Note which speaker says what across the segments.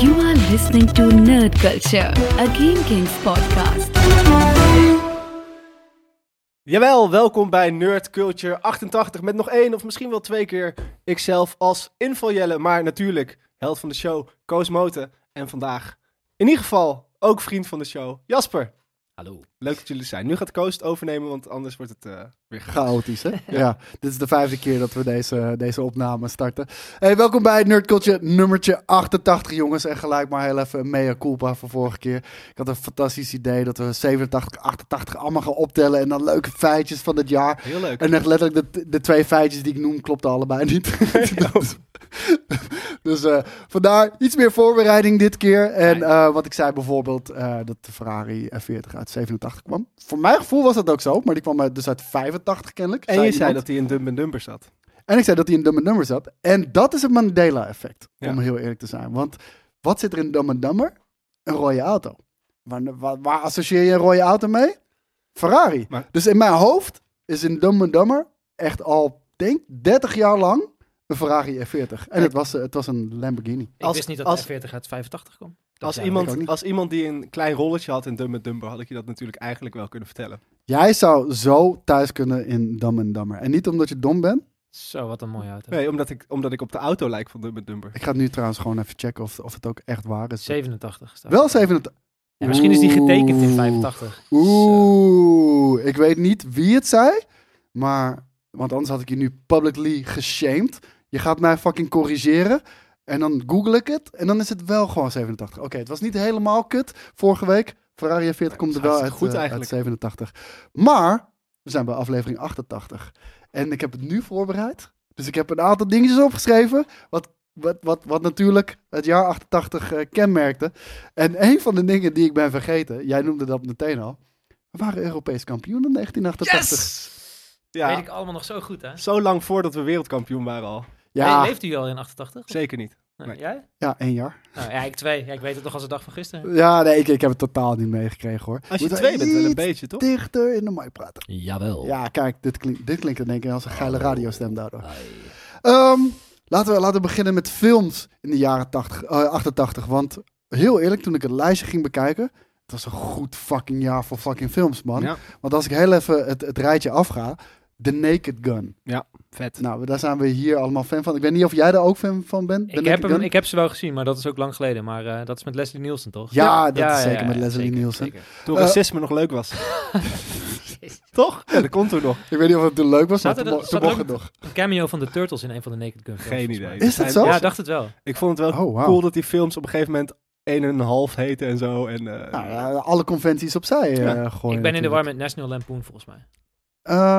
Speaker 1: You are listening to Nerd Culture, a Game Kings podcast.
Speaker 2: Jawel, welkom bij Nerd Culture 88 met nog één of misschien wel twee keer ikzelf als Invaljelle, maar natuurlijk held van de show Koos Moten en vandaag in ieder geval ook vriend van de show Jasper.
Speaker 3: Hallo.
Speaker 2: Leuk dat jullie er zijn. Nu gaat Koos het overnemen, want anders wordt het eh, weer gaaf.
Speaker 4: Chaotisch, hè? ja, dit is de vijfde keer dat we deze, deze opname starten. Hey, welkom bij Nerd Culture nummertje 88, jongens. En gelijk maar heel even een mea culpa van vorige keer. Ik had een fantastisch idee dat we 87, 88 allemaal gaan optellen... en dan leuke feitjes van het jaar.
Speaker 2: Heel leuk.
Speaker 4: En echt letterlijk de, de twee feitjes die ik noem klopten allebei niet. dus dus eh, vandaar iets meer voorbereiding dit keer. En eh, wat ik zei bijvoorbeeld eh, dat de Ferrari F40 uit 87 kwam. Voor mijn gevoel was dat ook zo, maar die kwam uit- dus uit 85 kennelijk.
Speaker 2: En je zei
Speaker 4: iemand.
Speaker 2: dat hij in Dumb Dumber zat.
Speaker 4: En ik zei dat hij in Dumb and Dumber zat. En dat is het Mandela-effect,
Speaker 2: Ja.
Speaker 4: om heel eerlijk te zijn. Want wat zit er in Dumb and Dumber? Een rode auto. Waar, waar, waar associeer je een rode auto mee? Ferrari.
Speaker 2: Maar-
Speaker 4: Dus in mijn hoofd is in Dumb and Dumber echt al, denk 30 jaar lang een Ferrari F40. En het was, eh, het was een Lamborghini.
Speaker 3: Ik
Speaker 2: Als-
Speaker 3: wist niet dat
Speaker 2: als-
Speaker 3: de F40 uit 85 kwam.
Speaker 2: Als
Speaker 3: ja,
Speaker 4: ik ook
Speaker 2: iemand,
Speaker 4: niet.
Speaker 2: als iemand die een klein rolletje had in Dumb Dumber, had ik je dat natuurlijk eigenlijk wel kunnen vertellen.
Speaker 4: Jij zou zo thuis kunnen in Dumb and Dumber. En niet omdat je dom bent.
Speaker 3: Zo, wat een mooie auto.
Speaker 2: Nee, omdat ik, omdat ik op de auto lijk van Dumb Dumber.
Speaker 4: Ik ga het nu trouwens gewoon even checken of, of het ook echt waar is.
Speaker 3: 87 staat.
Speaker 4: Wel 87.
Speaker 3: Ja, misschien is die getekend in
Speaker 4: Oeh.
Speaker 3: 85.
Speaker 4: Oeh, ik weet niet wie het zei, maar want anders had ik je nu publicly geshamed. Je gaat mij fucking corrigeren en dan google ik het en dan is het wel gewoon 87. Oké, het was niet helemaal kut vorige week. Ferrari F40 komt er wel uit,
Speaker 2: hartstikke goed
Speaker 4: eh, uit
Speaker 2: eigenlijk.
Speaker 4: 87. Maar we zijn bij aflevering 88 en ik heb het nu voorbereid. Dus ik heb een aantal dingetjes opgeschreven wat, wat, wat, wat natuurlijk het jaar 88 eh, kenmerkte. En een van de dingen die ik ben vergeten, jij noemde dat meteen al. We waren Europees kampioen in 1988.
Speaker 3: Weet
Speaker 2: Ja,
Speaker 3: ik allemaal nog zo goed, hè?
Speaker 2: zo lang voordat we wereldkampioen waren al.
Speaker 4: Ja,
Speaker 3: Hey, leeft u al in 88?
Speaker 2: Zeker niet.
Speaker 3: Nee,
Speaker 2: nee.
Speaker 3: Jij?
Speaker 4: ja, één jaar.
Speaker 3: Nou, ja, ik twee. Ja, ik weet het nog als de dag van gisteren.
Speaker 4: Ja, nee, ik, ik heb het totaal niet meegekregen hoor.
Speaker 2: Als je
Speaker 4: Moeten we
Speaker 2: twee bent, wel een
Speaker 4: iets
Speaker 2: beetje, toch?
Speaker 4: dichter in de mic praten.
Speaker 5: Jawel.
Speaker 4: Ja, kijk, dit, klink, dit klinkt in één keer als een
Speaker 3: Oh.
Speaker 4: geile radiostem daardoor. Ehm, laten, we, laten we beginnen met films in de jaren 80, eh, 88. Want heel eerlijk, toen ik het lijstje ging bekijken... Het was een goed fucking jaar voor fucking films, man.
Speaker 2: Ja.
Speaker 4: Want als ik heel even het, het rijtje afga... The Naked Gun.
Speaker 2: Vet.
Speaker 4: Nou, daar zijn we hier allemaal fan van. Ik weet niet of jij daar ook fan van bent. The
Speaker 3: Ik heb,
Speaker 4: Naked
Speaker 3: hem,
Speaker 4: Gun?
Speaker 3: ik heb ze wel gezien, maar dat is ook lang geleden. Maar eh, dat is met Leslie Nielsen, toch?
Speaker 4: Ja, dat is zeker met Leslie Nielsen.
Speaker 2: Toen
Speaker 4: Eh,
Speaker 2: racisme nog leuk was. Toch? Ja, dat komt toen nog.
Speaker 4: Ik weet niet of het toen leuk was, maar
Speaker 3: Zaten
Speaker 4: toen,
Speaker 3: er-
Speaker 4: mo- toen
Speaker 3: zat
Speaker 4: mocht
Speaker 3: er
Speaker 4: het nog.
Speaker 3: Een cameo van de Turtles in een van de Naked Gun films.
Speaker 2: Geen
Speaker 3: volgens
Speaker 2: idee.
Speaker 3: mij.
Speaker 4: Is dat
Speaker 2: Zijn-
Speaker 4: zo?
Speaker 3: Ja,
Speaker 2: Ja,
Speaker 4: Zelfs?
Speaker 3: dacht het wel.
Speaker 2: Ik vond het wel
Speaker 4: Oh, wauw.
Speaker 2: cool dat die films op een gegeven moment 1,5 heten en zo. En, eh,
Speaker 4: Nou, ja, alle conventies opzij eh,
Speaker 2: Ja.
Speaker 4: gooien.
Speaker 3: ik ben in de war
Speaker 4: natuurlijk.
Speaker 3: met National Lampoon, volgens mij.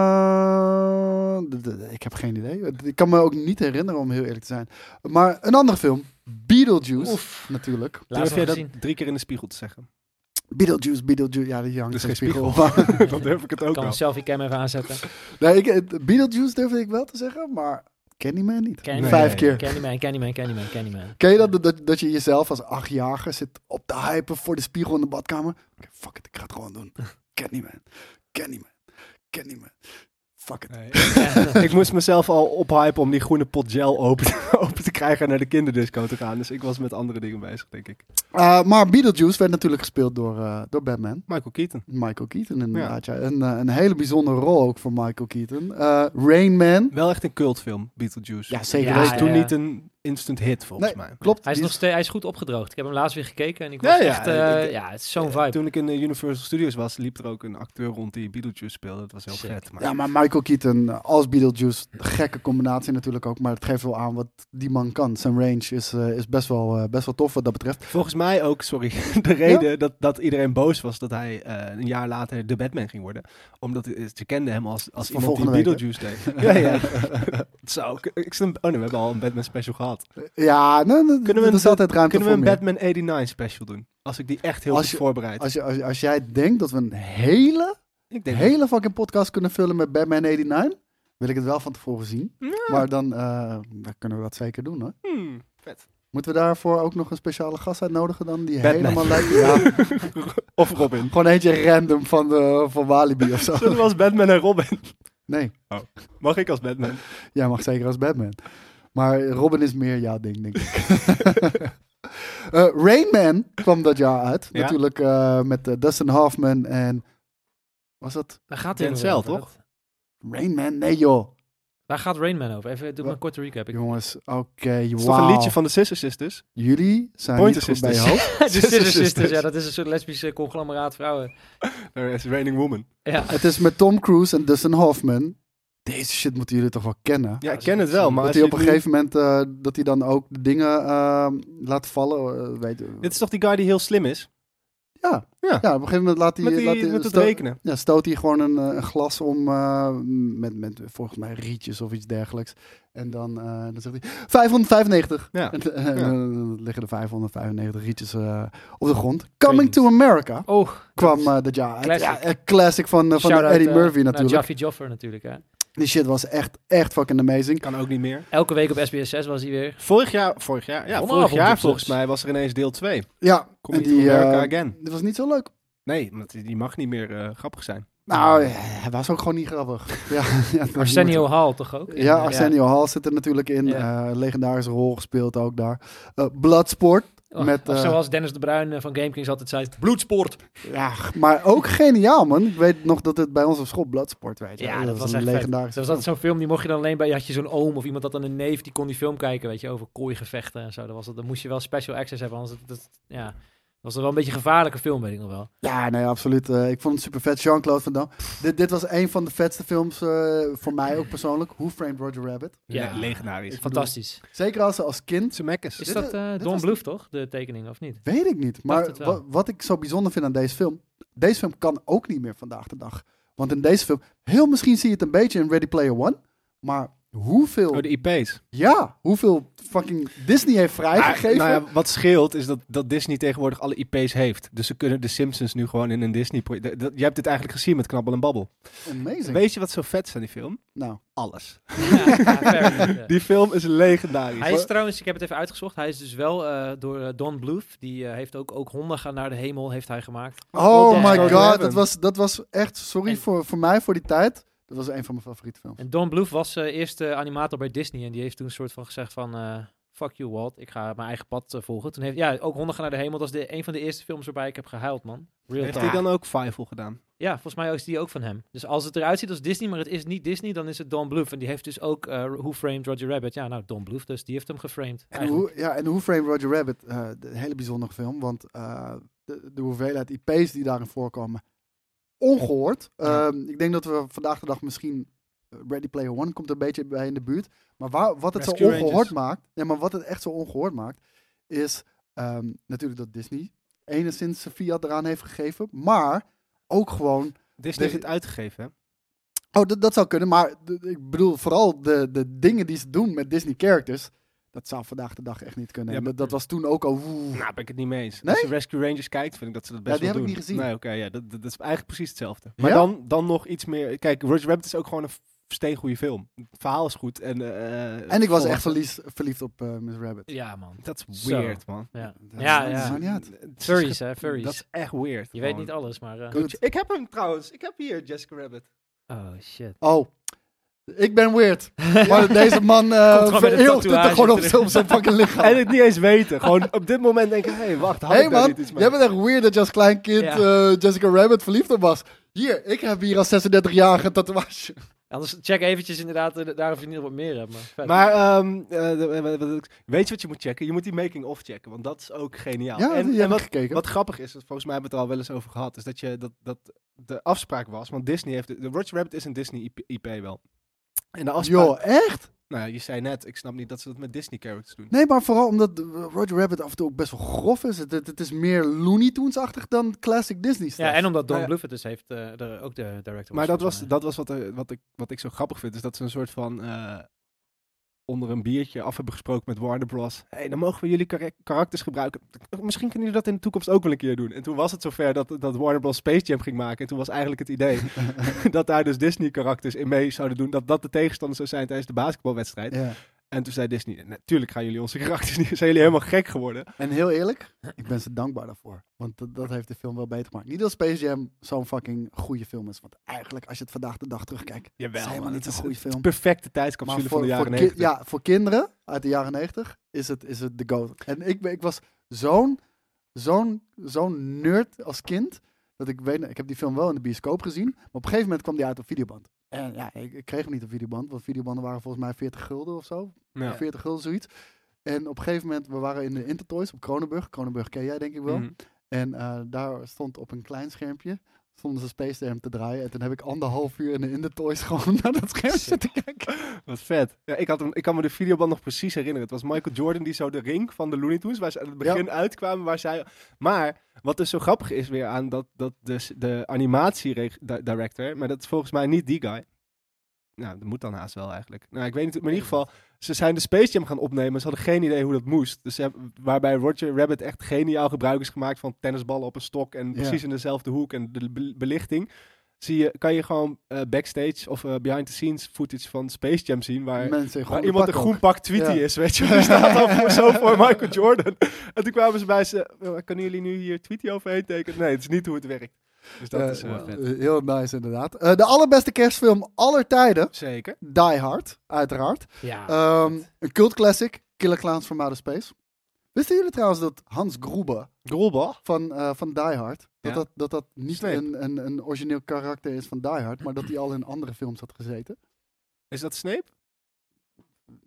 Speaker 4: Eh, d- d- ik heb geen idee. Ik kan me ook niet herinneren, om heel eerlijk te zijn. Maar een andere film. Beetlejuice, natuurlijk.
Speaker 3: Laatst
Speaker 2: durf jij
Speaker 3: nog gezien.
Speaker 2: dat drie keer in de spiegel te zeggen?
Speaker 4: Beetlejuice, Beetlejuice. Ja, die hangt
Speaker 2: Dus
Speaker 4: in de
Speaker 2: geen
Speaker 4: spiegel.
Speaker 2: dan durf ik het ook
Speaker 3: Ik kan
Speaker 2: wel.
Speaker 3: een selfie cam even aanzetten.
Speaker 4: nee, ik, het- Beetlejuice durfde ik wel te zeggen, maar Candyman niet.
Speaker 3: Candyman.
Speaker 4: Vijf keer.
Speaker 3: Candyman, Candyman, Candyman, Candyman.
Speaker 4: Ken je dat, dat, dat je jezelf als achtjarige zit op te hypen voor de spiegel in de badkamer? Oké, fuck it, ik ga het gewoon doen. Candyman, Candyman, Candyman. Fuck it.
Speaker 2: Nee. ik moest mezelf al ophypen om die groene pot gel open, open te krijgen en naar de kinderdisco te gaan. Dus ik was met andere dingen bezig, denk ik.
Speaker 4: Eh, maar Beetlejuice werd natuurlijk gespeeld door, eh, door Batman.
Speaker 2: Michael Keaton.
Speaker 4: Michael Keaton inderdaad. Ja. Een, eh, een hele bijzondere rol ook voor Michael Keaton. Eh Rain Man.
Speaker 2: Wel echt een cultfilm, Beetlejuice.
Speaker 4: Ja, zeker
Speaker 3: Ja,
Speaker 2: Hij
Speaker 4: weten.
Speaker 2: is toen
Speaker 3: ja.
Speaker 2: niet een instant hit, volgens
Speaker 4: Nee,
Speaker 2: mij.
Speaker 4: Klopt.
Speaker 3: Hij is,
Speaker 4: die
Speaker 3: nog steeds, hij is goed opgedroogd. Ik heb hem laatst weer gekeken en ik
Speaker 2: Ja,
Speaker 3: was
Speaker 2: ja,
Speaker 3: echt... eh,
Speaker 2: ik-
Speaker 3: ja, het is zo'n vibe.
Speaker 2: Toen ik in eh, Universal Studios was, liep er ook een acteur rond die Beetlejuice speelde. Dat was heel
Speaker 3: Sick.
Speaker 2: vet. Maar...
Speaker 4: Ja, maar Michael Keaton eh, als Beetlejuice, gekke combinatie natuurlijk ook. Maar het geeft wel aan wat die man kan. Zijn range is, eh, is best, wel, eh, best wel tof wat dat betreft.
Speaker 2: Volgens mij ook, sorry, de reden dat, dat iedereen boos was dat hij eh, een jaar later de Batman ging worden. Omdat eh, ze kenden hem als, als
Speaker 4: Voor
Speaker 2: iemand die
Speaker 4: volgende week,
Speaker 2: Beetlejuice deed. ja, ja. Zo, ik- ik snap- oh nee, we hebben al een Batman special gehad.
Speaker 4: Ja, nou, nou,
Speaker 2: Kunnen we
Speaker 4: er
Speaker 2: een-
Speaker 4: is altijd ruimte
Speaker 2: Kunnen we
Speaker 4: voor
Speaker 2: een
Speaker 4: meer.
Speaker 2: Batman 89 special doen? Als ik die echt heel
Speaker 4: Als
Speaker 2: goed
Speaker 4: je-
Speaker 2: voorbereid.
Speaker 4: Als, je, als, je- als jij denkt dat we een hele,
Speaker 2: ik denk
Speaker 4: hele fucking podcast kunnen vullen met Batman 89, wil ik het wel van tevoren zien. Maar dan, eh, dan kunnen we dat zeker doen hoor.
Speaker 2: Hmm, vet.
Speaker 4: Moeten we daarvoor ook nog een speciale gast uitnodigen dan? Die
Speaker 2: Batman.
Speaker 4: helemaal lijkt... Ja,
Speaker 2: Of Robin.
Speaker 4: gewoon eentje random van, de, van Walibi of zo.
Speaker 2: Zullen we als Batman en Robin?
Speaker 4: Nee,
Speaker 2: Mag ik als Batman?
Speaker 4: jij mag zeker als Batman. Maar Robin is meer jouw ding, denk ik. Eh, Rain Man kwam dat jaar uit.
Speaker 2: Ja.
Speaker 4: Natuurlijk eh, met eh, Dustin Hoffman en... Was dat
Speaker 3: Daar gaat
Speaker 2: Denzel,
Speaker 3: over.
Speaker 2: toch?
Speaker 3: Dat-
Speaker 4: Rain Man? Nee joh.
Speaker 3: Waar gaat Rainman over? Even doe maar
Speaker 4: Wat?
Speaker 3: een korte recap. Ik...
Speaker 4: Jongens, oké,
Speaker 2: is
Speaker 4: wauw.
Speaker 2: toch een liedje van de Sister Sisters?
Speaker 4: Jullie zijn
Speaker 2: Pointer
Speaker 4: niet goed bij je
Speaker 2: Sisters.
Speaker 4: hoofd.
Speaker 3: de Sister
Speaker 2: Sisters.
Speaker 3: Sisters, ja, dat is een soort lesbische conglomeraat vrouwen.
Speaker 2: Er is Raining Woman.
Speaker 3: Ja.
Speaker 4: Het is met Tom Cruise en Dustin Hoffman. Deze shit moeten jullie toch wel kennen?
Speaker 2: Ja, ik
Speaker 3: ze-
Speaker 2: ken het wel,
Speaker 3: ze-
Speaker 2: maar...
Speaker 4: dat
Speaker 2: als
Speaker 4: hij
Speaker 2: je
Speaker 4: op een
Speaker 2: het nu-
Speaker 4: gegeven moment, eh, dat hij dan ook de dingen eh, laat vallen. eh, weet,
Speaker 2: Dit is toch die guy die heel slim is?
Speaker 4: ja.
Speaker 2: Ja.
Speaker 4: ja, op een gegeven moment laat hij...
Speaker 2: Met, die,
Speaker 4: eh, laat hij
Speaker 2: met het
Speaker 4: sto-
Speaker 2: rekenen.
Speaker 4: ja, stoot hij gewoon een, eh, een glas om eh, met, met volgens mij rietjes of iets dergelijks. En dan, eh, dan zegt hij 595.
Speaker 2: Ja.
Speaker 4: En, eh, dan liggen er 595 rietjes eh, op de grond. Coming to America
Speaker 3: Oh,
Speaker 4: kwam eh dat jaar uit.
Speaker 3: Classic.
Speaker 4: Ja, een classic van, eh, van
Speaker 3: shout-out,
Speaker 4: Eddie
Speaker 3: eh,
Speaker 4: Murphy
Speaker 3: naar
Speaker 4: natuurlijk.
Speaker 3: Jaffy Joffer natuurlijk. Hè.
Speaker 4: Die shit was echt, echt fucking amazing.
Speaker 2: Kan ook niet meer.
Speaker 3: Elke week op SBS 6 was hij weer.
Speaker 2: Vorig jaar, vorig jaar, ja,
Speaker 3: Vanavond
Speaker 2: vorig
Speaker 3: op
Speaker 2: jaar
Speaker 3: zes.
Speaker 2: volgens mij was er ineens deel 2.
Speaker 4: Ja,
Speaker 2: Kom
Speaker 4: en
Speaker 2: je die,
Speaker 4: die,
Speaker 2: to America
Speaker 4: eh,
Speaker 2: again.
Speaker 4: dat was niet zo leuk.
Speaker 2: Nee, want die die mag niet meer eh, grappig zijn.
Speaker 4: Nou, eh, hij was ook gewoon niet grappig. Ja, ja, het was
Speaker 3: Arsenio Hall toch ook?
Speaker 4: Eh, Ja, Arsenio Hall zit er natuurlijk in.
Speaker 3: Ja.
Speaker 4: Eh, legendarische rol gespeeld ook daar. Eh, Bloodsport.
Speaker 3: Oh,
Speaker 4: met,
Speaker 3: of
Speaker 4: eh,
Speaker 3: zoals Dennis de Bruin eh, van GameKings altijd zei, bloedsport.
Speaker 4: Ja, maar ook geniaal, man. Ik weet nog dat het bij ons op school Bloodsport werd.
Speaker 3: Ja, dat, was
Speaker 4: een
Speaker 3: echt legendarisch.
Speaker 4: legendarische
Speaker 3: Dat was altijd zo'n film, die mocht je dan alleen bij... Je had je zo'n oom of iemand had dan een neef, die kon die film kijken, weet je, over kooigevechten en zo. Dan, was dat, dan moest je wel special access hebben, anders dat, dat- ja, dat was dat wel een beetje een gevaarlijke film, weet ik nog wel.
Speaker 4: film. Ja, nee, absoluut. Eh, ik vond het super vet. Jean-Claude Van Damme. Dit, dit was een van de vetste films eh, voor mij ook persoonlijk. Hoe Framed Roger Rabbit.
Speaker 3: Ja,
Speaker 2: legendarisch.
Speaker 3: fantastisch.
Speaker 4: Zeker als, als kind.
Speaker 2: Zemeckis.
Speaker 3: Is
Speaker 4: dit-
Speaker 3: dat eh,
Speaker 4: dit
Speaker 3: Don
Speaker 4: was-
Speaker 3: Bluth, toch, de tekening, of niet?
Speaker 4: Weet ik niet. Maar
Speaker 3: het wel.
Speaker 4: wa- wat ik zo bijzonder vind aan deze film. Deze film kan ook niet meer vandaag de dag. Want in deze film, heel misschien zie je het een beetje in Ready Player One. Maar hoeveel,
Speaker 2: Oh, de IP's.
Speaker 4: ja, hoeveel fucking Disney heeft vrijgegeven.
Speaker 2: Ah, nou ja, wat scheelt is dat, dat Disney tegenwoordig alle IP's heeft. Dus ze kunnen de Simpsons nu gewoon in een Disney... pro- dat- dat- Je hebt dit eigenlijk gezien met Knabbel en Babbel.
Speaker 4: Amazing.
Speaker 2: Weet je wat zo vet is aan die film?
Speaker 4: nou,
Speaker 2: Alles.
Speaker 3: Ja, ja, fair enough, ja.
Speaker 2: Die film is legendarisch.
Speaker 3: Hij is trouwens, ik heb het even uitgezocht, hij is dus wel eh, door eh, Don Bluth, die eh, heeft ook, ook Honden gaan naar de hemel, heeft hij gemaakt.
Speaker 4: oh
Speaker 3: Wat
Speaker 4: my
Speaker 3: een-
Speaker 4: god, dat was, dat was echt, sorry
Speaker 3: En-
Speaker 4: voor, voor mij, voor die tijd. Dat was een van mijn favoriete films.
Speaker 3: En Don Bluth was eh eerst eh, animator bij Disney en die heeft toen een soort van gezegd van... eh, Fuck you, Walt. Ik ga mijn eigen pad eh, volgen. Toen heeft, ja, ook Honden gaan naar de hemel. Dat is de, een van de eerste films waarbij ik heb gehuild, man. Real
Speaker 2: Heeft
Speaker 3: talk.
Speaker 2: hij dan ook Fievel gedaan?
Speaker 3: Ja, volgens mij is die ook van hem. Dus als het eruit ziet als Disney, maar het is niet Disney, dan is het Don Bluth. En die heeft dus ook eh Who Framed Roger Rabbit. Ja, nou, Don Bluth dus. Die heeft hem geframed.
Speaker 4: En
Speaker 3: eigenlijk.
Speaker 4: hoe, ja, en hoe Frame Roger Rabbit, eh, de- een hele bijzondere film, want eh, de, de hoeveelheid IP's die daarin voorkomen, ongehoord.
Speaker 3: Ja.
Speaker 4: Ehm, ik denk dat we vandaag de dag misschien, eh, Ready Player One komt een beetje bij in de buurt, maar waar, wat het
Speaker 2: Rescue
Speaker 4: zo ongehoord
Speaker 2: Rangers.
Speaker 4: maakt, nee, maar wat het echt zo ongehoord maakt, is ehm, natuurlijk dat Disney enigszins zijn fiat eraan heeft gegeven, maar ook gewoon
Speaker 2: Disney heeft
Speaker 4: Dit-
Speaker 2: het uitgegeven, hè?
Speaker 4: Oh, dat, dat zou kunnen, maar de- ik bedoel vooral de, de dingen die ze doen met Disney characters. Dat zou vandaag de dag echt niet kunnen.
Speaker 2: Ja,
Speaker 4: En
Speaker 2: maar-
Speaker 4: dat, dat was toen ook al. woe.
Speaker 2: Nou, ben ik het niet mee eens.
Speaker 4: Nee?
Speaker 2: Als je Rescue Rangers kijkt, vind ik dat ze dat best
Speaker 4: die
Speaker 2: wel
Speaker 4: heb ik
Speaker 2: doen.
Speaker 4: niet gezien.
Speaker 2: Nee, oké, ja, dat, dat, dat is eigenlijk precies hetzelfde. Maar
Speaker 4: Ja?
Speaker 2: dan, dan nog iets meer... Kijk, Roger Rabbit is ook gewoon een steengoede film. Het verhaal is goed en... eh,
Speaker 4: En ik was
Speaker 2: volwassen.
Speaker 4: echt verlies, verliefd op eh, Miss Rabbit.
Speaker 3: Ja, man.
Speaker 2: Dat is
Speaker 3: Zo.
Speaker 2: weird, man.
Speaker 3: Ja,
Speaker 4: Dat-
Speaker 3: ja.
Speaker 4: dat
Speaker 3: ja.
Speaker 4: maakt niet uit.
Speaker 2: Het is
Speaker 3: Furries, hè, furries.
Speaker 2: Dat is echt weird.
Speaker 3: Je weet niet alles, maar... eh,
Speaker 4: Goed.
Speaker 2: Ik heb hem trouwens. Ik heb hier Jessica Rabbit.
Speaker 3: oh, shit.
Speaker 4: Oh, ik ben weird. Maar deze man eh
Speaker 3: gewoon met een
Speaker 4: vereeuwigt het er
Speaker 3: tatoeage
Speaker 4: gewoon op
Speaker 3: terug.
Speaker 4: zijn- op zijn fucking lichaam.
Speaker 2: En het niet eens weten. Gewoon op dit moment denken, hé, hey, wacht, had
Speaker 4: Hé hey
Speaker 2: ik daar
Speaker 4: man,
Speaker 2: niet iets mee?
Speaker 4: jij bent echt weird dat je als klein kind
Speaker 3: Ja.
Speaker 4: eh, Jessica Rabbit verliefd op was. Hier, ik heb hier als 36-jarige een tatoeage.
Speaker 3: Anders check eventjes inderdaad eh, daar of je niet wat meer hebt, maar... vet.
Speaker 2: Maar ehm, eh, de- wat- wat- wat- weet je wat je moet checken? Je moet die making-of checken, want dat is ook geniaal.
Speaker 4: Ja,
Speaker 2: en
Speaker 4: die
Speaker 2: en
Speaker 4: heb ik
Speaker 2: wat,
Speaker 4: gekeken.
Speaker 2: wat grappig is, dat volgens mij hebben we het er al wel eens over gehad, is dat, je, dat, dat de afspraak was, want Disney heeft... De, de Roger Rabbit is een Disney IP, wel. En de afspraak...
Speaker 4: Joh, echt?
Speaker 2: Nou, ja, je zei net, ik snap niet dat ze dat met Disney-characters doen.
Speaker 4: Nee, maar vooral omdat eh, Roger Rabbit af en toe ook best wel grof is. Het, het, het is meer Looney Tunes-achtig dan classic Disney stuff.
Speaker 3: Ja, en omdat Don
Speaker 2: Nou ja.
Speaker 3: Bluth het dus heeft, eh, de- ook de director eh,
Speaker 2: Maar dat was,
Speaker 3: volgens mij.
Speaker 2: dat was wat, er, wat, ik, wat ik zo grappig vind. Is dat ze een soort van eh, onder een biertje af hebben gesproken met Warner Bros. Hé, hey, dan mogen we jullie kara- karakters gebruiken. Misschien kunnen jullie dat in de toekomst ook wel een keer doen. En toen was het zover dat, dat Warner Bros. Space Jam ging maken. En toen was eigenlijk het idee dat daar dus Disney-karakters in mee zouden doen. Dat dat de tegenstander zou zijn tijdens de basketbalwedstrijd.
Speaker 4: Ja.
Speaker 2: En toen zei Disney, natuurlijk gaan jullie onze karakters niet... Zijn jullie helemaal gek geworden?
Speaker 4: En heel eerlijk, ik ben ze dankbaar daarvoor. Want dat, dat heeft de film wel beter gemaakt. Niet dat Space Jam zo'n fucking goede film is. Want eigenlijk, als je het vandaag de dag terugkijkt,
Speaker 2: Jawel,
Speaker 4: is het helemaal
Speaker 2: man,
Speaker 4: niet
Speaker 2: het
Speaker 4: zo'n
Speaker 2: is
Speaker 4: goede film.
Speaker 2: Perfecte tijdscapsule van de
Speaker 4: voor
Speaker 2: jaren
Speaker 4: ki-
Speaker 2: 90.
Speaker 4: ja, voor kinderen uit de jaren 90 is het, is het de goat. En ik, ben- ik was zo'n zo'n zo'n nerd als kind. Dat ik weet, ik heb die film wel in de bioscoop gezien. Maar op een gegeven moment kwam die uit op videoband. En ja, ik, ik kreeg hem niet op videoband. Want videobanden waren volgens mij 40 gulden of zo.
Speaker 2: Ja.
Speaker 4: 40 gulden, zoiets. En op een gegeven moment, we waren in de Intertoys op Kronenburg. Kronenburg ken jij denk ik wel.
Speaker 2: Mhm.
Speaker 4: En eh, daar stond op een klein schermpje, stonden ze Space Jam te draaien. En toen heb ik anderhalf uur in de, in de toys gewoon naar dat scherm
Speaker 3: Sick.
Speaker 4: zitten kijken.
Speaker 2: Wat vet. Ja, ik, had hem, ik kan me de videoband nog precies herinneren. Het was Michael Jordan die zo de ring van de Looney Tunes, waar ze aan het begin uitkwamen, waar zij... Maar, wat dus zo grappig is weer aan dat, dat de, de animatiedirector, maar dat is volgens mij niet die guy. Nou, dat moet dan haast wel eigenlijk. Nou, ik weet niet, maar in ieder geval, ze zijn de Space Jam gaan opnemen. Ze hadden geen idee hoe dat moest. Dus ze hebben- waarbij Roger Rabbit echt geniaal gebruik is gemaakt van tennisballen op een stok en precies in dezelfde hoek en de be- belichting. Zie je, kan je gewoon eh, backstage of eh, behind the scenes footage van Space Jam zien waar
Speaker 4: Mensen in
Speaker 2: maar
Speaker 4: gewoon
Speaker 2: iemand een
Speaker 4: pak
Speaker 2: groen
Speaker 4: ook.
Speaker 2: pak Tweety
Speaker 4: Ja.
Speaker 2: is, weet je. Die staat dan voor, zo voor Michael Jordan. En toen kwamen ze bij ze, "Oh, kunnen jullie nu hier Tweety overheen tekenen? Nee, het is niet hoe het werkt. Dus dat
Speaker 4: Eh,
Speaker 2: is wel
Speaker 4: eh,
Speaker 2: vet.
Speaker 4: Heel nice inderdaad. Eh, de allerbeste kerstfilm aller tijden,
Speaker 2: Zeker.
Speaker 4: Die Hard, uiteraard.
Speaker 3: Ja.
Speaker 4: Ehm, een cult classic, Killer Clowns from Outer Space. Wisten jullie trouwens dat Hans Gruber
Speaker 2: Grolbal.
Speaker 4: van, eh, van Die Hard. Dat,
Speaker 2: Ja.
Speaker 4: dat, dat dat niet
Speaker 2: Snape.
Speaker 4: een, een, een origineel karakter is van Die Hard, maar dat hij al in andere films had gezeten.
Speaker 2: Is dat Snape?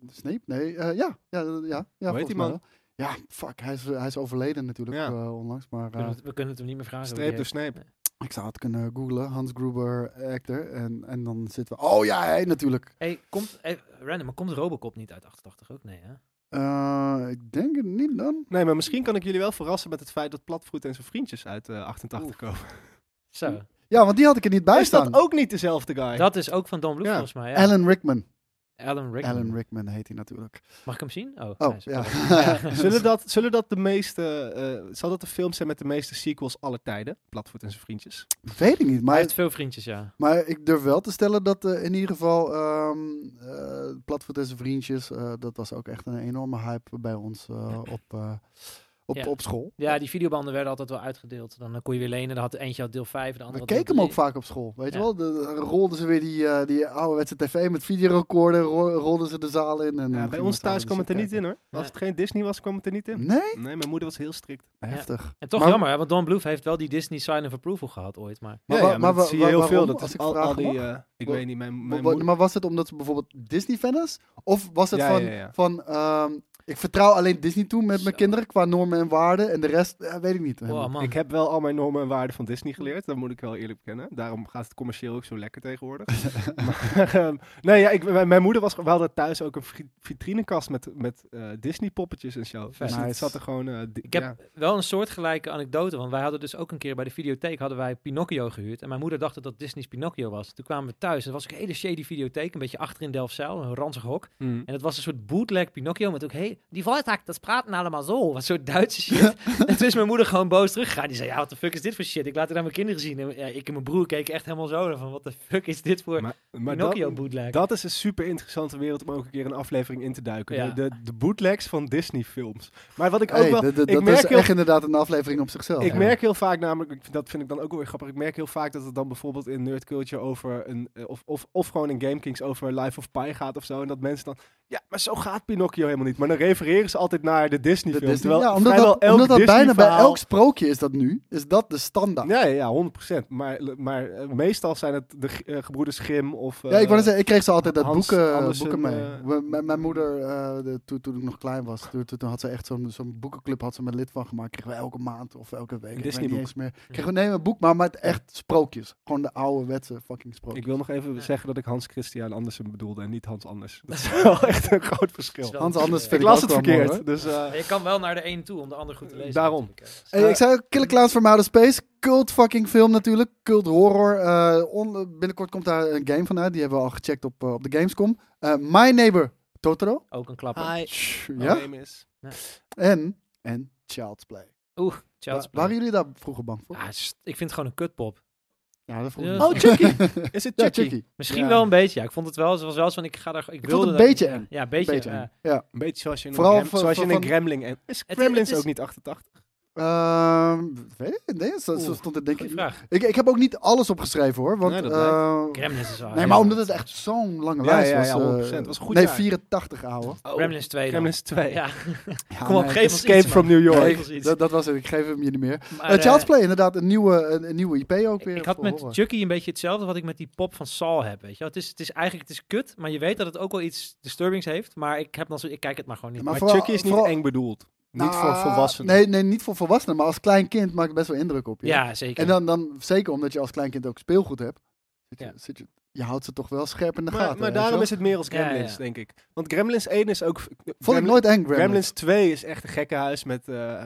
Speaker 4: Snape? Nee, eh, ja. ja, ja, ja volgens
Speaker 2: die
Speaker 4: mij
Speaker 2: man?
Speaker 4: wel. Ja, fuck, hij is, hij is overleden natuurlijk
Speaker 2: Ja.
Speaker 4: eh, onlangs, maar
Speaker 3: We
Speaker 4: eh,
Speaker 3: kunnen het- we kunnen het hem niet meer vragen.
Speaker 2: Streep door Snape.
Speaker 4: ik zou het kunnen googlen. Hans Gruber, actor, en, en dan zitten we... Oh ja, hij natuurlijk.
Speaker 3: Hey, komt, hey, random, maar komt Robocop niet uit 88 ook? Nee, hè?
Speaker 4: Eh, ik denk het niet dan.
Speaker 2: Nee, maar misschien kan ik jullie wel verrassen met het feit dat Platvoet en zijn vriendjes uit eh, 88 komen.
Speaker 3: Zo.
Speaker 4: Ja, want die had ik er niet bij
Speaker 2: Is
Speaker 4: staan.
Speaker 2: dat ook niet dezelfde guy?
Speaker 3: Dat is ook van Don Bluth
Speaker 2: Ja.
Speaker 3: volgens mij. Ja.
Speaker 4: Alan Rickman.
Speaker 3: Alan Rickman.
Speaker 4: Alan Rickman heet hij natuurlijk.
Speaker 3: Mag ik hem zien? Oh, hij
Speaker 4: Oh,
Speaker 3: is-
Speaker 4: ja.
Speaker 2: Zullen dat, zullen dat de meeste, eh, zal dat de film zijn met de meeste sequels aller tijden? Platvoet en zijn vriendjes.
Speaker 4: Weet ik niet,
Speaker 3: Hij
Speaker 4: maar
Speaker 3: heeft veel vriendjes, ja.
Speaker 4: Maar ik durf wel te stellen dat eh, in ieder geval ehm eh, Platvoet en zijn vriendjes, eh, dat was ook echt een enorme hype bij ons eh, op, eh, op,
Speaker 3: Ja.
Speaker 4: op school.
Speaker 3: Ja, die videobanden werden altijd wel uitgedeeld. Dan eh, kon je weer lenen. Dan had de eentje had deel 5, de andere
Speaker 4: We
Speaker 3: had
Speaker 4: keken
Speaker 3: deel
Speaker 4: hem ook
Speaker 3: drie.
Speaker 4: vaak op school, weet je
Speaker 3: Ja.
Speaker 4: wel? De- de- rolden ze weer die, eh, die ouderwetse tv met videorecorder, ro- rolden ze de zaal in. En dan
Speaker 2: Ja, bij
Speaker 4: gingen
Speaker 2: ons
Speaker 4: we samen
Speaker 2: thuis kwam het er niet
Speaker 4: zitten
Speaker 2: in hoor. Als
Speaker 3: Nee.
Speaker 2: het geen Disney was, kwam het er niet in.
Speaker 4: kijken. Nee?
Speaker 2: Nee, mijn moeder was heel strikt.
Speaker 4: Heftig.
Speaker 3: En toch
Speaker 4: Maar-
Speaker 3: jammer, hè, want Don Bluth heeft wel die Disney Sign of Approval gehad ooit. Maar
Speaker 4: Maar,
Speaker 2: ja,
Speaker 4: wa-
Speaker 2: ja, maar, dat
Speaker 4: wa-
Speaker 2: zie je
Speaker 4: wa-
Speaker 2: heel veel.
Speaker 4: waarom,
Speaker 2: Dat
Speaker 4: als
Speaker 2: is
Speaker 4: ik
Speaker 2: al,
Speaker 4: vragen
Speaker 2: al die,
Speaker 4: mag?
Speaker 2: eh, ik
Speaker 4: Wa-
Speaker 2: weet niet, mijn,
Speaker 4: Wa-
Speaker 2: mijn
Speaker 4: wa-
Speaker 2: moeder...
Speaker 4: maar was het omdat ze bijvoorbeeld Disney-fan is? Of was het
Speaker 2: Ja,
Speaker 4: van,
Speaker 2: ja, ja.
Speaker 4: van ehm, ik vertrouw alleen Disney toe met mijn
Speaker 3: Zo.
Speaker 4: kinderen qua normen en waarden en de rest eh, weet ik niet.
Speaker 3: oh man.
Speaker 2: Ik heb wel al mijn normen en waarden van Disney geleerd. Dat moet ik wel eerlijk bekennen. Daarom gaat het commercieel ook zo lekker tegenwoordig. maar, ehm, nee, ja, ik, mijn, mijn moeder was... We hadden thuis ook een vri- vitrinekast met, met eh, Disney-poppetjes en zo.
Speaker 3: Vet.
Speaker 2: Dus het
Speaker 4: Nice.
Speaker 2: zat er gewoon... eh, di-
Speaker 3: Ik heb
Speaker 2: ja.
Speaker 3: wel een soortgelijke anekdote, want wij hadden dus ook een keer bij de videotheek hadden wij Pinocchio gehuurd. En mijn moeder dacht dat dat Disney's Pinocchio was. Toen kwamen we thuis en dat was ook een hele shady videotheek, een beetje achter in Delfzijl, een ranzig hok.
Speaker 2: Mm.
Speaker 3: En het was een soort bootleg Pinocchio met ook, hey, die Voltak, dat praten allemaal zo. Wat een soort Duitse shit. en toen is mijn moeder gewoon boos teruggegaan. Die zei, ja, wat de fuck is dit voor shit? Ik laat het aan mijn kinderen zien. En ja, ik en mijn broer keken echt helemaal zo van, wat de fuck is dit voor
Speaker 2: Maar, maar
Speaker 3: Pinocchio
Speaker 2: dat,
Speaker 3: bootleg?
Speaker 2: dat is een super interessante wereld om ook een keer een aflevering in te duiken.
Speaker 3: Ja.
Speaker 2: De, de, de bootlegs van Disney-films. Maar wat ik ook
Speaker 4: Hey,
Speaker 2: wel...
Speaker 4: dat- dat-
Speaker 2: ik
Speaker 4: dat
Speaker 2: merk
Speaker 4: is
Speaker 2: heel
Speaker 4: echt inderdaad een aflevering op zichzelf.
Speaker 2: Ik merk heel vaak namelijk, ik vind- dat vind ik dan ook wel weer grappig. Ik merk heel vaak dat het dan bijvoorbeeld in Nerd Culture over een. eh, Of, of, of gewoon in Game Kings over Life of Pi gaat of zo. En dat mensen dan. Ja, maar zo gaat Pinocchio helemaal niet. Maar dan refereren ze altijd naar de
Speaker 4: De
Speaker 2: Disney-film.
Speaker 4: Disney-
Speaker 2: terwijl
Speaker 4: ja, omdat
Speaker 2: vrijwel
Speaker 4: dat, omdat dat
Speaker 2: elk
Speaker 4: bijna bij
Speaker 2: Disney-verhaal-
Speaker 4: elk sprookje is dat nu, is dat de standaard. Ja,
Speaker 2: Ja, ja, ja, 100%. Maar, maar eh, meestal zijn het de eh, gebroeders Grimm of. eh,
Speaker 4: ik wou net zeggen, ik kreeg ze altijd uit
Speaker 2: Hans
Speaker 4: boeken,
Speaker 2: Andersen,
Speaker 4: boeken mee.
Speaker 2: eh,
Speaker 4: We- mijn- mijn moeder, eh, de- toen, toen ik nog klein was, toen, toen had ze echt zo'n zo'n boekenclub had ze me lid van gemaakt. Kregen we elke maand of elke week. Ik weet niet
Speaker 2: Disneyboek.
Speaker 4: eens meer. Kregen we nee, een boek, maar met echt sprookjes. Gewoon de oude wetse fucking sprookjes.
Speaker 2: Ik wil nog even
Speaker 3: Ja.
Speaker 2: zeggen dat ik Hans Christian Andersen bedoelde en niet Hans Anders. Dat is wel echt een groot
Speaker 3: Dat is
Speaker 2: verschil.
Speaker 3: wel-
Speaker 4: Hans Anders vind
Speaker 2: Ik las
Speaker 4: ook
Speaker 2: het
Speaker 4: wel mooi,
Speaker 2: verkeerd.
Speaker 4: hoor.
Speaker 2: dus, eh,
Speaker 3: Maar je kan wel naar de een toe om de ander goed te lezen.
Speaker 2: Daarom.
Speaker 3: natuurlijk, hè. Dus,
Speaker 4: Hey, ik zei ook, Killer Clowns from Outer Space. Cult fucking film natuurlijk. Cult horror. Eh, on- binnenkort komt daar een game van uit. Die hebben we al gecheckt op, eh, op de Gamescom. Eh, My Neighbor Totoro.
Speaker 3: eh, Ook een klapper.
Speaker 2: Hi.
Speaker 4: Tsch,
Speaker 2: Mijn
Speaker 4: Ja.
Speaker 2: name is-
Speaker 4: En, en Child's Play.
Speaker 3: Child's
Speaker 4: Wa-
Speaker 3: Play.
Speaker 4: Waren jullie daar vroeger bang voor?
Speaker 3: Ah, het is- ik vind het gewoon een kutpop.
Speaker 4: Ja, dat vroeg ik me
Speaker 3: Ja.
Speaker 4: af.
Speaker 2: Oh, Chucky! Is het
Speaker 4: Ja,
Speaker 2: Chucky?
Speaker 4: Chucky.
Speaker 3: Misschien
Speaker 4: Ja.
Speaker 3: wel een beetje. Ja, ik vond het wel. Ze was wel eens van ik ga daar.
Speaker 4: Ik
Speaker 3: Ik,
Speaker 4: vond
Speaker 3: wilde
Speaker 4: het een
Speaker 3: daar-
Speaker 4: beetje eng.
Speaker 3: Ja, een beetje.
Speaker 4: Beetje
Speaker 3: ja.
Speaker 4: eng. Ja.
Speaker 2: Een beetje zoals je in
Speaker 4: Vooral
Speaker 2: een, grem,
Speaker 4: van-
Speaker 2: zoals je
Speaker 4: van-
Speaker 2: in een
Speaker 4: van-
Speaker 2: gremling... En, is
Speaker 3: het
Speaker 2: gremlins
Speaker 3: is-
Speaker 2: ook niet 88?
Speaker 4: Ehm, weet ik, nee, zo, zo
Speaker 3: Oeh,
Speaker 4: stond het denk
Speaker 3: Goeie
Speaker 4: ik.
Speaker 3: vraag.
Speaker 4: ik. Ik heb ook niet alles opgeschreven hoor. Want,
Speaker 2: Nee, dat
Speaker 4: eh,
Speaker 3: Gremlins is wel...
Speaker 4: nee, maar omdat het echt zo'n lange
Speaker 2: Ja,
Speaker 4: lijst
Speaker 2: ja,
Speaker 4: was.
Speaker 2: ja,
Speaker 4: eh,
Speaker 2: 100%. Het was een goed
Speaker 4: Nee,
Speaker 2: jaar.
Speaker 4: 84 ouwe.
Speaker 2: Oh,
Speaker 3: Gremlins 2 dan.
Speaker 2: Gremlins 2.
Speaker 3: Ja,
Speaker 4: Ja,
Speaker 3: kom op,
Speaker 4: nee,
Speaker 3: geef ons
Speaker 2: Escape
Speaker 3: iets,
Speaker 2: from
Speaker 3: man.
Speaker 2: New York.
Speaker 3: Geef
Speaker 4: Nee,
Speaker 3: ons iets.
Speaker 4: dat, dat was het. Ik geef hem je niet meer.
Speaker 3: Maar,
Speaker 4: Eh,
Speaker 3: eh,
Speaker 4: Child's Play, inderdaad. Een nieuwe, een, een nieuwe IP ook weer.
Speaker 3: Ik had
Speaker 4: voor
Speaker 3: met
Speaker 4: horror.
Speaker 3: Chucky een beetje hetzelfde wat ik met die pop van Saul heb, weet je wel. Het is, het is eigenlijk, het is kut, maar je weet dat het ook wel iets disturbings heeft, maar ik heb dan zo, ik kijk het maar gewoon niet.
Speaker 4: Maar
Speaker 2: Maar,
Speaker 4: vooral-
Speaker 2: Chucky is niet
Speaker 4: vooral-
Speaker 2: eng bedoeld. niet
Speaker 4: Nou,
Speaker 2: voor volwassenen.
Speaker 4: Nee, nee, niet voor volwassenen. Maar als klein kind maakt het best wel indruk op je.
Speaker 3: ja, zeker.
Speaker 4: En dan, dan zeker omdat je als klein kind ook speelgoed hebt. Zit je,
Speaker 3: Ja.
Speaker 4: zit je, je houdt ze toch wel scherp in de
Speaker 2: Maar,
Speaker 4: gaten.
Speaker 2: maar
Speaker 4: weet je
Speaker 2: daarom
Speaker 4: wel?
Speaker 2: is het meer als
Speaker 3: Ja, ja,
Speaker 2: Gremlins,
Speaker 3: ja.
Speaker 2: denk ik. Want Gremlins 1 is ook...
Speaker 4: Vond ik
Speaker 2: Gremlin-
Speaker 4: nooit eng, Gremlins.
Speaker 2: Gremlins 2 is echt een gekke huis met eh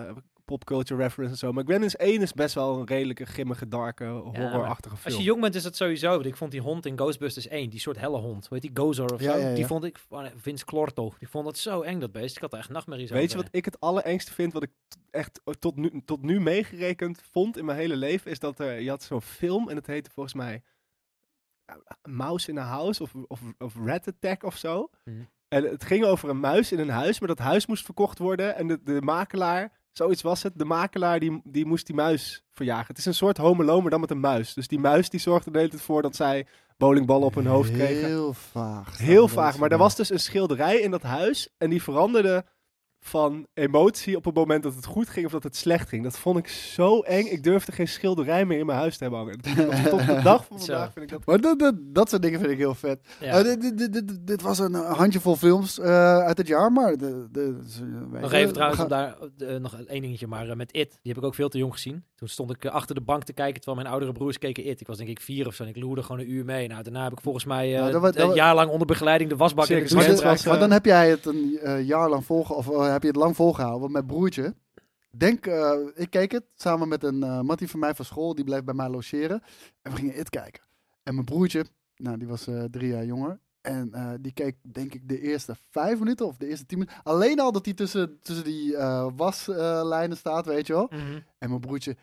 Speaker 2: popculture reference en zo. Maar Gremlins 1 is best wel een redelijke, grimmige, darke, horrorachtige
Speaker 3: Als
Speaker 2: film.
Speaker 3: je jong bent is dat sowieso. want Ik vond die hond in Ghostbusters 1, die soort helle hond, weet die Gozer of
Speaker 4: Ja,
Speaker 3: zo,
Speaker 4: ja, ja.
Speaker 3: die vond ik, oh nee, Vince Clorto, die vond dat zo eng dat beest. Ik had er echt nachtmerries
Speaker 2: Weet je
Speaker 3: over.
Speaker 2: wat ik het allerengste vind, wat ik t- echt oh, tot nu, tot nu meegerekend vond in mijn hele leven, is dat er, je had zo'n film en het heette volgens mij eh, Mouse in a House of, of, of Rat Attack of zo.
Speaker 3: Mhm.
Speaker 2: En het ging over een muis in een huis, maar dat huis moest verkocht worden en de, de makelaar, zoiets was het, de makelaar die, die moest die muis verjagen. Het is een soort Home Alone, maar dan met een muis. Dus die muis die zorgde er de hele tijd voor dat zij bowlingballen op hun hoofd kregen.
Speaker 4: Heel vaag.
Speaker 2: Heel vaag, maar er was dus een schilderij in dat huis en die veranderde van emotie op het moment dat het goed ging of dat het slecht ging. Dat vond ik zo eng. Ik durfde geen schilderij meer in mijn huis te hebben hangen. Tot- Tot de dag van
Speaker 3: Zo.
Speaker 2: vandaag vind ik dat...
Speaker 4: Maar dat, dat, dat soort dingen vind ik heel vet.
Speaker 3: Ja.
Speaker 4: Eh, dit- dit, dit, dit, dit was een eh, handjevol films eh, uit het jaar, maar... De, de, ze- weet
Speaker 3: Nog
Speaker 4: je,
Speaker 3: even
Speaker 4: eh, we
Speaker 3: trouwens,
Speaker 4: gaan-
Speaker 3: om daar eh, nog één dingetje, maar eh, met It, die heb ik ook veel te jong gezien. Toen stond ik eh, achter de bank te kijken, terwijl mijn oudere broers keken It. Ik was denk ik vier of zo en ik loerde gewoon een uur mee. Nou, daarna heb ik volgens mij eh,
Speaker 4: Ja, dat was- dat
Speaker 3: een
Speaker 4: was-
Speaker 3: jaar lang onder begeleiding de wasbak en de
Speaker 2: Circus
Speaker 4: Maar,
Speaker 2: Mensen
Speaker 4: dit-
Speaker 2: Circus
Speaker 3: toilet
Speaker 2: was,
Speaker 3: raakte.
Speaker 2: eh,
Speaker 4: maar dan heb jij het een eh, jaar lang volgen, of eh, heb je het lang volgehouden, want mijn broertje... Denk, eh, ik keek het samen met een eh mattie van mij van school, die bleef bij mij logeren. En we gingen het kijken. En mijn broertje, nou die was eh, drie jaar jonger, en eh, die keek denk ik de eerste vijf minuten of de eerste tien minuten. Alleen al dat hij tussen, tussen die eh, waslijnen staat, weet je wel.
Speaker 3: Mhm.
Speaker 4: En mijn broertje.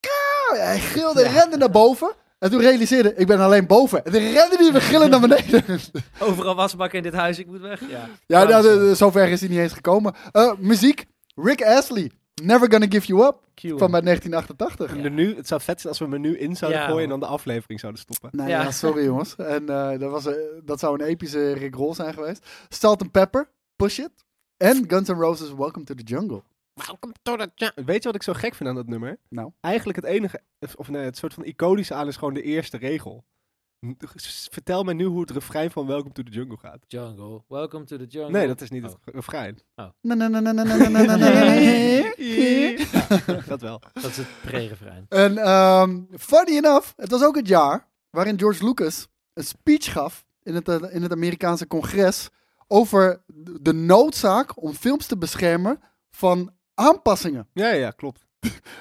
Speaker 4: "Kauw!" Hij gilde en rende naar boven. En toen realiseerde ik, ik ben alleen boven. En toen rende hij weer gillend naar beneden.
Speaker 3: Mhm. Overal wasbakken in dit huis, ik moet weg. Ja, eh,
Speaker 4: ja, nou,
Speaker 3: Clowns,
Speaker 4: de- de- zover is hij niet eens gekomen. Eh, muziek. Rick Astley. Never Gonna Give You Up.
Speaker 3: eh, cue.
Speaker 4: Van bij 1988.
Speaker 2: En de nu, het zou vet zijn als we hem er nu in zouden
Speaker 3: Ja.
Speaker 2: gooien en dan de aflevering zouden stoppen.
Speaker 4: Nou ja.
Speaker 3: Ja.
Speaker 4: sorry jongens. En eh, dat, was, eh, dat zou een epische Rick Roll zijn geweest. Salt and Pepper. Push It. En Guns N' Roses Welcome to the Jungle.
Speaker 2: Weet je wat ik zo gek vind aan dat nummer?
Speaker 4: Nou?
Speaker 2: Eigenlijk het enige, of- of nee, het soort van iconische aan is gewoon de eerste regel. N- s- Vertel mij nu hoe het refrein van Welcome to the Jungle gaat.
Speaker 3: Jungle, welcome to the jungle. Oh,
Speaker 2: Nee, dat is niet het refrein.
Speaker 4: Na, na, na, na, na, na, na, na, na.
Speaker 2: Ja, dat wel.
Speaker 3: dat is het pre-refrein.
Speaker 4: En ehm, funny enough, het was ook het jaar waarin George Lucas een speech gaf in het, eh, in het Amerikaanse congres over de- de noodzaak om films te beschermen van aanpassingen.
Speaker 2: Ja, ja, klopt.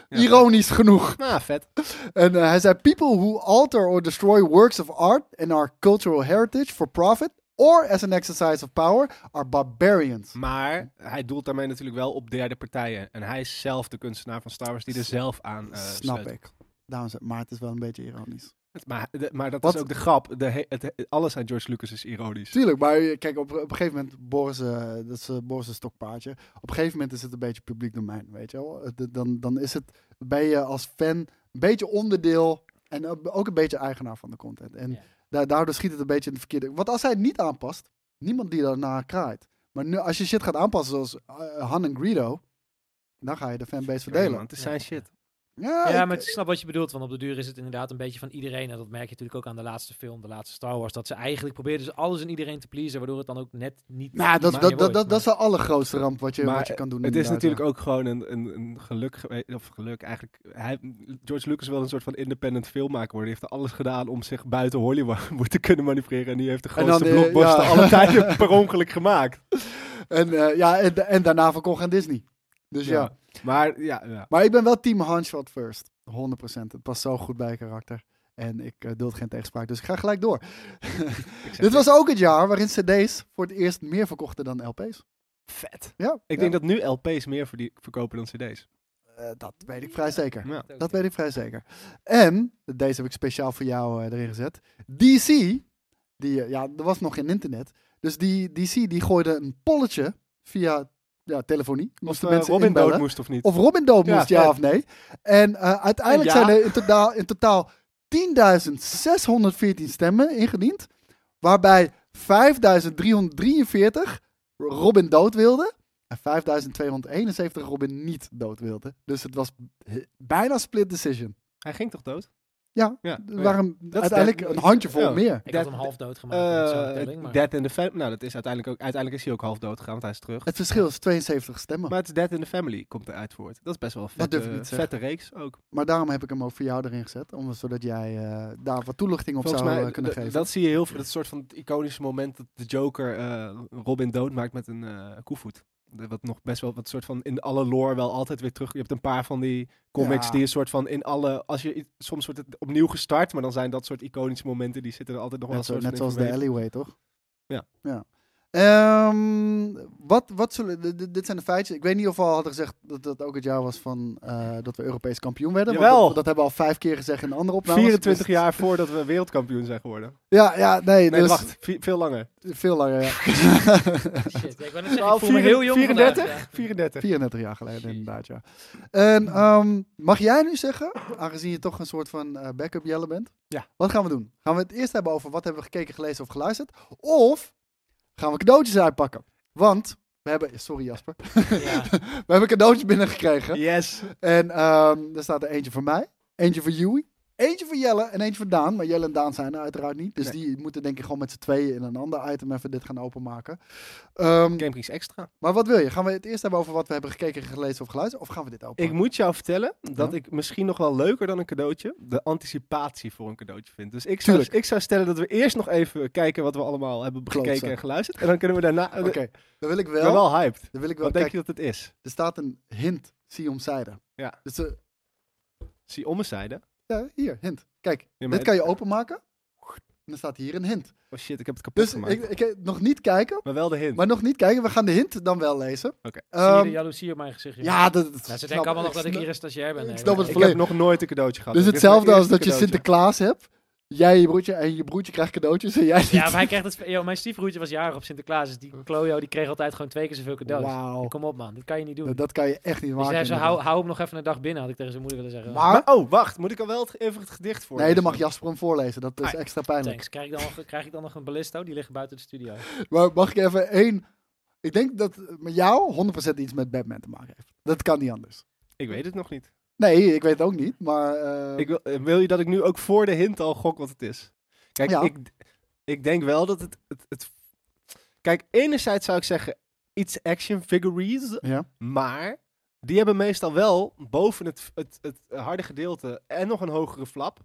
Speaker 2: Ja.
Speaker 4: Ironisch genoeg.
Speaker 2: Nou, vet.
Speaker 4: En eh, hij zei: People who alter or destroy works of art and our cultural heritage for profit or as an exercise of power are
Speaker 2: Mm.
Speaker 4: barbarians.
Speaker 2: Maar hij doelt daarmee natuurlijk wel op derde partijen. En hij is zelf de kunstenaar van Star Wars die er zelf aan eh
Speaker 4: Snap
Speaker 2: sleutelt.
Speaker 4: ik. Dames, en- maar het is wel een beetje ironisch.
Speaker 2: Maar, de- maar dat
Speaker 4: Wat-
Speaker 2: is ook de grap. De he- het, alles aan George Lucas is ironisch.
Speaker 4: Tuurlijk, maar eh, kijk, op, op een gegeven moment, Boris, eh, dat is eh, Boris een stokpaardje. Op een gegeven moment is het een beetje publiek domein, weet je wel. Het- Dan, dan is het, ben je als fan een beetje onderdeel en eh, ook een beetje eigenaar van de content. En
Speaker 3: Ja.
Speaker 4: da- daardoor schiet het een beetje in de verkeerde... Want als hij het niet aanpast, niemand die daarna kraait. Maar nu, als je shit gaat aanpassen zoals eh, Han en Greedo, dan ga je de fanbase
Speaker 2: Sorry, man,
Speaker 4: verdelen.
Speaker 2: het is zijn shit.
Speaker 4: Ja,
Speaker 3: Ja,
Speaker 4: ik-
Speaker 3: maar ik snap wat je bedoelt, want op de duur is het inderdaad een beetje van iedereen. En dat merk je natuurlijk ook aan de laatste film, de laatste Star Wars. Dat ze eigenlijk probeerden ze alles en iedereen te pleasen, waardoor het dan ook net niet...
Speaker 4: nou, dat,
Speaker 3: niet
Speaker 4: dat,
Speaker 3: meer
Speaker 4: dat,
Speaker 3: wordt,
Speaker 4: dat, dat is
Speaker 3: maar-
Speaker 4: de allergrootste ramp wat je,
Speaker 2: Maar,
Speaker 4: wat je kan doen.
Speaker 2: Het is
Speaker 4: inderdaad,
Speaker 2: natuurlijk
Speaker 4: ja.
Speaker 2: ook gewoon een, een, een geluk geweest. Of geluk eigenlijk. Hij, George Lucas wil een soort van independent filmmaker worden. Hij heeft er alles gedaan om zich buiten Hollywood te kunnen manoeuvreren. En die heeft de
Speaker 4: En dan
Speaker 2: grootste
Speaker 4: de-
Speaker 2: blockbuster
Speaker 4: ja.
Speaker 2: alle tijden per ongeluk gemaakt.
Speaker 4: En, eh, ja, en, en daarna verkocht aan Disney. Dus ja.
Speaker 2: Maar ja, ja.
Speaker 4: Maar ik ben wel team Handshot first. 100%. Het past zo goed bij je karakter. En ik eh, duld geen tegenspraak, dus ik ga gelijk door. Dit was ook het jaar waarin cd's voor het eerst meer verkochten dan lp's.
Speaker 2: vet.
Speaker 4: Ja,
Speaker 2: Ik denk dat nu LP's meer verdie- verkopen dan CD's.
Speaker 4: dat... dat weet ik vrij zeker.
Speaker 2: Ja.
Speaker 4: Dat weet ik vrij zeker. En, deze heb ik speciaal voor jou eh, erin gezet. DC, die, eh, ja, er was nog geen internet. Dus die DC die gooide een polletje via ja, telefonie. Moesten
Speaker 2: eh,
Speaker 4: mensen
Speaker 2: Robin
Speaker 4: inbellen.
Speaker 2: dood moest of niet.
Speaker 4: Of Robin dood
Speaker 2: Ja,
Speaker 4: moest, ja,
Speaker 2: ja.
Speaker 4: of nee. En eh, uiteindelijk
Speaker 2: En ja.
Speaker 4: zijn er in totaal, in totaal 10.614 stemmen ingediend. Waarbij 5.343 Robin dood wilde. En 5.271 Robin niet dood wilde. Dus het was he- bijna split decision.
Speaker 2: Hij ging toch dood?
Speaker 4: Ja,
Speaker 2: ja.
Speaker 4: Er waren
Speaker 2: is
Speaker 4: uiteindelijk
Speaker 2: dat-
Speaker 4: een handjevol
Speaker 2: ja.
Speaker 4: meer.
Speaker 3: Ik
Speaker 2: Dat-
Speaker 3: had hem half dood gemaakt. met zo'n telling,
Speaker 2: Eh
Speaker 3: maar-
Speaker 2: Dead in the Family. Nou, dat is uiteindelijk ook. Uiteindelijk is hij ook half dood gegaan, want hij is terug.
Speaker 4: Het verschil is 72 stemmen.
Speaker 2: Maar het is Dead in the Family, komt eruit voort. Dat is best wel een vette,
Speaker 4: durf ik niet te
Speaker 2: vette reeks ook.
Speaker 4: Maar daarom heb ik hem ook voor jou erin gezet. Om, zodat jij eh, daar wat toelichting op zou eh, kunnen
Speaker 2: d-
Speaker 4: geven.
Speaker 2: dat zie je heel veel. Dat soort van het iconische moment dat de Joker eh, Robin doodmaakt met een eh koevoet. De- Wat nog best wel wat soort van in alle lore wel altijd weer terug. Je hebt een paar van die comics
Speaker 4: Ja.
Speaker 2: die een soort van in alle. Als je i- soms wordt het opnieuw gestart, maar dan zijn dat soort iconische momenten die zitten er altijd nog wel
Speaker 4: Net,
Speaker 2: een
Speaker 4: zo-
Speaker 2: soort
Speaker 4: net
Speaker 2: van in
Speaker 4: zoals de
Speaker 2: verweven.
Speaker 4: alleyway, toch?
Speaker 2: Ja.
Speaker 4: ja. Ehm, wat, wat zullen, d- d- dit zijn de feitjes. Ik weet niet of we al hadden gezegd dat dat ook het jaar was van, eh, dat we Europees kampioen werden. want
Speaker 2: Jawel.
Speaker 4: Dat, dat hebben we al vijf keer gezegd in de andere opnames.
Speaker 2: 24
Speaker 4: Dus-
Speaker 2: jaar voordat we wereldkampioen zijn geworden.
Speaker 4: Ja, ja nee,
Speaker 2: Nee,
Speaker 4: dus
Speaker 2: wacht, vi- veel langer.
Speaker 4: veel langer. Ja.
Speaker 3: Shit, ja, ik wou net
Speaker 4: Nou,
Speaker 3: zeggen,
Speaker 2: Al
Speaker 3: ik voel me heel jong
Speaker 2: 34?
Speaker 3: vandaag, ja.
Speaker 2: 34.
Speaker 4: 34 jaar geleden
Speaker 3: Jeez.
Speaker 4: inderdaad, ja. En ehm, mag jij nu zeggen, aangezien je toch een soort van eh, backup jelle bent.
Speaker 2: Ja.
Speaker 4: Wat gaan we doen? Gaan we het eerst hebben over wat hebben we gekeken, gelezen of geluisterd? Of gaan we cadeautjes uitpakken? Want we hebben, sorry Jasper,
Speaker 3: Ja.
Speaker 4: we hebben cadeautjes binnengekregen.
Speaker 2: Yes.
Speaker 4: En ehm er staat er eentje voor mij, eentje voor Joey, eentje voor Jelle en eentje voor Daan. Maar Jelle en Daan zijn er uiteraard niet. Dus
Speaker 2: Nee.
Speaker 4: die moeten denk ik gewoon met z'n tweeën in een ander item even dit gaan openmaken. Ehm,
Speaker 2: GameKings Extra.
Speaker 4: maar wat wil je? Gaan we het eerst hebben over wat we hebben gekeken, gelezen of geluisterd? Of gaan we dit open?
Speaker 2: Ik moet jou vertellen dat
Speaker 4: Ja.
Speaker 2: ik misschien nog wel leuker dan een cadeautje de anticipatie voor een cadeautje vind. Dus ik zou,
Speaker 4: Tuurlijk.
Speaker 2: ik zou stellen dat we eerst nog even kijken wat we allemaal hebben bekeken
Speaker 4: Klootzak.
Speaker 2: en geluisterd. En dan kunnen we daarna.
Speaker 4: Oké, dan wil ik
Speaker 2: Ik
Speaker 4: wel.
Speaker 2: ben wel hyped.
Speaker 4: Dan wil ik wel.
Speaker 2: Wat denk
Speaker 4: Kijk,
Speaker 2: je dat het is?
Speaker 4: er staat een hint, zie je omzijde.
Speaker 2: Ja.
Speaker 4: Dus eh,
Speaker 2: Zie om mijn zijde.
Speaker 4: ja, hier, hint. Kijk,
Speaker 2: Ja, maar
Speaker 4: dit kan je openmaken. En dan staat hier een hint.
Speaker 2: Oh shit, ik heb het kapot
Speaker 4: Dus
Speaker 2: gemaakt.
Speaker 4: ik, ik eh, nog niet kijken.
Speaker 2: Maar wel de hint.
Speaker 4: Maar nog niet kijken. We gaan de hint dan wel lezen.
Speaker 2: Oké.
Speaker 3: Zie je
Speaker 4: Ehm,
Speaker 3: de jaloezie op mijn gezicht? joh?
Speaker 4: ja, dat, dat
Speaker 3: Nou, ze
Speaker 4: snap
Speaker 3: denken allemaal nog
Speaker 4: ik.
Speaker 3: dat ik hier een stagiair ben.
Speaker 4: ik
Speaker 3: Nee,
Speaker 4: snap
Speaker 3: maar-
Speaker 4: het
Speaker 2: ik
Speaker 4: volledig.
Speaker 2: heb nog nooit een cadeautje gehad.
Speaker 4: Dus
Speaker 2: Dit is
Speaker 4: hetzelfde
Speaker 2: mijn
Speaker 4: als dat je
Speaker 2: eerste cadeautje.
Speaker 4: Sinterklaas hebt. Jij je broertje en je broertje krijgt cadeautjes en jij niet.
Speaker 3: Ja, maar hij krijgt het... Yo, mijn stiefbroertje was jarig op Sinterklaas. Dus die Klojo die kreeg altijd gewoon twee keer zoveel cadeaus.
Speaker 4: Wauw.
Speaker 3: Kom op man, dit kan je niet doen.
Speaker 4: Dat, dat kan je echt niet
Speaker 3: dus hij
Speaker 4: maken.
Speaker 3: zei zo, hou, hou hem nog even een dag binnen, had ik tegen zijn moeder willen zeggen.
Speaker 4: maar,
Speaker 2: Maar, oh, wacht. Moet ik al wel het, even het gedicht voor?
Speaker 4: nee, dan mag Jasper hem voorlezen. Dat is
Speaker 2: Ah,
Speaker 4: extra pijnlijk.
Speaker 3: Thanks. Krijg ik, dan nog, krijg ik dan nog een ballisto? Die liggen buiten de studio.
Speaker 4: Maar mag ik even één... Ik denk dat met jou 100% iets met Batman te maken heeft. Dat kan niet anders.
Speaker 2: Ik weet het nog niet.
Speaker 4: Nee, ik weet het ook niet, maar... eh,
Speaker 2: Ik wil, eh, wil je dat ik nu ook voor de hint al gok wat het is? Kijk,
Speaker 4: Ja.
Speaker 2: ik, ik denk wel dat het, het, het... Kijk, enerzijds zou ik zeggen iets action figurines,
Speaker 4: Ja.
Speaker 2: maar die hebben meestal wel boven het, het, het harde gedeelte en nog een hogere flap.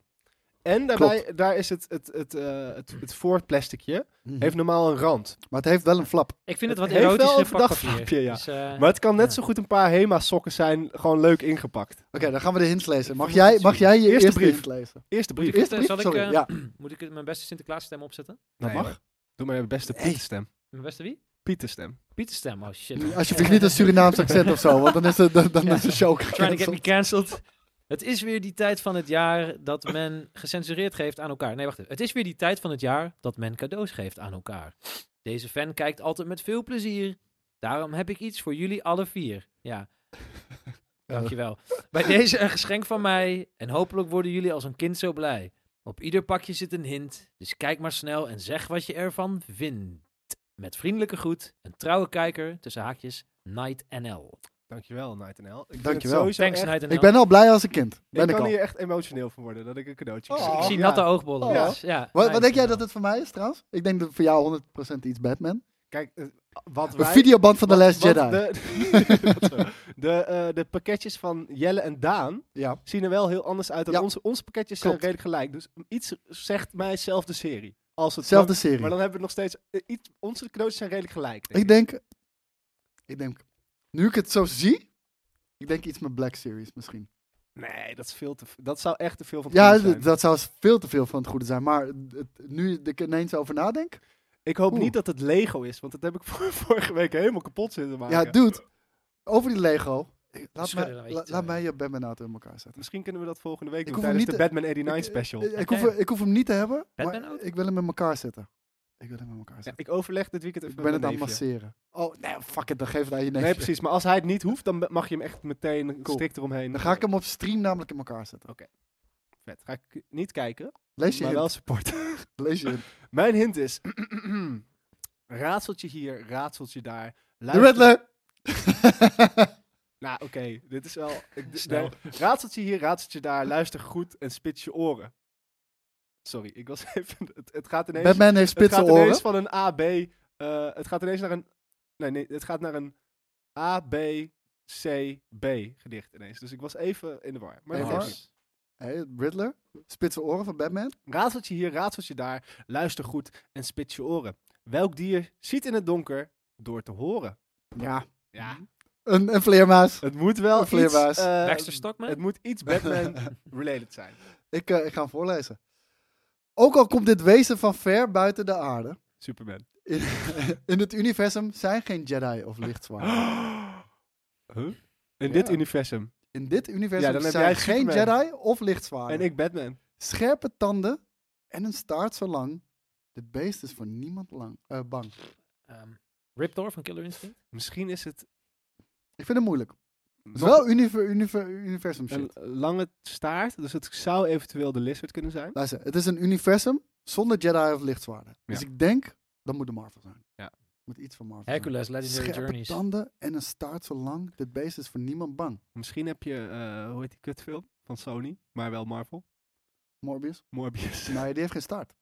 Speaker 2: En daarbij, daar is het, het, het, eh, het, het voorplasticje, heeft normaal een rand.
Speaker 4: Maar het heeft wel een flap.
Speaker 3: Ik vind het wat
Speaker 2: Het heeft wel
Speaker 3: erotische
Speaker 2: een verdacht
Speaker 3: vakpapier.
Speaker 2: vlampje, ja.
Speaker 3: Dus, eh,
Speaker 2: Maar het kan net
Speaker 3: Ja.
Speaker 2: zo goed een paar Hema sokken zijn, gewoon leuk ingepakt.
Speaker 4: Oké, dan gaan we de hints lezen. Mag
Speaker 2: Ik vond
Speaker 4: jij,
Speaker 2: het
Speaker 4: mag
Speaker 2: super.
Speaker 4: jij je
Speaker 2: Eerste
Speaker 4: eerste,
Speaker 2: brief.
Speaker 4: hint lezen?
Speaker 2: Eerste brief.
Speaker 4: Eerste brief?
Speaker 3: eh, zal ik,
Speaker 4: Sorry,
Speaker 3: eh,
Speaker 4: ja.
Speaker 3: moet ik het- mijn beste Sinterklaas stem opzetten?
Speaker 2: Nee,
Speaker 4: mag.
Speaker 2: hoor. Doe maar je beste
Speaker 4: Nee.
Speaker 2: Pietenstem.
Speaker 3: Mijn beste wie?
Speaker 2: Pietenstem.
Speaker 3: Pieterstem, oh shit.
Speaker 4: Mm, Alsjeblieft niet een Surinaams accent of zo, want dan is de, dan, dan is de show
Speaker 3: Trying to get me
Speaker 4: gecanceld.
Speaker 3: cancelled. Het is weer die tijd van het jaar dat men gecensureerd geeft aan elkaar. Nee, wacht even. Het is weer die tijd van het jaar dat men cadeaus geeft aan elkaar. Deze fan kijkt altijd met veel plezier. Daarom heb ik iets voor jullie alle vier. Ja. Dankjewel. Bij deze een geschenk van mij. En hopelijk worden jullie als een kind zo blij. Op ieder pakje zit een hint. Dus kijk maar snel en zeg wat je ervan vindt. Met vriendelijke groet, een trouwe kijker, tussen haakjes, Night NL.
Speaker 2: Dankjewel, Night NL. Ik vind het
Speaker 4: Dankjewel.
Speaker 2: sowieso
Speaker 3: Thanks,
Speaker 2: echt-
Speaker 3: Night NL.
Speaker 4: Ik ben al blij als een kind. Ben
Speaker 2: ik
Speaker 4: ik,
Speaker 2: kan
Speaker 4: al.
Speaker 2: hier echt emotioneel van worden dat ik een cadeautje
Speaker 4: Oh.
Speaker 2: krijg.
Speaker 3: Ik zie
Speaker 4: ja.
Speaker 3: natte oogbollen.
Speaker 4: Oh.
Speaker 3: Ja. Ja,
Speaker 4: Wat,
Speaker 3: nice.
Speaker 4: wat denk jij dat het voor mij is trouwens? Ik denk dat voor jou 100% iets Batman.
Speaker 2: Kijk, eh, wat
Speaker 4: Een
Speaker 2: wij...
Speaker 4: videoband van The
Speaker 2: wat-
Speaker 4: Last
Speaker 2: wat
Speaker 4: Jedi.
Speaker 2: De, dat zo. de, eh, de pakketjes van Jelle en Daan
Speaker 4: Ja.
Speaker 2: zien er wel heel anders uit dan
Speaker 4: Ja.
Speaker 2: onze. Onze pakketjes
Speaker 4: Klopt.
Speaker 2: zijn redelijk gelijk. Dus iets zegt mij zelf de serie. Als het
Speaker 4: Zelfde
Speaker 2: Maar
Speaker 4: serie.
Speaker 2: dan hebben we nog steeds... eh, iets, onze cadeautjes zijn redelijk gelijk. Denk
Speaker 4: Ik denk, ik denk, nu ik het zo zie, ik denk iets met Black Series misschien.
Speaker 2: Nee, dat is veel te... Dat zou echt te veel van het
Speaker 4: Ja,
Speaker 2: goede zijn.
Speaker 4: d- dat zou veel te veel van het goede zijn. Maar het- nu ik er ineens over nadenk,
Speaker 2: Ik hoop
Speaker 4: Oeh.
Speaker 2: niet dat het Lego is, want dat heb ik vor- vorige week helemaal kapot zitten maken.
Speaker 4: ja, dude, over die Lego. ik- Laat
Speaker 3: Schudden
Speaker 4: mij,
Speaker 3: nou iets,
Speaker 4: la-
Speaker 3: eh.
Speaker 4: laat mij je Batman auto in elkaar zetten.
Speaker 2: Misschien kunnen we dat volgende week
Speaker 4: Ik
Speaker 2: doen
Speaker 4: hoef hem
Speaker 2: tijdens de
Speaker 4: niet
Speaker 2: Batman 89
Speaker 4: Ik-
Speaker 2: special.
Speaker 4: Ik, ik
Speaker 3: Oké.
Speaker 4: hoef, ik hoef hem niet te hebben,
Speaker 3: Batman
Speaker 4: maar
Speaker 3: auto?
Speaker 4: ik wil hem in elkaar zetten. Ik wil hem aan elkaar
Speaker 2: Ja,
Speaker 4: zetten.
Speaker 2: ik overleg dit weekend
Speaker 4: ik
Speaker 2: even
Speaker 4: ben
Speaker 2: met
Speaker 4: het aan
Speaker 2: mijn
Speaker 4: het
Speaker 2: neefje.
Speaker 4: masseren. Oh, nee, fuck it. Dan geef het aan je neefje.
Speaker 2: Nee, precies. Maar als hij het niet hoeft, dan be- mag je hem echt meteen
Speaker 4: Cool.
Speaker 2: strikt eromheen.
Speaker 4: Dan ga ik hem op stream namelijk in elkaar zetten.
Speaker 2: Vet. Ga ik niet kijken,
Speaker 4: Lees je
Speaker 2: maar
Speaker 4: hint.
Speaker 2: wel supporten.
Speaker 4: Lees je hint.
Speaker 2: Mijn hint is... raadseltje hier, raadseltje daar.
Speaker 4: De
Speaker 2: Luister-
Speaker 4: Riddler!
Speaker 2: Nou, oké. Dit is wel... ik- d-
Speaker 3: Snel.
Speaker 2: nee. Raadseltje hier, raadseltje daar. Luister goed en spits je oren. Sorry, ik was even... Het, het gaat ineens...
Speaker 4: Batman heeft
Speaker 2: het
Speaker 4: spitse
Speaker 2: gaat
Speaker 4: oren.
Speaker 2: ineens van een A, B... eh, het gaat ineens naar een... Nee, nee. Het gaat naar een A, B, C, B gedicht ineens. Dus ik was even in de war. Maar
Speaker 4: Nee,
Speaker 2: dat
Speaker 4: hoor.
Speaker 2: geeft niet.
Speaker 4: Hey, Riddler? Spitse oren van Batman?
Speaker 2: Raadseltje hier, raadseltje daar. Luister goed en spits je oren. Welk dier ziet in het donker door te horen?
Speaker 4: Ja.
Speaker 2: Ja,
Speaker 4: Een, een vleermuis.
Speaker 2: het moet wel
Speaker 4: Een
Speaker 2: iets...
Speaker 4: vleermuis.
Speaker 2: eh,
Speaker 3: Baxter Stockman?
Speaker 2: het moet iets Batman-related zijn.
Speaker 4: Ik, eh, ik ga hem voorlezen. Ook al komt dit wezen van ver buiten de aarde.
Speaker 2: Superman.
Speaker 4: In, in het universum zijn geen Jedi of lichtzwaarden.
Speaker 2: Huh? In dit
Speaker 4: Ah. Ja.
Speaker 2: universum.
Speaker 4: In dit
Speaker 2: Ja,
Speaker 4: universum
Speaker 2: dan heb jij
Speaker 4: zijn geen
Speaker 2: Superman.
Speaker 4: Jedi of lichtzwaarden.
Speaker 2: En ik Batman.
Speaker 4: Scherpe tanden en een staart zo lang. Dit beest is voor niemand lang, eh, bang.
Speaker 3: Ehm, Rip Thor van Killer Instinct?
Speaker 2: Misschien is het
Speaker 4: Ik vind het moeilijk. Het is
Speaker 2: nog
Speaker 4: wel univer, univer, universum shit.
Speaker 2: een lange staart. Dus het zou eventueel de lizard kunnen zijn.
Speaker 4: Luister, het is een universum zonder Jedi of lichtzwaarden. Dus
Speaker 2: Ja.
Speaker 4: ik denk, dat moet de Marvel zijn.
Speaker 2: Ja.
Speaker 4: Moet iets van Marvel zijn.
Speaker 3: Hercules, Legendary
Speaker 4: Scherpe
Speaker 3: Journeys.
Speaker 4: tanden en een staart zo lang. Dit beest is voor niemand bang.
Speaker 2: Misschien heb je, eh, hoe heet die kutfilm? Van Sony, maar wel Marvel.
Speaker 4: Morbius.
Speaker 2: Morbius.
Speaker 4: Nee, die heeft geen staart.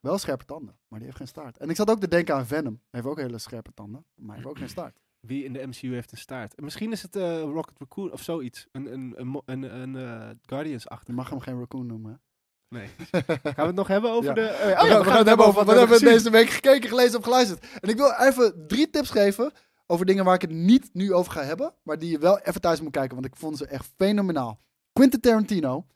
Speaker 4: Wel scherpe tanden, maar die heeft geen staart. En ik zat ook te denken aan Venom. Hij heeft ook hele scherpe tanden, maar hij heeft ook geen staart.
Speaker 2: Wie in de MCU heeft een staart? En Misschien is het eh, Rocket Raccoon of zoiets. Een, een, een, mo- een, een eh,
Speaker 4: Je
Speaker 2: Guardians-achtig.
Speaker 4: mag hem geen raccoon noemen. hè?
Speaker 2: Nee. Gaan we het nog hebben over
Speaker 4: Ja.
Speaker 2: de... eh, oh ja,
Speaker 4: we, gaan het hebben over wat
Speaker 2: we
Speaker 4: hebben we
Speaker 2: gezien.
Speaker 4: deze week gekeken, gelezen of geluisterd. En ik wil even drie tips geven over dingen waar ik het niet nu over ga hebben, maar die je wel even thuis moet kijken, want ik vond ze echt fenomenaal. Quentin Tarantino,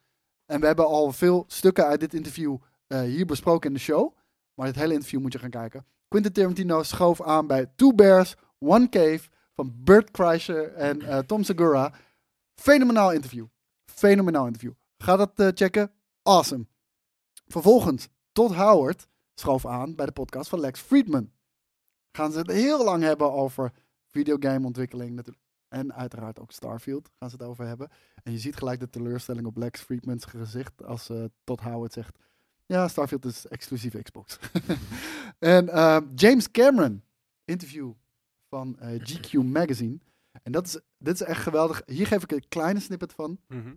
Speaker 4: en we hebben al veel stukken uit dit interview eh, hier besproken in de show, maar het hele interview moet je gaan kijken. Quentin Tarantino schoof aan bij Two Bears, One Cave van Bert Kreischer en eh, Tom Segura. Fenomenaal interview. Fenomenaal interview. Ga dat eh, checken. Awesome. Vervolgens, Todd Howard schoof aan bij de podcast van Lex Friedman. Gaan ze het heel lang hebben over videogameontwikkeling natuurlijk. En uiteraard ook Starfield gaan ze het over hebben. En je ziet gelijk de teleurstelling op Lex Friedman's gezicht als eh, Todd Howard zegt... Ja, Starfield is exclusief Xbox. en eh, James Cameron, interview van eh, GQ Magazine. En dat is, dit is echt geweldig. Hier geef ik een kleine snippet van.
Speaker 2: Mhm.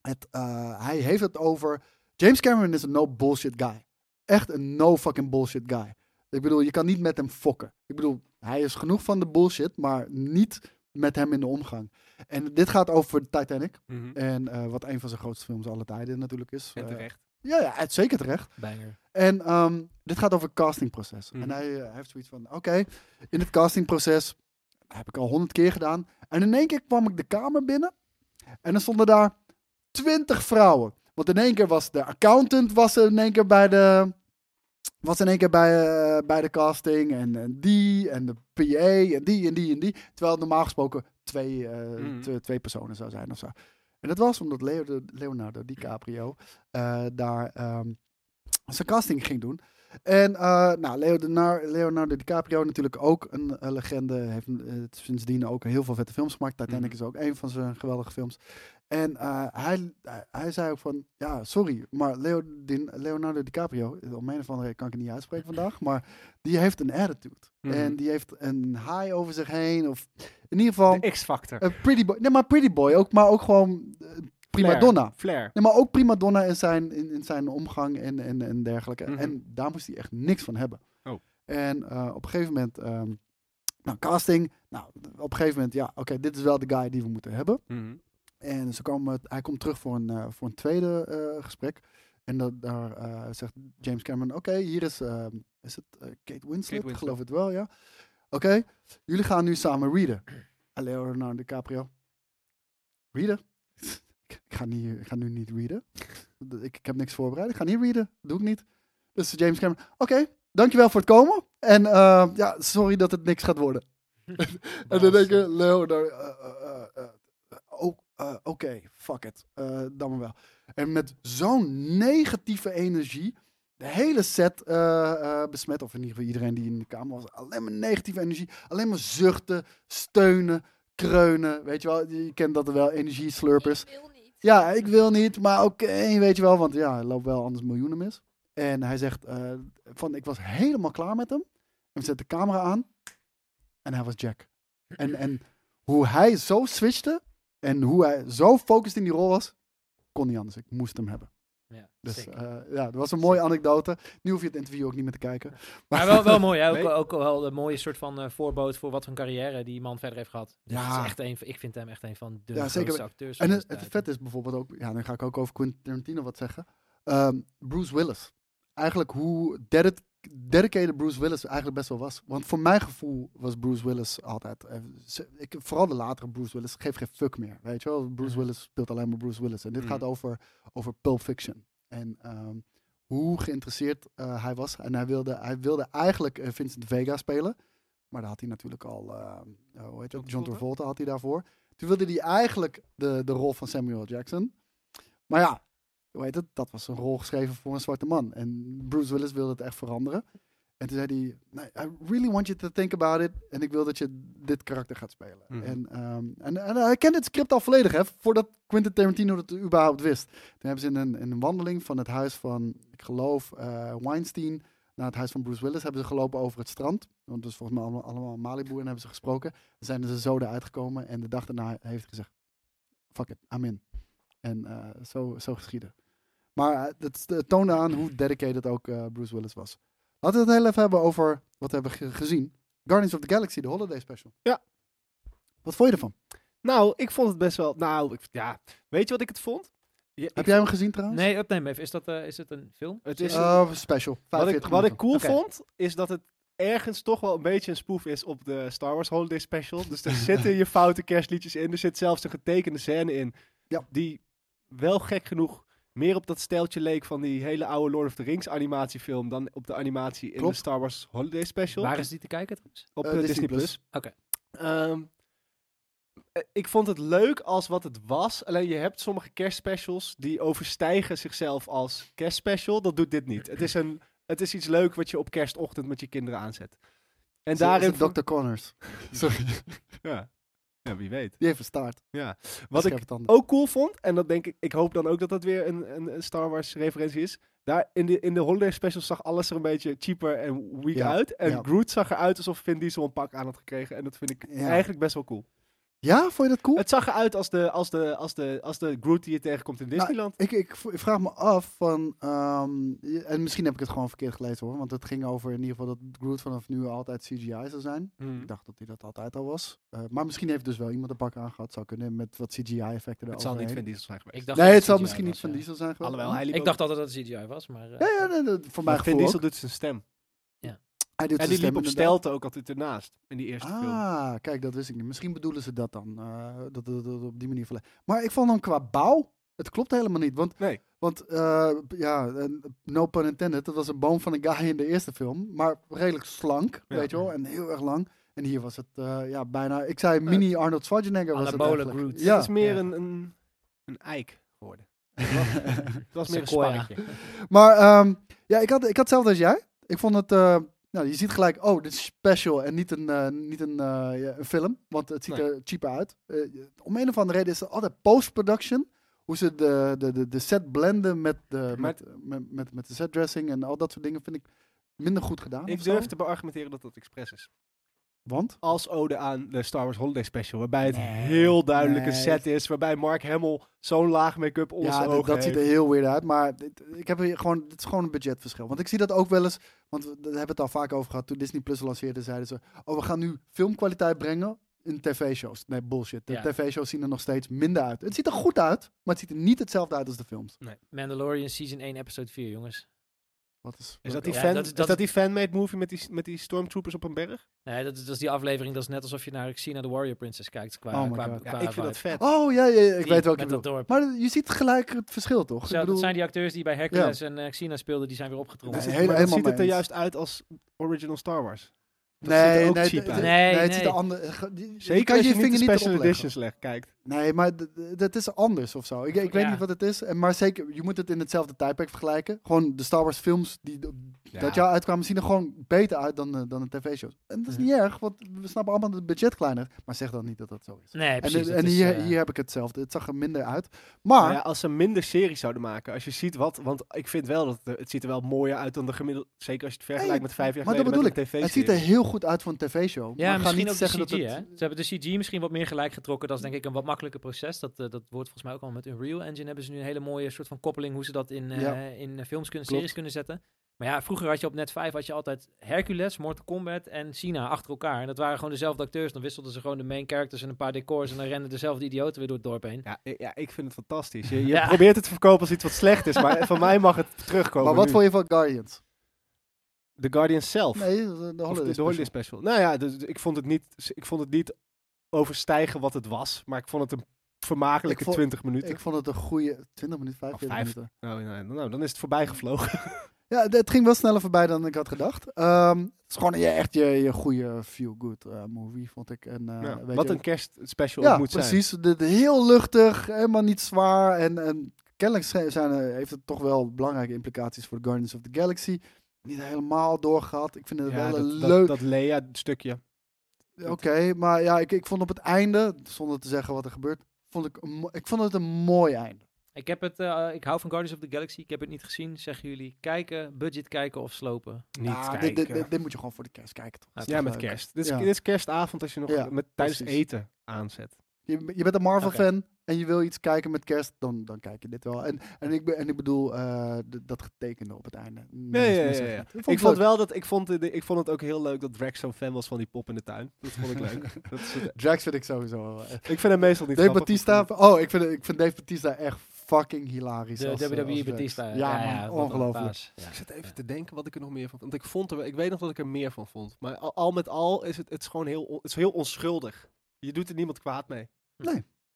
Speaker 4: Het, eh, hij heeft het over. James Cameron is een no bullshit guy. Echt een no fucking bullshit guy. Ik bedoel, je kan niet met hem fokken. Ik bedoel, hij is genoeg van de bullshit, maar niet met hem in de omgang. En dit gaat over Titanic.
Speaker 2: Mhm.
Speaker 4: En eh, wat een van zijn grootste films aller tijden natuurlijk is.
Speaker 2: En
Speaker 4: Eh,
Speaker 2: terecht.
Speaker 4: ja, ja, het- zeker terecht.
Speaker 3: Banger.
Speaker 4: En ehm, dit gaat over het castingproces.
Speaker 2: Mhm.
Speaker 4: En hij eh, heeft zoiets van: oké, in het castingproces dat heb ik al honderd keer gedaan. En in één keer kwam ik de kamer binnen en er stonden daar twintig vrouwen. Want in één keer was de accountant was er in één keer bij de, was in één keer bij, eh, bij de casting. En, en die, en de PA, en die, en die, en die. Terwijl het normaal gesproken twee, eh,
Speaker 2: Mhm.
Speaker 4: twee, twee personen zou zijn of zo. En dat was omdat Leo- Leonardo DiCaprio eh, daar ehm, zijn casting ging doen. En eh, nou, Leonardo, Leonardo DiCaprio natuurlijk ook een eh, legende. Heeft eh, sindsdien ook heel veel vette films gemaakt.
Speaker 2: Mhm.
Speaker 4: Titanic is ook een van zijn geweldige films. En eh, hij, hij, hij zei ook van, ja, sorry, maar Leo, Di- Leonardo DiCaprio, om een of andere reden kan ik het niet uitspreken vandaag, maar die heeft een attitude.
Speaker 2: Mhm.
Speaker 4: En die heeft een haai over zich heen. Of in ieder geval
Speaker 2: De X-factor.
Speaker 4: een pretty boy. Nee, maar pretty boy ook, maar ook gewoon eh, prima
Speaker 2: Flair.
Speaker 4: donna.
Speaker 2: Flair.
Speaker 4: Nee, maar ook prima donna in zijn, in, in zijn omgang en, en, en dergelijke.
Speaker 2: Mhm.
Speaker 4: En daar moest hij echt niks van hebben.
Speaker 2: Oh.
Speaker 4: En eh, op een gegeven moment, ehm, nou, casting. Nou, op een gegeven moment, ja, oké, dit is wel de guy die we moeten hebben.
Speaker 2: Mhm.
Speaker 4: En ze komen, hij komt terug voor een, eh, voor een tweede eh, gesprek. En dat, daar eh, zegt James Cameron, oké, hier is, eh, is het eh, Kate, Winslet?
Speaker 2: Winslet.
Speaker 4: Ik geloof het wel, ja. Oké, jullie gaan nu samen readen. En Leonardo DiCaprio. Readen? ik, ga niet, ik ga nu niet readen. Ik, ik heb niks voorbereid. Ik ga niet readen. Doe ik niet. Dus James Cameron, oké, dankjewel voor het komen. En eh, ja, sorry dat het niks gaat worden. En dan denk je, Leonardo, eh, eh, eh, eh, oh, eh, oké, fuck it, Eh, dan maar wel. En met zo'n negatieve energie de hele set eh, eh, besmet. Of in ieder geval iedereen die in de kamer was. Alleen maar negatieve energie. Alleen maar zuchten, steunen, kreunen. Weet je wel, je kent dat wel, energieslurpers.
Speaker 5: Ik wil niet.
Speaker 4: Ja, ik wil niet, maar oké, weet je wel. Want ja, hij loopt wel anders miljoenen mis. En hij zegt eh, van, ik was helemaal klaar met hem. En we zetten de camera aan. En hij was Jack. En, en hoe hij zo switchte en hoe hij zo focused in die rol was, kon niet anders. Ik moest hem hebben.
Speaker 3: Ja,
Speaker 4: Dus
Speaker 3: sick.
Speaker 4: eh, ja, dat was een mooie anekdote. Nu hoef je het interview ook niet meer te kijken.
Speaker 3: maar wel, wel mooi, hè? Ook,
Speaker 2: Nee.
Speaker 3: ook wel een mooie soort van eh, voorbood voor wat voor een carrière die man verder heeft gehad. Dus
Speaker 4: Ja.
Speaker 3: het is echt een, van- ik vind hem echt een van de
Speaker 4: Ja, zeker.
Speaker 3: grootste acteurs.
Speaker 4: En
Speaker 3: van
Speaker 4: het,
Speaker 3: deze
Speaker 4: het
Speaker 3: tijd.
Speaker 4: vet is bijvoorbeeld ook, ja, dan ga ik ook over Quentin Tarantino wat zeggen. Ehm, Bruce Willis. Eigenlijk hoe ded- dedicated Bruce Willis eigenlijk best wel was. Want voor mijn gevoel was Bruce Willis altijd. eh, ze- ik, vooral de latere Bruce Willis geeft geen fuck meer. Weet je wel, Bruce
Speaker 3: Mhm.
Speaker 4: Willis speelt alleen maar Bruce Willis. En dit
Speaker 2: Mhm.
Speaker 4: gaat over, over Pulp Fiction. En ehm, hoe geïnteresseerd eh, hij was. En hij wilde, hij wilde eigenlijk eh, Vincent Vega spelen. Maar daar had hij natuurlijk al, eh, eh, hoe heet het ook, John Travolta had hij daarvoor. Toen wilde hij eigenlijk de, de rol van Samuel Jackson. Maar ja, hoe heet het? Dat was een rol geschreven voor een zwarte man. En Bruce Willis wilde het echt veranderen. En toen zei hij, nee, I really want you to think about it. En ik wil dat je dit karakter gaat spelen.
Speaker 2: Mhm.
Speaker 4: En, ehm, en, en hij kende het script al volledig, hè, voordat Quentin Tarantino het überhaupt wist. Toen hebben ze in een, in een wandeling van het huis van, ik geloof, eh, Weinstein naar het huis van Bruce Willis hebben ze gelopen over het strand. Want het is volgens mij allemaal, allemaal Malibu en hebben ze gesproken. Dan zijn ze zo eruit gekomen en de dag daarna heeft hij gezegd, fuck it, I'm in. En eh, zo, zo geschiedde. Maar eh, het toonde aan hoe dedicated ook eh, Bruce Willis was. Laten we het heel even hebben over wat hebben we ge- gezien. Guardians of the Galaxy, de holiday special.
Speaker 2: Ja.
Speaker 4: Wat vond je ervan?
Speaker 2: Nou, ik vond het best wel... Nou, ik, ja. Weet je wat ik het vond? Ja, ik-
Speaker 4: Heb jij hem gezien trouwens?
Speaker 3: Nee, update even. Is, dat, eh, is het een film?
Speaker 2: Het is
Speaker 4: Eh, of een special.
Speaker 2: Wat ik,
Speaker 4: 45
Speaker 2: wat ik
Speaker 4: minuten.
Speaker 2: cool
Speaker 3: Oké.
Speaker 2: vond, is dat het ergens toch wel een beetje een spoof is op de Star Wars Holiday Special. Dus er zitten je foute kerstliedjes in. Er zit zelfs een getekende scène in.
Speaker 4: Ja.
Speaker 2: Die wel gek genoeg meer op dat stijltje leek van die hele oude Lord of the Rings animatiefilm dan op de animatie in
Speaker 4: Klopt.
Speaker 2: de Star Wars Holiday Special.
Speaker 3: Waar is die te kijken? trouwens?
Speaker 2: Op
Speaker 4: Eh,
Speaker 2: eh, Disney,
Speaker 4: Disney
Speaker 2: Plus.
Speaker 4: Plus.
Speaker 3: Oké.
Speaker 2: Ehm, eh, ik vond het leuk als wat het was. Alleen je hebt sommige kerstspecials die overstijgen zichzelf als kerstspecial. Dat doet dit niet. Het is, een, het is iets leuk wat je op kerstochtend met je kinderen aanzet. En
Speaker 4: Is-
Speaker 2: daarin...
Speaker 4: Is het Dr. Connors. Sorry,
Speaker 2: Ja. ja, wie weet.
Speaker 4: die heeft een staart.
Speaker 2: Ja. Wat ik oh.
Speaker 4: Scherpe tanden.
Speaker 2: ook cool vond, en dat denk ik, ik hoop dan ook dat dat weer een, een, een Star Wars referentie is. Daar in de, in de holiday special zag alles er een beetje cheaper en weak
Speaker 4: Ja,
Speaker 2: uit. En
Speaker 4: ja.
Speaker 2: Groot zag eruit alsof Vin Diesel een pak aan had gekregen. En dat vind ik
Speaker 4: Ja.
Speaker 2: eigenlijk best wel cool.
Speaker 4: Ja, vond je dat cool?
Speaker 2: Het zag eruit als de, als de, als de, als de Groot die je tegenkomt in Disneyland.
Speaker 4: Nou, Ik, ik v- vraag me af van, ehm, je- en misschien heb ik het gewoon verkeerd gelezen hoor, want het ging over in ieder geval dat Groot vanaf nu altijd CGI zou zijn.
Speaker 2: Hm. Hmm.
Speaker 4: Ik dacht dat hij dat altijd al was. Eh, maar misschien heeft dus wel iemand een pak aangehad, zou kunnen, met wat
Speaker 2: het
Speaker 4: CGI-effecten
Speaker 2: zal niet Vin
Speaker 4: eroverheen.
Speaker 2: Diesel zijn geweest.
Speaker 3: Ik dacht
Speaker 4: Nee,
Speaker 3: dat
Speaker 4: het zal
Speaker 3: CGI
Speaker 4: misschien
Speaker 3: was,
Speaker 4: niet van
Speaker 3: ja.
Speaker 4: Diesel zijn geweest.
Speaker 2: Alhoewel, hij liep
Speaker 3: Ik
Speaker 2: ook-
Speaker 3: dacht altijd dat het CGI was, maar... eh,
Speaker 4: Ja, ja, nee, dat- voor mij
Speaker 2: Maar Vin
Speaker 4: gevoel
Speaker 2: Diesel
Speaker 4: ook.
Speaker 2: doet zijn stem.
Speaker 4: Hij doet
Speaker 2: En
Speaker 4: zijn
Speaker 2: die
Speaker 4: stem
Speaker 2: liep op
Speaker 4: inderdaad.
Speaker 2: stelte ook altijd ernaast. In die eerste film.
Speaker 4: Ah, kijk, dat wist ik niet. Misschien bedoelen ze dat dan. eh, dat, dat, dat op die manier verle- Maar ik vond hem qua bouw. Het klopt helemaal niet. Want,
Speaker 2: Nee.
Speaker 4: want eh, ja, en no pun intended. Dat was een boom van een guy in de eerste film. Maar redelijk slank,
Speaker 2: Ja.
Speaker 4: weet je wel. En heel erg lang. En hier was het eh, ja, bijna... Ik zei mini Arnold Schwarzenegger was het
Speaker 3: Anabole
Speaker 4: eigenlijk.
Speaker 3: Groot.
Speaker 2: Het
Speaker 4: Ja.
Speaker 2: is meer
Speaker 3: Ja.
Speaker 2: een, een, een eik geworden. Het was meer een
Speaker 3: Sequoia.
Speaker 2: spannetje.
Speaker 4: Maar ehm, ja, ik had, ik had hetzelfde als jij. Ik vond het... eh, nou, je ziet gelijk, oh, dit is special en niet een, eh, niet een, eh, ja, een film. Want het ziet
Speaker 2: Nee.
Speaker 4: er cheaper uit. Eh, om een of andere reden is er altijd post-production. Hoe ze de, de, de, de set blenden met de, met, met, met, met de setdressing en al dat soort dingen vind ik minder goed gedaan.
Speaker 2: Ik
Speaker 4: Oh, of zo.
Speaker 2: durf te beargumenteren dat dat expres is.
Speaker 4: Want?
Speaker 2: Als ode aan de Star Wars Holiday Special. Waarbij het heel duidelijk een
Speaker 4: nee.
Speaker 2: set is. Waarbij Mark Hamill zo'n laag make-up onder
Speaker 4: ja,
Speaker 2: zijn
Speaker 4: dat,
Speaker 2: ogen
Speaker 4: dat ziet er
Speaker 2: heeft.
Speaker 4: heel weird uit. Maar dit, ik heb hier gewoon, dit is gewoon een budgetverschil. Want ik zie dat ook wel eens. Want we, daar hebben we het al vaak over gehad. Toen Disney Plus lanceerde, zeiden ze: Oh, we gaan nu filmkwaliteit brengen in tv-shows. Nee, bullshit. De
Speaker 3: Ja.
Speaker 4: tv-shows zien er nog steeds minder uit. Het ziet er goed uit, maar het ziet er niet hetzelfde uit als de films.
Speaker 3: Mandalorian Season 1, Episode 4, jongens.
Speaker 4: Wat is,
Speaker 2: Is dat die,
Speaker 3: Ja,
Speaker 2: fan,
Speaker 3: dat is-
Speaker 2: is
Speaker 3: dat
Speaker 2: dat
Speaker 3: is-
Speaker 2: die fanmade movie met die, met die stormtroopers op een berg?
Speaker 3: Nee, dat is, dat is die aflevering. Dat is net alsof je naar Xena the Warrior Princess kijkt. Qua,
Speaker 4: Oh my
Speaker 3: qua,
Speaker 4: God.
Speaker 2: Ja,
Speaker 3: qua
Speaker 2: ik vind dat
Speaker 3: vibe.
Speaker 2: vet.
Speaker 4: Oh ja, ja, ja, ik
Speaker 3: Die
Speaker 4: weet welke
Speaker 3: met
Speaker 4: je
Speaker 3: dat
Speaker 4: bedoelt.
Speaker 3: dorp.
Speaker 4: Maar je ziet gelijk het verschil, toch?
Speaker 3: Zo,
Speaker 4: ik
Speaker 3: dat
Speaker 4: bedoel,
Speaker 3: zijn die acteurs die bij Hercules en eh, Xena speelden, die zijn weer
Speaker 4: Dat
Speaker 3: opgetrokken.
Speaker 4: is
Speaker 2: Maar
Speaker 4: heel-
Speaker 2: dan
Speaker 4: Oh, helemaal
Speaker 2: ziet het er
Speaker 4: mee eens.
Speaker 2: juist uit als original Star Wars. Dat ziet
Speaker 4: nee,
Speaker 2: er ook
Speaker 4: nee,
Speaker 2: cheap
Speaker 4: het-
Speaker 2: uit.
Speaker 4: nee,
Speaker 3: Nee,
Speaker 4: het
Speaker 3: nee.
Speaker 4: ziet er ander. die- die- Je
Speaker 2: Zeker
Speaker 4: kan
Speaker 2: als
Speaker 4: je
Speaker 2: je, niet
Speaker 4: vinger
Speaker 2: de
Speaker 4: niet
Speaker 2: special
Speaker 4: erop leggen.
Speaker 2: editions legt, kijkt.
Speaker 4: Nee, maar d- d- dat is anders of zo. Ik, ik weet
Speaker 3: Ja.
Speaker 4: niet wat het is. En, maar zeker, je moet het in hetzelfde tijdperk vergelijken. Gewoon de Star Wars films die d- dat jaar uitkwamen, zien er gewoon beter uit dan, eh, dan de tv-shows. En dat is
Speaker 3: Ja.
Speaker 4: niet erg, want we snappen allemaal dat het budget kleiner is. Maar zeg dan niet dat dat zo is.
Speaker 3: Nee,
Speaker 4: En,
Speaker 3: precies.
Speaker 4: en
Speaker 3: dat is,
Speaker 4: hier,
Speaker 3: eh,
Speaker 4: hier heb ik hetzelfde. Het zag er minder uit. Maar,
Speaker 2: Nou ja, als ze minder series zouden maken, als je ziet wat, want ik vind wel dat het, het ziet er wel mooier uit dan de gemiddelde, zeker als je het vergelijkt met vijf jaar
Speaker 4: maar dat
Speaker 2: geleden
Speaker 4: bedoel ik.
Speaker 2: met een tv
Speaker 4: het ziet er heel goed uit voor een tv-show.
Speaker 3: Ja,
Speaker 4: maar ga
Speaker 3: misschien
Speaker 4: niet
Speaker 3: ook de
Speaker 4: zeggen
Speaker 3: CG,
Speaker 4: dat het...
Speaker 3: hè? Ze hebben de CG misschien wat meer gelijk getrokken. Dat is denk ik een wat makkelijker proces. Dat, eh, dat wordt volgens mij ook al met Unreal Engine. Hebben ze nu een hele mooie soort van koppeling hoe ze dat in, eh,
Speaker 4: Ja.
Speaker 3: in eh, films
Speaker 4: Klopt.
Speaker 3: kunnen, series kunnen zetten. Maar ja, vroeger had je op Net 5 had je altijd Hercules, Mortal Kombat en China achter elkaar. En dat waren gewoon dezelfde acteurs. Dan wisselden ze gewoon de main characters en een paar decors. En dan renden dezelfde idioten weer door het dorp heen.
Speaker 2: Ja, i- ja, ik vind het fantastisch. Je, je
Speaker 3: Ja.
Speaker 2: probeert het te verkopen als iets wat slecht is, maar van mij mag het terugkomen
Speaker 4: Maar wat
Speaker 2: nu.
Speaker 4: vond je van Guardians?
Speaker 2: The Guardian zelf.
Speaker 4: Nee, de de
Speaker 2: Of
Speaker 4: Holiday
Speaker 2: de- de Holiday Special. Nou ja, dus ik vond het niet, ik vond het niet overstijgen wat het was, maar ik vond het een vermakelijke
Speaker 4: Ik vond-
Speaker 2: 20 minuten.
Speaker 4: Ik vond het een goede 20 minuten, 45
Speaker 2: vijf.
Speaker 4: minuten.
Speaker 2: Nou, nou, nou, dan is het voorbij gevlogen.
Speaker 4: Ja, d- het ging wel sneller voorbij dan ik had gedacht. Ehm, het is gewoon je, echt je, je goede feel-good eh, movie, vond ik. En, eh,
Speaker 2: Ja,
Speaker 4: weet
Speaker 2: wat
Speaker 4: je,
Speaker 2: een kerstspecial
Speaker 4: ja,
Speaker 2: ook moet zijn.
Speaker 4: precies. De, de- heel luchtig, helemaal niet zwaar. En, en kennelijk zijn, zijn er- heeft het toch wel belangrijke implicaties voor Guardians of the Galaxy. Niet helemaal doorgehad. Ik vind het
Speaker 2: Ja,
Speaker 4: wel
Speaker 2: dat,
Speaker 4: een
Speaker 2: dat-
Speaker 4: leuk...
Speaker 2: dat Lea stukje.
Speaker 4: Oké, maar ja, ik, ik vond op het einde, zonder te zeggen wat er gebeurt, vond ik, een mo- ik vond het een mooi einde.
Speaker 3: Ik, heb het, eh, ik hou van Guardians of the Galaxy. Ik heb het niet gezien. Zeggen jullie kijken, budget kijken of slopen?
Speaker 2: Niet
Speaker 4: Ah, dit-
Speaker 2: kijken.
Speaker 4: dit, dit, dit moet je gewoon voor de kerst kijken, toch?
Speaker 3: Ja,
Speaker 4: Is
Speaker 2: ja,
Speaker 4: toch
Speaker 2: met
Speaker 4: leuk?
Speaker 2: kerst. Dit is,
Speaker 4: Ja.
Speaker 2: dit is kerstavond als je nog
Speaker 4: Ja,
Speaker 2: met, tijdens
Speaker 4: precies.
Speaker 2: eten aanzet.
Speaker 4: Je, je bent een Marvel-fan
Speaker 3: Oké.
Speaker 4: en je wil iets kijken met kerst, dan, dan kijk je dit wel. En, en, ik, be- en ik bedoel, eh, d- dat getekende op het einde.
Speaker 2: Nee,
Speaker 4: Mensen-
Speaker 2: ja, ja,
Speaker 4: mensen-
Speaker 2: ja, ja.
Speaker 4: vond
Speaker 2: Ik
Speaker 4: ik
Speaker 2: vond
Speaker 4: leuk.
Speaker 2: wel dat ik vond, de- ik vond het ook heel leuk dat Rex zo'n fan was van die pop in de tuin. Dat vond ik leuk. dat is het-
Speaker 4: Drax vind ik sowieso wel. eh.
Speaker 2: ik vind hem meestal niet.
Speaker 4: Dave
Speaker 2: grappig.
Speaker 4: Batista, oh, ik vind, ik vind Dave Batista echt fucking hilarisch.
Speaker 3: De E
Speaker 4: als, eh, als
Speaker 3: WWE
Speaker 4: Drax.
Speaker 3: Batista.
Speaker 4: Ja,
Speaker 3: man,
Speaker 4: man,
Speaker 3: wat een
Speaker 4: ongelooflijk.
Speaker 3: baas. Ja.
Speaker 2: Ik zit even te denken wat ik er nog meer van vond. Want ik vond er, ik weet nog dat ik er meer van vond. Maar al, al met al is het, het is gewoon heel, on- het is heel onschuldig. Je doet er niemand kwaad mee.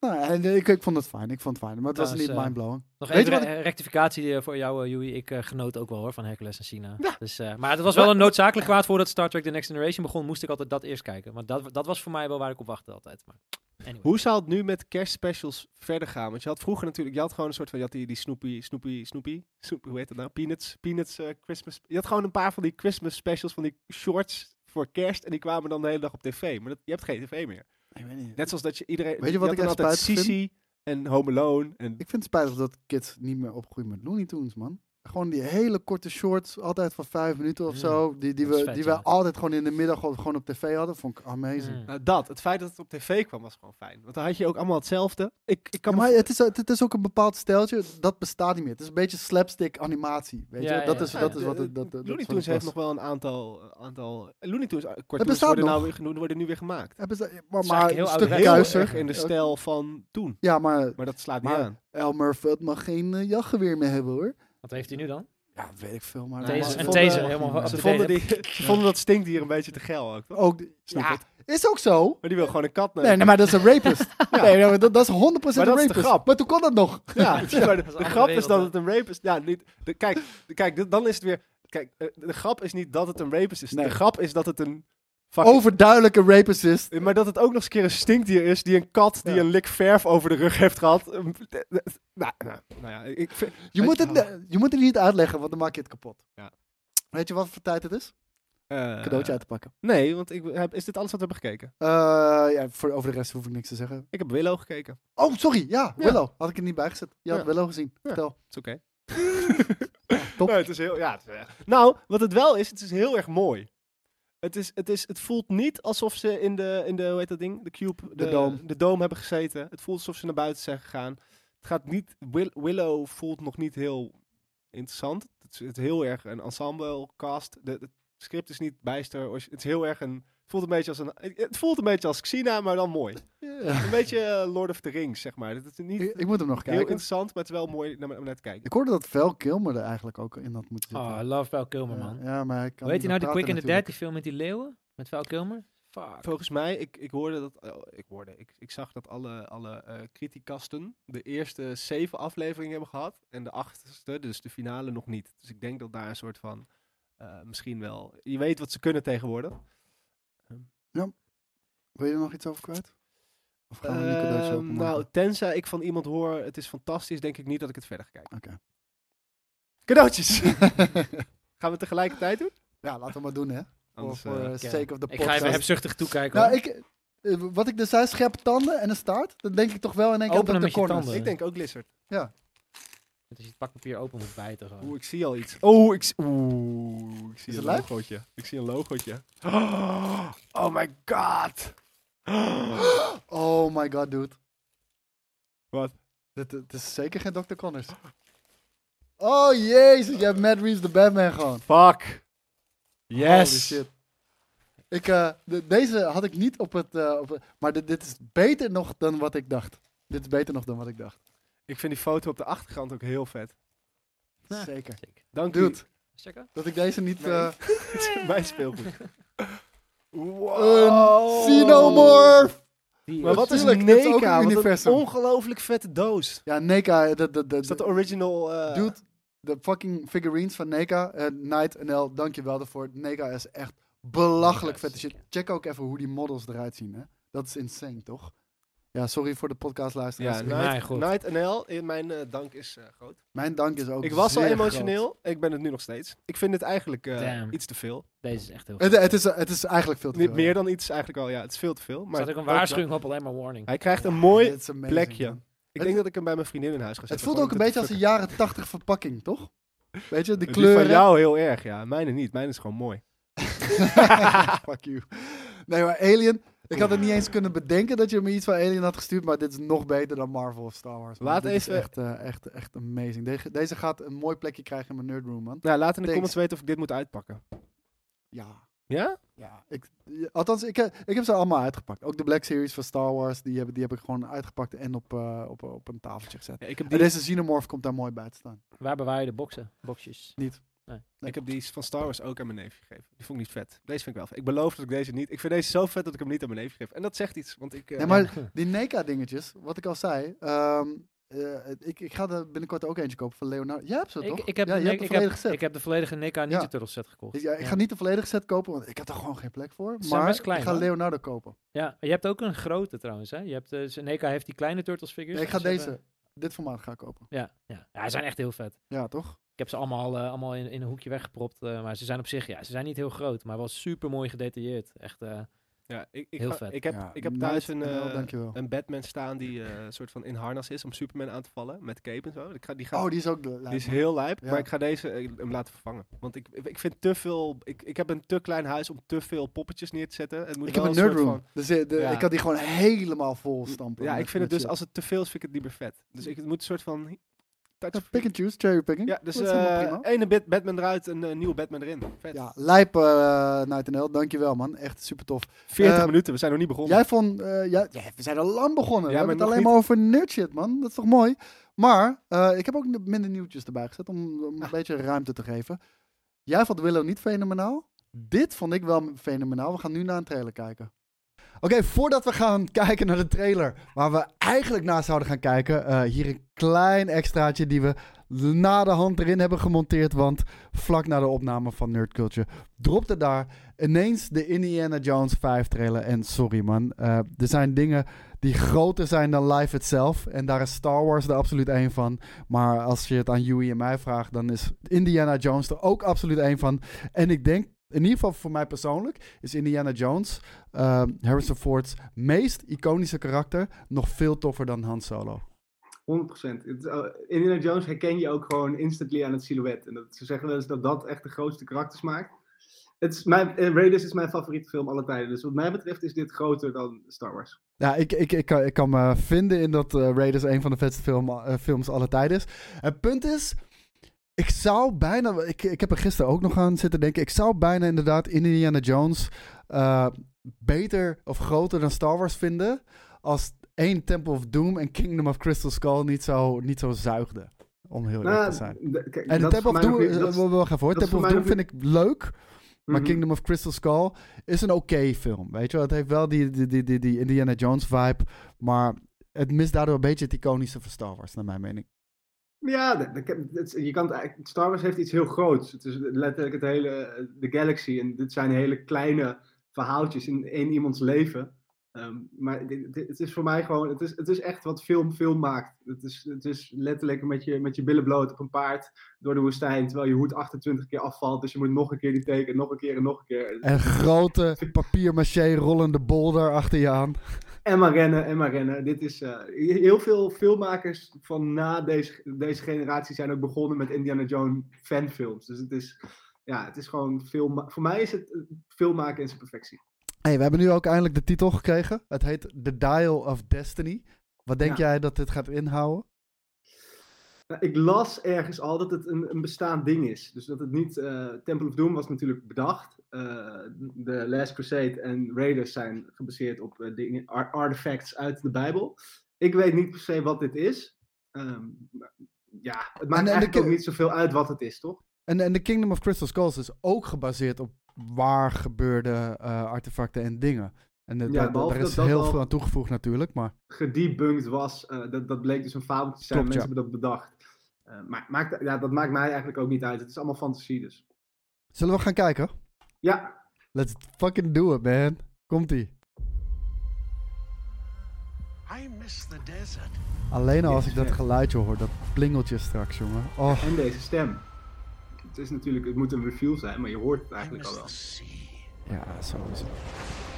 Speaker 4: Nou, en, eh, ik, ik vond het fijn, ik vond het fijn. Maar het was
Speaker 3: Dat is,
Speaker 4: niet
Speaker 3: eh,
Speaker 4: mindblowing.
Speaker 3: Nog
Speaker 4: Weet
Speaker 3: even
Speaker 4: je wat
Speaker 3: re- rectificatie eh, voor jou, eh, Joey. Ik eh, genoot ook wel hoor van Hercules en China.
Speaker 2: Ja.
Speaker 3: Dus, eh, maar het was wel een noodzakelijk kwaad voordat Star Trek The Next Generation begon. Moest ik altijd dat eerst kijken. Maar dat, dat was voor mij wel waar ik op wachtte altijd. Maar anyway.
Speaker 2: Hoe zou het nu met kerstspecials verder gaan? Want je had vroeger natuurlijk, je had gewoon een soort van, je had die, die Snoopy, Snoopy, Snoopy, Snoopy, hoe heet dat nou? Peanuts, Peanuts eh, Christmas. Je had gewoon een paar van die Christmas specials, van die shorts voor kerst. En die kwamen dan de hele dag op tv. Maar dat, je hebt geen tv meer.
Speaker 4: Ik weet niet.
Speaker 2: Net zoals dat je iedereen,
Speaker 4: Weet je wat
Speaker 2: had
Speaker 4: ik
Speaker 2: dan
Speaker 4: echt
Speaker 2: altijd
Speaker 4: spijtig
Speaker 2: Sissy en Home Alone. En,
Speaker 4: Ik vind het spijtig dat kids niet meer opgroeien met Looney Tunes, man. Gewoon die hele korte shorts, altijd van vijf minuten of
Speaker 3: Ja,
Speaker 4: zo. Die, die,
Speaker 3: dat is
Speaker 4: we,
Speaker 3: vet,
Speaker 4: die we
Speaker 3: ja.
Speaker 4: altijd gewoon in de middag gewoon op tv hadden. Vond ik amazing.
Speaker 3: Mm.
Speaker 2: nou dat, het feit dat het op tv kwam was gewoon fijn. Want dan had je ook allemaal hetzelfde. Ik, ik kan
Speaker 4: Ja,
Speaker 2: me
Speaker 4: maar het is, het is ook een bepaald steltje, dat bestaat niet meer. Het is een beetje slapstick animatie, weet je?
Speaker 3: Ja, ja,
Speaker 4: dat,
Speaker 3: ja.
Speaker 4: is, dat is
Speaker 2: het
Speaker 4: wat het... Dat, dat-
Speaker 2: Looney
Speaker 4: dat
Speaker 2: Tunes heeft
Speaker 4: was.
Speaker 2: nog wel een aantal, eh, aantal Looney Tunes eh, cartoons
Speaker 4: bestaat
Speaker 2: worden,
Speaker 4: nog.
Speaker 2: nou weer, genoemd- worden nu weer gemaakt.
Speaker 4: Hebben ze- maar,
Speaker 3: is
Speaker 4: maar
Speaker 3: eigenlijk
Speaker 4: een
Speaker 3: heel
Speaker 4: stuk
Speaker 3: oud. Heel
Speaker 4: kuiser.
Speaker 2: Oh, erg in de stijl van toen.
Speaker 4: Ja, maar
Speaker 2: Maar dat slaat
Speaker 4: Maar-
Speaker 2: niet aan.
Speaker 4: Elmer Fudd mag geen eh, jachtgeweer meer hebben, hoor.
Speaker 3: Wat heeft hij nu dan?
Speaker 4: Ja, dat weet ik veel, maar...
Speaker 3: Taser-
Speaker 4: maar ze
Speaker 2: een
Speaker 4: vonden-
Speaker 2: taser,
Speaker 3: helemaal-
Speaker 2: Ze
Speaker 3: Ze
Speaker 2: vonden,
Speaker 3: deden-
Speaker 2: die, ze vonden dat stinkdier een beetje te geil ook. toch?
Speaker 4: Ook, de-
Speaker 2: Snap
Speaker 4: ja,
Speaker 2: het.
Speaker 4: is ook zo.
Speaker 2: Maar die wil gewoon een kat nemen.
Speaker 4: Nee, nee, maar dat is een rapist. Nee, nee, maar dat, dat is 100%
Speaker 2: Maar
Speaker 4: een
Speaker 2: dat is de
Speaker 4: rapist.
Speaker 2: grap.
Speaker 4: Maar toen kon dat nog.
Speaker 2: Ja, maar de,
Speaker 3: Dat is een
Speaker 2: de
Speaker 3: andere
Speaker 2: grap is
Speaker 3: wereld,
Speaker 2: dat
Speaker 3: hè?
Speaker 2: het een rape is. Ja, niet, de- kijk, de- kijk dit- dan is het weer... Kijk, eh, de grap is niet dat het een rapist is.
Speaker 4: Nee. Oh.
Speaker 2: De grap is dat het een... fucking-
Speaker 4: Overduidelijke rapist is.
Speaker 2: Eh, Maar dat het ook nog eens een keer een stinkdier is die een kat die
Speaker 4: Ja.
Speaker 2: een lik verf over de rug heeft gehad. Eh, eh, eh, Nou, nou, nou ja, ik vind...
Speaker 4: Je moet, het, ne- je moet het niet uitleggen, want dan maak je het kapot.
Speaker 2: Ja.
Speaker 4: Weet je wat voor tijd het is?
Speaker 2: eh,
Speaker 4: Cadeautje uit te pakken.
Speaker 2: Nee, want ik heb, is dit alles wat we hebben gekeken?
Speaker 4: Eh, ja, voor, over de rest hoef ik niks te zeggen.
Speaker 2: Ik heb Willow gekeken.
Speaker 4: Oh, sorry. Ja,
Speaker 2: Ja.
Speaker 4: Willow. Had ik er niet bij gezet. Je had
Speaker 2: Ja.
Speaker 4: Willow gezien. Vertel.
Speaker 2: Is oké.
Speaker 4: top.
Speaker 2: Nee, het is heel, ja, het is echt- Nou, wat het wel is, het is heel erg mooi. Het, is, het, is, het voelt niet alsof ze in de, in de, hoe heet dat ding? De cube, de,
Speaker 4: dome.
Speaker 2: de dome hebben gezeten. Het voelt alsof ze naar buiten zijn gegaan. Het gaat niet, Will- Willow voelt nog niet heel interessant. Het is, het is heel erg een ensemble cast. De, het script is niet bijster. ors- Het is heel erg een, het voelt een beetje als een, het voelt een beetje als Xena, maar dan mooi.
Speaker 4: Ja.
Speaker 2: Een beetje eh, Lord of the Rings, zeg maar. Het is niet
Speaker 4: Ik, ik moet hem nog
Speaker 2: heel
Speaker 4: kijken.
Speaker 2: interessant, maar het is wel mooi naar- om naar te kijken.
Speaker 4: Ik hoorde dat Vel Kilmer er eigenlijk ook in had moeten zitten.
Speaker 3: Oh, I love Val Kilmer,
Speaker 4: eh, Ja,
Speaker 3: man.
Speaker 4: Ja, maar hij kan
Speaker 3: Weet je nou
Speaker 4: niet
Speaker 3: die
Speaker 4: meer
Speaker 3: Quick in the
Speaker 4: praten
Speaker 3: Dead, die film met die leeuwen? Met Val Kilmer? Fuck.
Speaker 2: Volgens mij, ik, ik hoorde dat. oh, ik, hoorde, ik, ik zag dat alle, alle eh criticasten de eerste zeven afleveringen hebben gehad. En de achtste, dus de finale, nog niet. Dus ik denk dat daar een soort van. eh, misschien wel. Je weet wat ze kunnen tegenwoordig.
Speaker 4: natuurlijk. Wil je er nog iets over kwijt? Of gaan we nu cadeautjes
Speaker 2: Ehm,
Speaker 4: openmaken?
Speaker 2: nou, tenzij ik van iemand hoor, het is fantastisch, denk ik niet dat ik het verder ga kijken.
Speaker 4: Oké.
Speaker 2: Cadeautjes! Gaan we tegelijkertijd doen?
Speaker 4: ja, laten we maar doen, hè. Voor
Speaker 2: Anders,
Speaker 4: voor
Speaker 2: eh,
Speaker 4: eh, sake of the
Speaker 3: Ik ga
Speaker 4: podcast.
Speaker 3: even hebzuchtig toekijken.
Speaker 4: nou,
Speaker 3: hoor.
Speaker 4: ik, eh, wat ik dus zei, scherpe tanden en een staart. Dan denk ik toch wel in één keer
Speaker 3: Openen
Speaker 4: dat de
Speaker 3: met je
Speaker 4: corners.
Speaker 3: tanden.
Speaker 2: ik denk ook Lizard.
Speaker 3: Dat je het pakpapier open moet bijten. gewoon.
Speaker 2: Oeh, ik zie al iets. Oeh, Oh, ik, s- oeh, ik zie
Speaker 4: Is
Speaker 2: een
Speaker 4: het lijp?
Speaker 2: logootje. Ik zie een logootje. Oh, oh my god!
Speaker 4: Oh my god, dude.
Speaker 2: Wat?
Speaker 4: Dit, dit is zeker geen Dr. Connors. Oh jezus, je hebt Matt Reeves de Batman gewoon.
Speaker 2: Fuck! Yes!
Speaker 4: Holy shit. Ik, eh, de- deze had ik niet op het. eh, op het- maar dit, dit is beter nog dan wat ik dacht. Dit is beter nog dan wat ik dacht.
Speaker 2: Ik vind die foto op de achtergrond ook heel vet.
Speaker 3: Ja.
Speaker 4: Zeker.
Speaker 3: Check.
Speaker 2: Dank u.
Speaker 4: Dude,
Speaker 3: Eens checken.
Speaker 4: dat ik deze niet.
Speaker 2: Nee.
Speaker 4: eh,
Speaker 2: Het is mijn speelgoed. Oh.
Speaker 4: Een xenomorph!
Speaker 3: Die
Speaker 2: Maar wat is
Speaker 4: Natuurlijk, dit is ook
Speaker 2: NECA?
Speaker 4: een
Speaker 2: Wat een
Speaker 4: universum.
Speaker 2: ongelooflijk vette doos.
Speaker 4: Ja, NECA. De, de, de,
Speaker 2: Is dat de original... eh,
Speaker 4: dude, de fucking figurines van NECA. eh, Knight NL, dankjewel daarvoor. NECA is echt belachelijk
Speaker 3: NECA
Speaker 4: vet.
Speaker 3: E is
Speaker 4: shit.
Speaker 3: sick,
Speaker 4: check ook even hoe die models eruit zien. Hè? Dat is insane, toch? Ja, sorry voor de podcastluisteraars.
Speaker 2: Ja,
Speaker 3: mij
Speaker 2: Night,
Speaker 3: goed.
Speaker 2: Night NL, eh, mijn eh, dank is eh, groot.
Speaker 4: Mijn dank is ook
Speaker 2: Ik was al
Speaker 4: zeer
Speaker 2: emotioneel, ik ben het nu nog steeds. Ik vind het eigenlijk eh,
Speaker 3: Damn.
Speaker 2: iets te veel.
Speaker 3: Deze is echt heel
Speaker 4: groot. Het, het, is, het is eigenlijk veel te
Speaker 2: Niet
Speaker 4: veel.
Speaker 2: meer dan iets eigenlijk al, ja, het is veel te veel.
Speaker 3: Er
Speaker 2: Maar
Speaker 3: staat ook een
Speaker 2: wel-
Speaker 3: waarschuwing op, alleen maar warning.
Speaker 2: Hij krijgt een mooi...
Speaker 4: Dit is amazing,
Speaker 2: plekje.
Speaker 4: man.
Speaker 2: ik
Speaker 4: het-
Speaker 2: denk dat ik hem bij mijn vriendin in huis ga zetten.
Speaker 4: Het voelt ook een beetje als een jaren 80 verpakking, toch? Weet je, de
Speaker 2: kleur. Die
Speaker 4: kleuren.
Speaker 2: van jou heel erg, ja. Mijne niet, mijne is gewoon mooi.
Speaker 4: Fuck you. Nee, maar Alien. Ik had het niet eens kunnen bedenken dat je me iets van Alien had gestuurd, maar dit is nog beter dan Marvel of Star Wars. man.
Speaker 2: Laat
Speaker 4: dit is
Speaker 2: even-
Speaker 4: echt, eh, echt, echt amazing. Deze, deze gaat een mooi plekje krijgen in mijn nerdroom, man.
Speaker 2: Nou, laat in de
Speaker 4: Thanks.
Speaker 2: comments weten of ik dit moet uitpakken.
Speaker 4: Ja.
Speaker 2: Ja?
Speaker 4: Ja, ik, ja, althans, ik, eh, ik heb ze allemaal uitgepakt. Ook de Black Series van Star Wars, die heb, die heb ik gewoon uitgepakt en op, eh, op, op een tafeltje gezet.
Speaker 2: Ja, ik, heb die,
Speaker 4: En deze Xenomorph komt daar mooi bij te staan.
Speaker 3: Waar bewaar je de boxen? Boxjes.
Speaker 2: ik heb die van Star Wars ook aan mijn neef gegeven. Die vond ik niet vet. Deze vind ik wel vet. Ik beloof dat ik deze niet... Ik vind deze zo vet dat ik hem niet aan mijn neef geef. En dat zegt iets, want ik... eh,
Speaker 4: Nee, maar die E NECA-dingetjes, wat ik al zei. ehm, eh, ik, ik ga er binnenkort ook eentje kopen van Leonardo. Jij hebt ze
Speaker 3: Ik,
Speaker 4: toch?
Speaker 3: ik, heb
Speaker 4: ja,
Speaker 3: de,
Speaker 4: je hebt de
Speaker 3: ne- ik, heb,
Speaker 4: volledige set.
Speaker 3: ik heb de volledige Nika Ninja
Speaker 4: Ja.
Speaker 3: Turtles set gekocht.
Speaker 4: Ja, ik ga niet de volledige set kopen, want ik heb er gewoon geen plek voor.
Speaker 3: Ze zijn
Speaker 4: Maar
Speaker 3: best klein,
Speaker 4: ik ga
Speaker 3: hoor.
Speaker 4: Leonardo kopen.
Speaker 3: Ja, je hebt ook een grote trouwens. Hè? Je hebt, eh, ze- Nika heeft die kleine Turtles figures. Dus
Speaker 4: Nee, ik ga
Speaker 3: Ze hebben-
Speaker 4: deze, dit formaat ga ik kopen.
Speaker 3: Ja, ja. ja, ze zijn echt heel vet.
Speaker 4: Ja, toch?
Speaker 3: Ik heb ze allemaal, eh, allemaal in, in een hoekje weggepropt. eh, maar ze zijn op zich, ja, ze zijn niet heel groot. Maar wel super mooi gedetailleerd. Echt, eh,
Speaker 2: Ja, ik, ik,
Speaker 3: Heel
Speaker 2: ga-
Speaker 3: vet.
Speaker 2: ik heb,
Speaker 4: Ja,
Speaker 2: ik heb
Speaker 4: Knight
Speaker 2: thuis een,
Speaker 4: NL,
Speaker 2: eh,
Speaker 4: dankjewel.
Speaker 2: een Batman staan die eh, een soort van in harnas is om Superman aan te vallen met cape en zo. Ik ga, die, ga,
Speaker 4: Oh, die is ook... de-
Speaker 2: die is heel lijp,
Speaker 4: Ja.
Speaker 2: maar ik ga deze eh, hem laten vervangen. Want ik, ik vind te veel, ik, ik heb een te klein huis om te veel poppetjes neer te zetten. Het moet
Speaker 4: Ik heb
Speaker 2: wel
Speaker 4: een
Speaker 2: soort
Speaker 4: nerdroom.
Speaker 2: van-
Speaker 4: Dus eh, de-
Speaker 2: Ja.
Speaker 4: ik kan die gewoon helemaal vol stampen.
Speaker 2: ja,
Speaker 4: met-
Speaker 2: ik vind het
Speaker 4: met
Speaker 2: dus,
Speaker 4: shit.
Speaker 2: als het te veel is, vind ik het niet meer vet. Dus ik, het moet een soort van... Touch
Speaker 4: Ja, pick and choose, cherry picking.
Speaker 2: ja, dus
Speaker 4: Dat is helemaal
Speaker 2: eh,
Speaker 4: prima.
Speaker 2: ene bit Batman eruit, een eh, nieuwe Batman erin. Vet.
Speaker 4: Ja, lijp eh Night NL, dankjewel man. Echt super tof.
Speaker 2: 40
Speaker 4: Eh,
Speaker 2: minuten, we zijn nog niet begonnen.
Speaker 4: Jij vond, eh, jij, ja, we zijn al lang
Speaker 2: Ja,
Speaker 4: begonnen. we hebben
Speaker 2: maar
Speaker 4: het alleen
Speaker 2: nog
Speaker 4: maar over nerd shit, man. Dat is toch mooi? Maar eh, ik heb ook n- minder nieuwtjes erbij gezet om, om een beetje ruimte te geven. Jij vond Willow niet fenomenaal. Dit vond ik wel fenomenaal. We gaan nu naar een trailer kijken. Oké, voordat we gaan kijken naar de trailer waar we eigenlijk naar zouden gaan kijken, eh, hier een klein extraatje die we na de hand erin hebben gemonteerd. Want vlak na de opname van Nerd Culture dropte daar ineens de Indiana Jones 5 trailer. En sorry man, eh, er zijn dingen die groter zijn dan live itself. En daar is Star Wars er absoluut één van. Maar als je het aan Yui en mij vraagt, dan is Indiana Jones er ook absoluut één van. En ik denk, in ieder geval voor mij persoonlijk, is Indiana Jones eh, Harrison Ford's meest iconische karakter nog veel toffer dan Han Solo.
Speaker 5: 100%. Het, eh, Indiana Jones herken je ook gewoon instantly aan het silhouet. En dat, ze zeggen wel eens dat dat echt de grootste karakters maakt. Het is mijn, eh, Raiders is mijn favoriete film alle tijden. Dus wat mij betreft is dit groter dan Star Wars.
Speaker 4: Ja, ik, ik, ik, kan, ik kan me vinden in dat eh, Raiders een van de vetste film, eh, films aller tijden is. Het punt is, ik zou bijna, ik, ik heb er gisteren ook nog aan zitten denken, ik zou bijna inderdaad Indiana Jones eh, beter of groter dan Star Wars vinden als één Temple of Doom en Kingdom of Crystal Skull niet zo, niet zo zuigden, om heel eerlijk
Speaker 2: Nou,
Speaker 4: te zijn.
Speaker 5: d- Nou, kijk,
Speaker 4: En
Speaker 5: dat is
Speaker 4: Temple
Speaker 5: voor
Speaker 4: of
Speaker 5: mij
Speaker 4: Doom,
Speaker 5: nog niet- dat
Speaker 4: eh,
Speaker 5: is-
Speaker 4: wacht even hoor,
Speaker 5: dat is
Speaker 4: Temple
Speaker 5: voor
Speaker 4: of
Speaker 5: mij
Speaker 4: Doom
Speaker 5: nog
Speaker 4: vind ik leuk, maar
Speaker 5: mhm.
Speaker 4: Kingdom of Crystal Skull is een oké film. Weet je wel, het heeft wel die, die, die, die, die Indiana Jones vibe. Maar het mist daardoor een beetje het iconische van Star Wars, naar mijn mening.
Speaker 5: Ja, dat- dat- dat- je kan het eigenlijk- Star Wars heeft iets heel groots. Het is letterlijk het hele, eh, de galaxy. En dit zijn hele kleine verhaaltjes in één iemands leven. Ehm, maar dit- dit- het is voor mij gewoon, het is, het is echt wat film film maakt. Het is, het is letterlijk met je, met je billen bloot op een paard door de woestijn, terwijl je hoed 28 keer afvalt. Dus je moet nog een keer die teken, nog een keer en nog een keer.
Speaker 4: En grote papier-maché rollende bolder achter je aan.
Speaker 5: En maar rennen, en maar rennen. Dit is, eh, heel veel filmmakers van na deze, deze generatie zijn ook begonnen met Indiana Jones fanfilms. Dus het is, ja, het is gewoon film. Voor mij is het eh, filmmaken in zijn perfectie.
Speaker 4: Hey, we hebben nu ook eindelijk de titel gekregen. Het heet The Dial of Destiny. Wat denk
Speaker 5: Ja.
Speaker 4: jij dat dit gaat inhouden?
Speaker 5: Nou, Ik las ergens al dat het een, een bestaand ding is. Dus dat het niet. eh, Temple of Doom was natuurlijk bedacht. Eh, de Last Crusade en Raiders zijn gebaseerd op eh, dingen, ar- artifacts uit de Bijbel. Ik weet niet per se wat dit is. Ehm, maar ja, het maakt
Speaker 4: en de
Speaker 5: eigenlijk
Speaker 4: ki-
Speaker 5: ook niet zoveel uit wat het is, toch?
Speaker 4: En, en The Kingdom of Crystal Skulls is ook gebaseerd op waar gebeurde eh, artefacten en dingen. En eh,
Speaker 5: Ja,
Speaker 4: daar- daar,
Speaker 5: behalve
Speaker 4: is
Speaker 5: dat dat
Speaker 4: heel
Speaker 5: al-
Speaker 4: veel aan toegevoegd natuurlijk, maar...
Speaker 5: gedebunked was. eh, dat, dat bleek dus een fabeltje te zijn.
Speaker 4: Klopt,
Speaker 5: Mensen hebben dat bedacht. Eh, maar maakt, ja, dat maakt mij eigenlijk ook niet uit. Het is allemaal fantasie dus.
Speaker 4: Zullen we gaan kijken?
Speaker 5: Ja,
Speaker 4: Let's fucking do it, man. Komt-ie.
Speaker 6: I miss the desert.
Speaker 4: Alleen al als ik dat
Speaker 5: Yes,
Speaker 4: geluidje hoor, dat plingeltje straks, jongen. Oh,
Speaker 5: en deze stem. Het is natuurlijk, het moet een reveal zijn, maar je hoort het
Speaker 6: I
Speaker 5: eigenlijk
Speaker 6: miss
Speaker 5: al wel.
Speaker 6: the sea.
Speaker 4: ja, sowieso.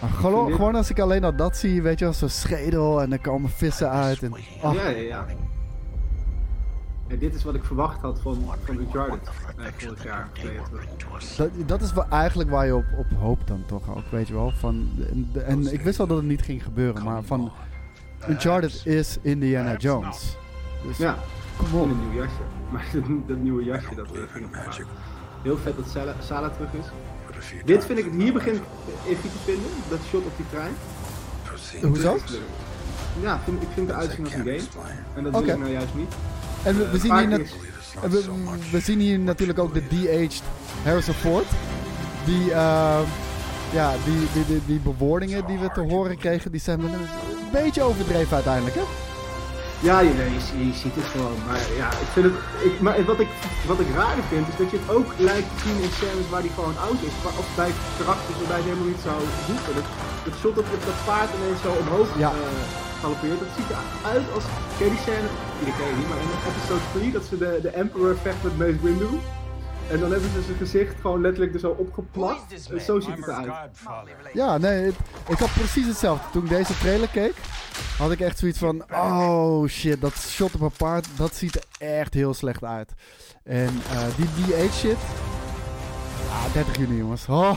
Speaker 4: Maar gewoon, gewoon als ik alleen al dat zie, weet je wel, zo'n schedel en er komen vissen uit. En, oh,
Speaker 5: Ja, ja, ja. En dit is wat ik verwacht had van, van Uncharted eh, vorig jaar. of twee jaar terug.
Speaker 6: Bring to us
Speaker 4: dat, dat is wel eigenlijk waar je op, op hoopt dan toch ook, weet je wel. Van, en, en ik wist wel dat het niet ging gebeuren, maar van... Uncharted is Indiana Jones. Dus
Speaker 5: Ja,
Speaker 4: kom
Speaker 5: en
Speaker 4: op.
Speaker 5: een nieuw jasje. Maar dat, dat nieuwe jasje, dat eh, ging op elkaar. Heel vet dat Sala, Sala terug is.
Speaker 6: but if you die,
Speaker 5: Dit vind ik, hier begin ik even te vinden, dat shot op die trein.
Speaker 6: proceed.
Speaker 4: Hoezo?
Speaker 5: Ja, vind, ik vind het uitzien als een game. En dat
Speaker 4: Oké.
Speaker 5: wil ik nou juist niet.
Speaker 4: En we, we zien
Speaker 5: Maar
Speaker 4: hier net...
Speaker 5: is-
Speaker 4: En We, we zien hier natuurlijk ook de de-aged Harrison Ford. Die, eh, ja, die, die, die, die bewoordingen die we te horen kregen, die zijn wel een beetje overdreven uiteindelijk, hè?
Speaker 5: Ja, je, nee, je, je ziet het gewoon. Maar ja, ik vind het. Ik, maar wat ik, wat ik raar vind, is dat je het ook lijkt te zien in scènes waar die gewoon oud is. Maar, of bij karakters waarbij het helemaal niet zou hoeven. Dat, dat shot dat, dat paard ineens zo omhoog
Speaker 4: Ja.
Speaker 5: eh, galopeert, dat ziet eruit als. Ken je die scène? Die ken je niet, maar in episode 3 dat ze de, de Emperor vecht met Mace Windu. En dan hebben ze zijn gezicht gewoon letterlijk er zo opgeplakt. En zo ziet het eruit.
Speaker 4: Ja, nee, het- ik had precies hetzelfde. Toen ik deze trailer keek, had ik echt zoiets van... Oh shit, dat shot op een paard, dat ziet er echt heel slecht uit. En eh, die de-aged shit... Ah, 30 juni jongens. Oh,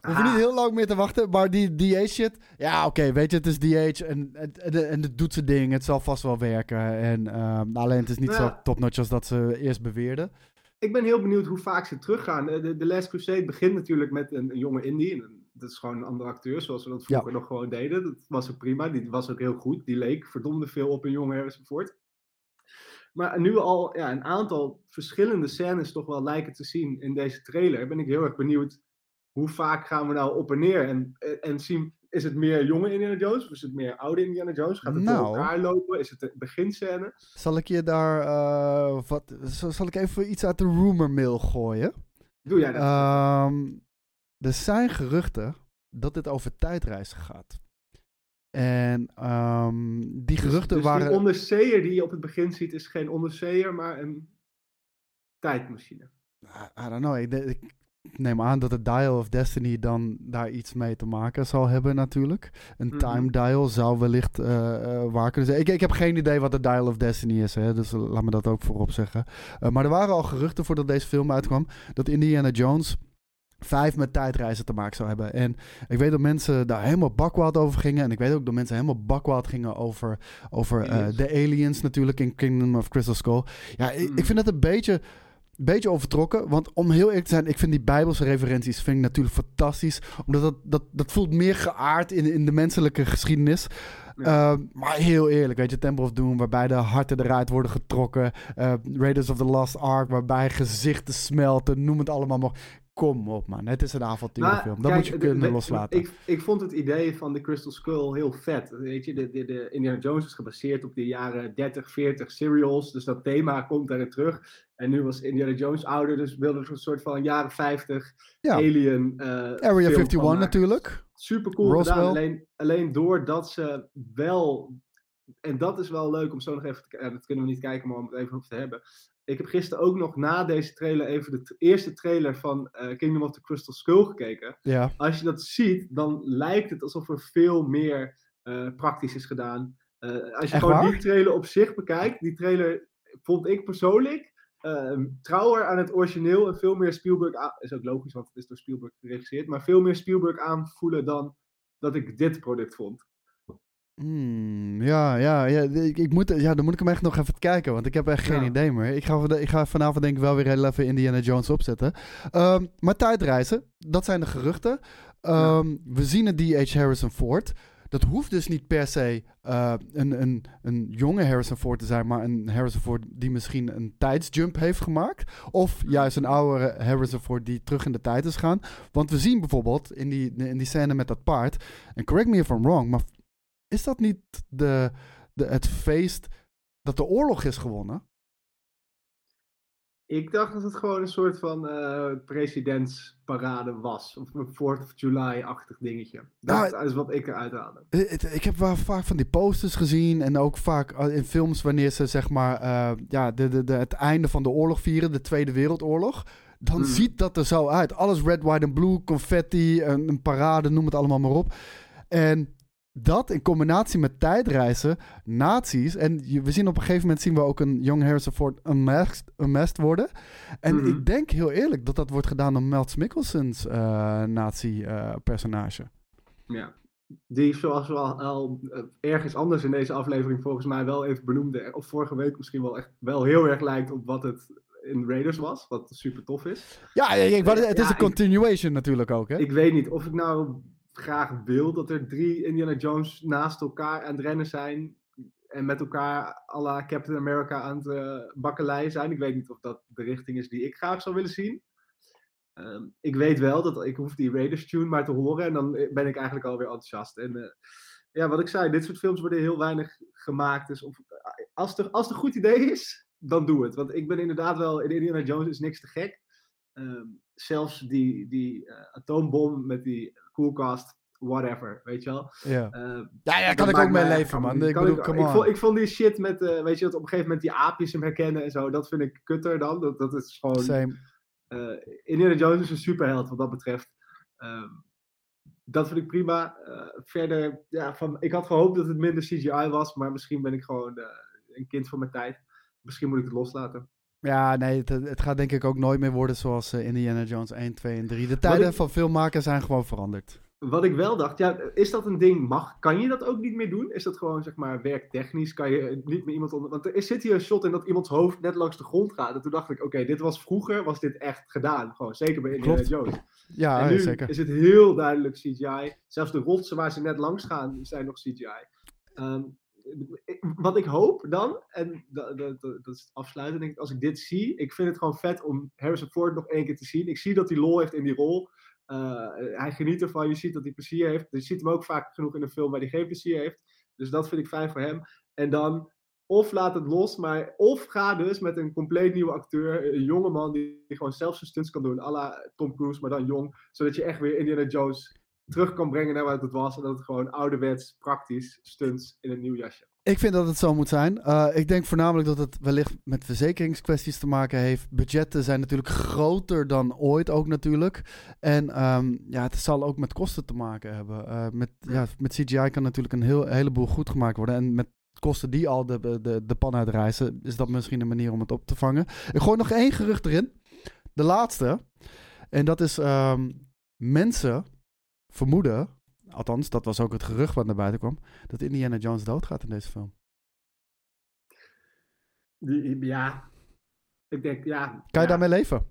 Speaker 4: we hoeven niet heel lang meer te wachten, maar die de-aged shit... Ja, oké, weet je, het is de-aged en, en, en, en het doet zijn ding. Het zal vast wel werken. En, ehm, alleen het is niet
Speaker 5: Nou
Speaker 4: zo
Speaker 5: ja.
Speaker 4: topnotch als dat ze eerst beweerden.
Speaker 5: ik ben heel benieuwd hoe vaak ze teruggaan. De, de, de Last Crusade begint natuurlijk met een, een jonge indie. En een- dat is gewoon een andere acteur, zoals we dat vroeger nog gewoon deden. Dat was ook prima. Die was ook heel goed. Die leek verdomde veel op een jonge Harrison Ford. Maar nu al ja, een aantal verschillende scènes toch wel lijken te zien in deze trailer. Ben ik heel erg benieuwd hoe vaak gaan we nou op en neer. En, en- en zien, is het meer jonge Indiana Jones of is het meer oude Indiana Jones? Gaat het
Speaker 4: Nou.
Speaker 5: door elkaar lopen? Is het de beginscène?
Speaker 4: Zal ik je daar... eh, wat, zal zal ik even iets uit de rumor mail gooien?
Speaker 5: Doe jij dat?
Speaker 4: Ehm, er zijn geruchten dat dit over tijdreizen gaat. En ehm, die geruchten
Speaker 5: dus
Speaker 4: waren.
Speaker 5: die onderzeeër die je op het begin ziet is geen onderzeeër, maar een tijdmachine.
Speaker 4: I I don't know. Ik, de- ik neem aan dat de Dial of Destiny dan daar iets mee te maken zal hebben, natuurlijk. Een
Speaker 5: Mhm.
Speaker 4: time dial zou wellicht eh, eh, waar kunnen zijn. Ik, ik heb geen idee wat de Dial of Destiny is, hè, dus laat me dat ook voorop zeggen. Eh, maar er waren al geruchten voordat deze film uitkwam dat Indiana Jones. Vijf met tijdreizen te maken zou hebben. En ik weet dat mensen daar helemaal bakwaad over gingen. En ik weet ook dat mensen helemaal bakwaad gingen over, over eh,
Speaker 5: Aliens.
Speaker 4: de aliens natuurlijk in Kingdom of Crystal Skull. Ja, ik, ik
Speaker 5: Mm.
Speaker 4: vind dat een beetje, beetje overtrokken. Want om heel eerlijk te zijn, ik vind die Bijbelse referenties vind ik natuurlijk fantastisch. Omdat dat, dat, dat voelt meer geaard in, in de menselijke geschiedenis. Ehm, maar heel eerlijk, weet je, Temple of Doom, waarbij de harten eruit worden getrokken. eh, Raiders of the Lost Ark, waarbij gezichten smelten, noem het allemaal maar.
Speaker 7: Kom op, man. Het is een avonturenfilm.
Speaker 5: Nou,
Speaker 7: film. dat
Speaker 5: kijk,
Speaker 7: moet je
Speaker 5: de-
Speaker 7: kunnen
Speaker 5: de-
Speaker 7: loslaten.
Speaker 5: Ik, ik vond het idee van de Crystal Skull heel vet. Weet je, de, de, de Indiana Jones is gebaseerd op de jaren 30, 40 serials. Dus dat thema komt daarin terug. En nu was Indiana Jones ouder, dus wilde er een soort van jaren 50
Speaker 4: Ja.
Speaker 5: alien. eh, film van eh,
Speaker 4: Area 51
Speaker 5: maken.
Speaker 4: natuurlijk.
Speaker 5: Super cool
Speaker 4: Roswell.
Speaker 5: gedaan. Alleen, alleen doordat ze wel. En dat is wel leuk om zo nog even te kijken. Dat kunnen we niet kijken, maar om het even over te hebben. Ik heb gisteren ook nog na deze trailer even de t- eerste trailer van eh, Kingdom of the Crystal Skull gekeken
Speaker 4: Ja.
Speaker 5: als je dat ziet, dan lijkt het alsof er veel meer eh, praktisch is gedaan. Eh, als je
Speaker 4: Echt
Speaker 5: gewoon
Speaker 4: waar?
Speaker 5: die trailer op zich bekijkt, die trailer vond ik persoonlijk eh, trouwer aan het origineel en veel meer Spielberg aan. Is ook logisch, want het is door Spielberg geregisseerd, maar veel meer Spielberg aanvoelen dan dat ik dit product vond.
Speaker 4: Hmm, ja, ja, ja, ik, ik moet, ja, dan moet ik hem echt nog even kijken, want ik heb echt geen
Speaker 5: Ja.
Speaker 4: idee meer. Ik ga, van- ik ga vanavond denk ik wel weer heel even Indiana Jones opzetten. Ehm, maar tijdreizen, dat zijn de geruchten. Ehm, We zien een D.H. Harrison Ford. Dat hoeft dus niet per se eh, een, een, een jonge Harrison Ford te zijn, maar een Harrison Ford die misschien een tijdsjump heeft gemaakt. Of juist een oudere Harrison Ford die terug in de tijd is gaan. Want we zien bijvoorbeeld in die, in die scène met dat paard, en correct me if I'm wrong, maar is dat niet de, de, het feest dat de oorlog is gewonnen?
Speaker 5: Ik dacht dat het gewoon een soort van eh, presidentsparade was. Of een 4th of July-achtig dingetje.
Speaker 4: Nou,
Speaker 5: Dat is wat ik eruit haalde.
Speaker 4: Eh, het- Ik heb wel vaak van die posters gezien en ook vaak eh, in films wanneer ze zeg maar eh, ja, de, de, de, het einde van de oorlog vieren, de Tweede Wereldoorlog. Dan
Speaker 5: Hmm.
Speaker 4: ziet dat er zo uit. Alles red, white en blue, confetti, een, een parade, noem het allemaal maar op. En dat in combinatie met tijdreizen, nazi's. En je- we zien op een gegeven moment zien we ook een Young Harrison Ford unmasked, unmasked worden. En
Speaker 5: Mhm.
Speaker 4: ik denk heel eerlijk dat dat wordt gedaan door Mel Mickelson's eh nazi-personage.
Speaker 5: Ja. Die, zoals we al, al, eh, ergens anders in deze aflevering volgens mij wel even benoemde, of vorige week misschien wel echt wel heel erg lijkt op wat het in Raiders was, wat super tof is.
Speaker 4: Ja, ja, ja, ik wou net- het
Speaker 5: Ja,
Speaker 4: is een
Speaker 5: ik-
Speaker 4: continuation natuurlijk ook, hè?
Speaker 5: Ik weet niet of ik nou graag wil dat er drie Indiana Jones naast elkaar aan het rennen zijn en met elkaar à la Captain America aan het eh, bakkeleien zijn. Ik weet niet of dat de richting is die ik graag zou willen zien. Ehm, ik weet wel dat ik hoef die Raiders tune maar te horen en dan eh, ben ik eigenlijk alweer enthousiast. En eh, ja, wat ik zei, dit soort films worden heel weinig gemaakt. Dus of, als, het, als het een goed idee is, dan doe het. Want ik ben inderdaad wel, in Indiana Jones is niks te gek. Ehm, zelfs die, die eh, atoombom met die koelkast, whatever, weet je wel.
Speaker 4: ja.
Speaker 5: Eh,
Speaker 4: ja, ja,
Speaker 5: dat
Speaker 4: kan ik
Speaker 5: maakt
Speaker 4: ook
Speaker 5: mij
Speaker 4: mee leven,
Speaker 5: eigenlijk
Speaker 4: man.
Speaker 5: allemaal
Speaker 4: Ik
Speaker 5: niet. Kan
Speaker 4: bedoel, come
Speaker 5: Ik vond,
Speaker 4: on.
Speaker 5: ik vond die shit met, eh, weet je, dat op een gegeven moment die aapjes hem herkennen en zo, dat vind ik kutter dan. Dat, dat is gewoon...
Speaker 4: Same.
Speaker 5: Eh, Indiana Jones is een superheld wat dat betreft. Ehm, dat vind ik prima. Eh, verder, ja, van, ik had gehoopt dat het minder CGI was, maar misschien ben ik gewoon eh, een kind van mijn tijd. Misschien moet ik het loslaten.
Speaker 4: Ja, nee, het, het gaat denk ik ook nooit meer worden zoals eh, Indiana Jones 1, 2 en 3. De tijden
Speaker 5: ik-
Speaker 4: van filmmakers zijn gewoon veranderd.
Speaker 5: Wat ik wel dacht, ja, is dat een ding? Mag, kan je dat ook niet meer doen? Is dat gewoon, zeg maar, werktechnisch? Kan je eh, niet meer iemand onder... Want er zit hier een shot in dat iemands hoofd net langs de grond gaat. En toen dacht ik, oké, dit was vroeger, was dit echt gedaan. Gewoon, zeker bij Indiana
Speaker 4: Klopt.
Speaker 5: Jones.
Speaker 4: Ja,
Speaker 5: en
Speaker 4: ja,
Speaker 5: nu
Speaker 4: zeker.
Speaker 5: is het heel duidelijk CGI. Zelfs de rotsen waar ze net langs gaan, zijn nog CGI. Ehm, ik- wat ik hoop dan, en da- da- da- dat is het afsluiten, denk ik, als ik dit zie, ik vind het gewoon vet om Harrison Ford nog één keer te zien. Ik zie dat hij lol heeft in die rol. Eh, hij geniet ervan, je ziet dat hij plezier heeft. Dus je ziet hem ook vaak genoeg in een film waar hij geen plezier heeft. Dus dat vind ik fijn voor hem. En dan, of laat het los, maar of ga dus met een compleet nieuwe acteur, een jonge man die gewoon zelf zijn stunts kan doen, à la Tom Cruise, maar dan jong, zodat je echt weer Indiana Jones terug kan brengen naar wat het was en dat het gewoon ouderwets, praktisch, stunts in een nieuw jasje.
Speaker 4: Ik vind dat het zo moet zijn. Eh, ik denk voornamelijk dat het wellicht met verzekeringskwesties te maken heeft. Budgetten zijn natuurlijk groter dan ooit ook natuurlijk. En ehm, ja, het zal ook met kosten te maken hebben. Eh, met, ja, met CGI kan natuurlijk een, heel, heleboel goed gemaakt worden. En met kosten die al de, de, de pan uitreizen, is dat misschien een manier om het op te vangen. Ik gooi nog één gerucht erin. De laatste. En dat is ehm, mensen vermoeden, althans dat was ook het gerucht wat naar buiten kwam, dat Indiana Jones doodgaat in deze film.
Speaker 5: Die- Ja, ik denk, ja.
Speaker 4: Kan je
Speaker 5: ja.
Speaker 4: daarmee leven?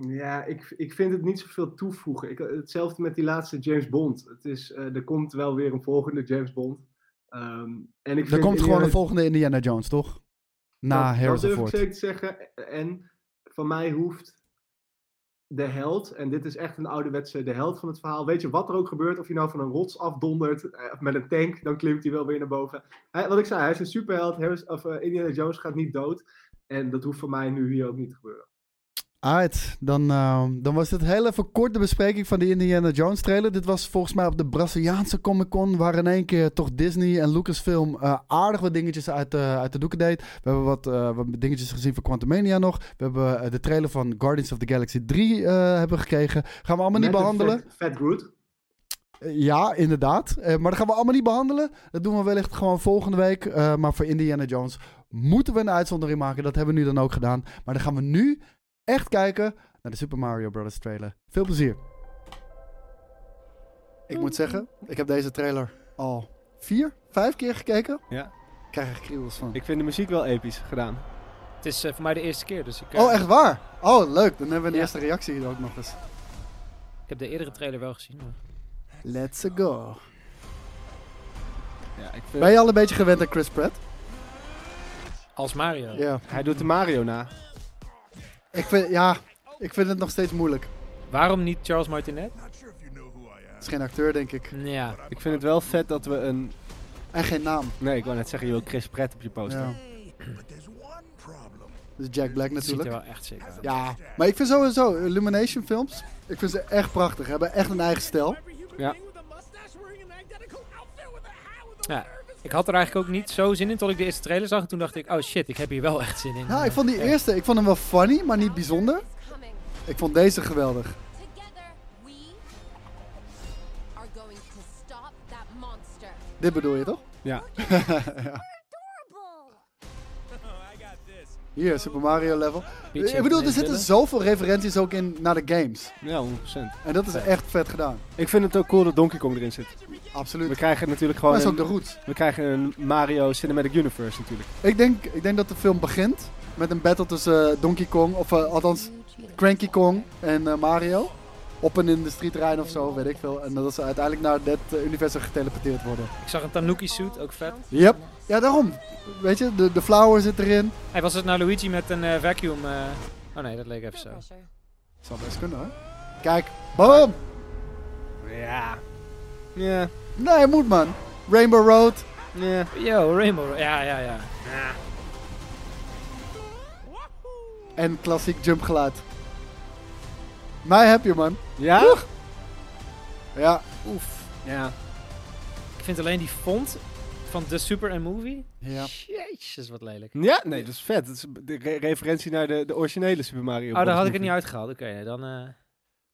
Speaker 5: Ja, ik, ik vind het niet zoveel toevoegen. Ik, hetzelfde met die laatste James Bond. Het is, eh, er komt wel weer een volgende James Bond. Ehm, en ik
Speaker 4: Er
Speaker 5: vind
Speaker 4: komt gewoon
Speaker 5: Indiana-
Speaker 4: een volgende Indiana Jones, toch? Na
Speaker 5: dat, dat
Speaker 4: Harrison
Speaker 5: durf ik
Speaker 4: Ford.
Speaker 5: zeker te zeggen. En van mij hoeft de held. En dit is echt een ouderwetse de held van het verhaal. Weet je wat er ook gebeurt, of je nou van een rots afdondert eh, of met een tank, dan klimt hij wel weer naar boven. Hij- wat ik zei, hij is een superheld. Harris, of, eh, Indiana Jones gaat niet dood. En dat hoeft voor mij nu hier ook niet te gebeuren.
Speaker 4: Alright, dan, ehm, dan was dit heel even kort de bespreking van de Indiana Jones trailer. Dit was volgens mij op de Braziliaanse Comic Con, waar in één keer toch Disney en Lucasfilm eh, aardig wat dingetjes uit, de- uit de doeken deed. We hebben wat, eh, wat dingetjes gezien van Quantumania nog. We hebben eh, de trailer van Guardians of the Galaxy 3 eh, hebben gekregen. Gaan we allemaal
Speaker 5: Met
Speaker 4: niet
Speaker 5: een
Speaker 4: behandelen.
Speaker 5: Vet, vet Groot.
Speaker 4: Eh, Ja, inderdaad. Eh, maar dat gaan we allemaal niet behandelen. Dat doen we wellicht gewoon volgende week. Eh, maar voor Indiana Jones moeten we een uitzondering maken. Dat hebben we nu dan ook gedaan. Maar dan gaan we nu echt kijken naar de Super Mario Bros. trailer. Veel plezier. Ik moet zeggen, ik heb deze trailer al vier, vijf keer gekeken.
Speaker 2: Ja.
Speaker 4: Ik krijg er kriebels van.
Speaker 2: Ik vind de muziek wel episch gedaan.
Speaker 3: Het is eh, voor mij de eerste keer, dus ik, eh,
Speaker 4: Oh, echt waar? Oh, leuk. Dan hebben we een
Speaker 3: Ja.
Speaker 4: eerste reactie hier ook nog eens.
Speaker 3: ik heb de eerdere trailer wel gezien. maar-
Speaker 4: Let's go.
Speaker 2: Ja, ik vind...
Speaker 4: Ben je al een beetje gewend aan Chris Pratt?
Speaker 3: Als Mario.
Speaker 2: Hij doet de Mario na.
Speaker 4: Ik vind, ja, ik vind het nog steeds moeilijk.
Speaker 3: Waarom niet Charles Martinet?
Speaker 4: Het is geen acteur, denk ik.
Speaker 3: Ja.
Speaker 2: Ik vind het wel vet dat we een...
Speaker 4: En geen naam.
Speaker 2: Nee, ik wou net zeggen, je wil Chris Pratt op je poster.
Speaker 4: Ja.
Speaker 6: But there's one problem.
Speaker 4: Dus Jack Black
Speaker 3: Dat ziet er
Speaker 4: natuurlijk.
Speaker 3: wel echt zeker uit.
Speaker 4: Ja, maar ik vind sowieso Illumination films, ik vind ze echt prachtig. Ze hebben echt een eigen stijl.
Speaker 2: Ja.
Speaker 3: Ja, ik had er eigenlijk ook niet zo zin in tot ik de eerste trailer zag. En toen dacht ik, oh shit, ik heb hier wel echt zin in.
Speaker 4: Nou, ik vond die
Speaker 3: Ja.
Speaker 4: eerste, ik vond hem wel funny, maar niet bijzonder. Ik vond deze geweldig.
Speaker 8: Together, we are going to stop that monster.
Speaker 4: Dit bedoel je toch?
Speaker 2: Ja.
Speaker 4: Hier, Super Mario level.
Speaker 3: Peach
Speaker 4: ik bedoel, er
Speaker 3: heeft
Speaker 4: zitten
Speaker 3: billen.
Speaker 4: zoveel referenties ook in naar de games.
Speaker 2: Ja, 100%.
Speaker 4: En dat is echt vet gedaan.
Speaker 2: Ik vind het ook cool dat Donkey Kong erin zit. We
Speaker 4: Absoluut.
Speaker 2: krijgen natuurlijk
Speaker 4: Dat
Speaker 2: gewoon
Speaker 4: is ook de
Speaker 2: een,
Speaker 4: roots.
Speaker 2: we krijgen een Mario Cinematic Universe natuurlijk.
Speaker 4: Ik denk, ik denk dat de film begint met een battle tussen eh, Donkey Kong, of eh, althans Cranky Kong en eh, Mario. Op een industrieterrein of zo, weet ik veel. En dat ze uiteindelijk naar dat eh, universum geteleporteerd worden.
Speaker 3: Ik zag een Tanuki suit, ook vet.
Speaker 4: Yep. Ja, daarom. Weet je, de, de flower zit erin.
Speaker 3: Hij was het nou Luigi met een eh, vacuum. eh, Oh nee, dat leek even zo.
Speaker 4: Zou best kunnen, hoor. Kijk. Boom!
Speaker 2: Ja. Ja.
Speaker 4: Nee, moet man. Rainbow Road.
Speaker 2: Ja.
Speaker 3: Yo, Rainbow. Ja, ja, ja.
Speaker 4: En klassiek jump geluid. Mij heb je, man.
Speaker 2: Ja?
Speaker 4: Ja.
Speaker 3: Oef.
Speaker 2: Ja.
Speaker 3: Ik vind alleen die font van The Super and Movie.
Speaker 4: Ja.
Speaker 3: Jezus, wat lelijk.
Speaker 2: Ja, nee, dat is vet. Dat is de re- referentie naar de, de originele Super Mario
Speaker 3: Oh, daar
Speaker 2: Bros.
Speaker 3: had ik het niet
Speaker 2: movie.
Speaker 3: uitgehaald. Oké, nee, dan... eh,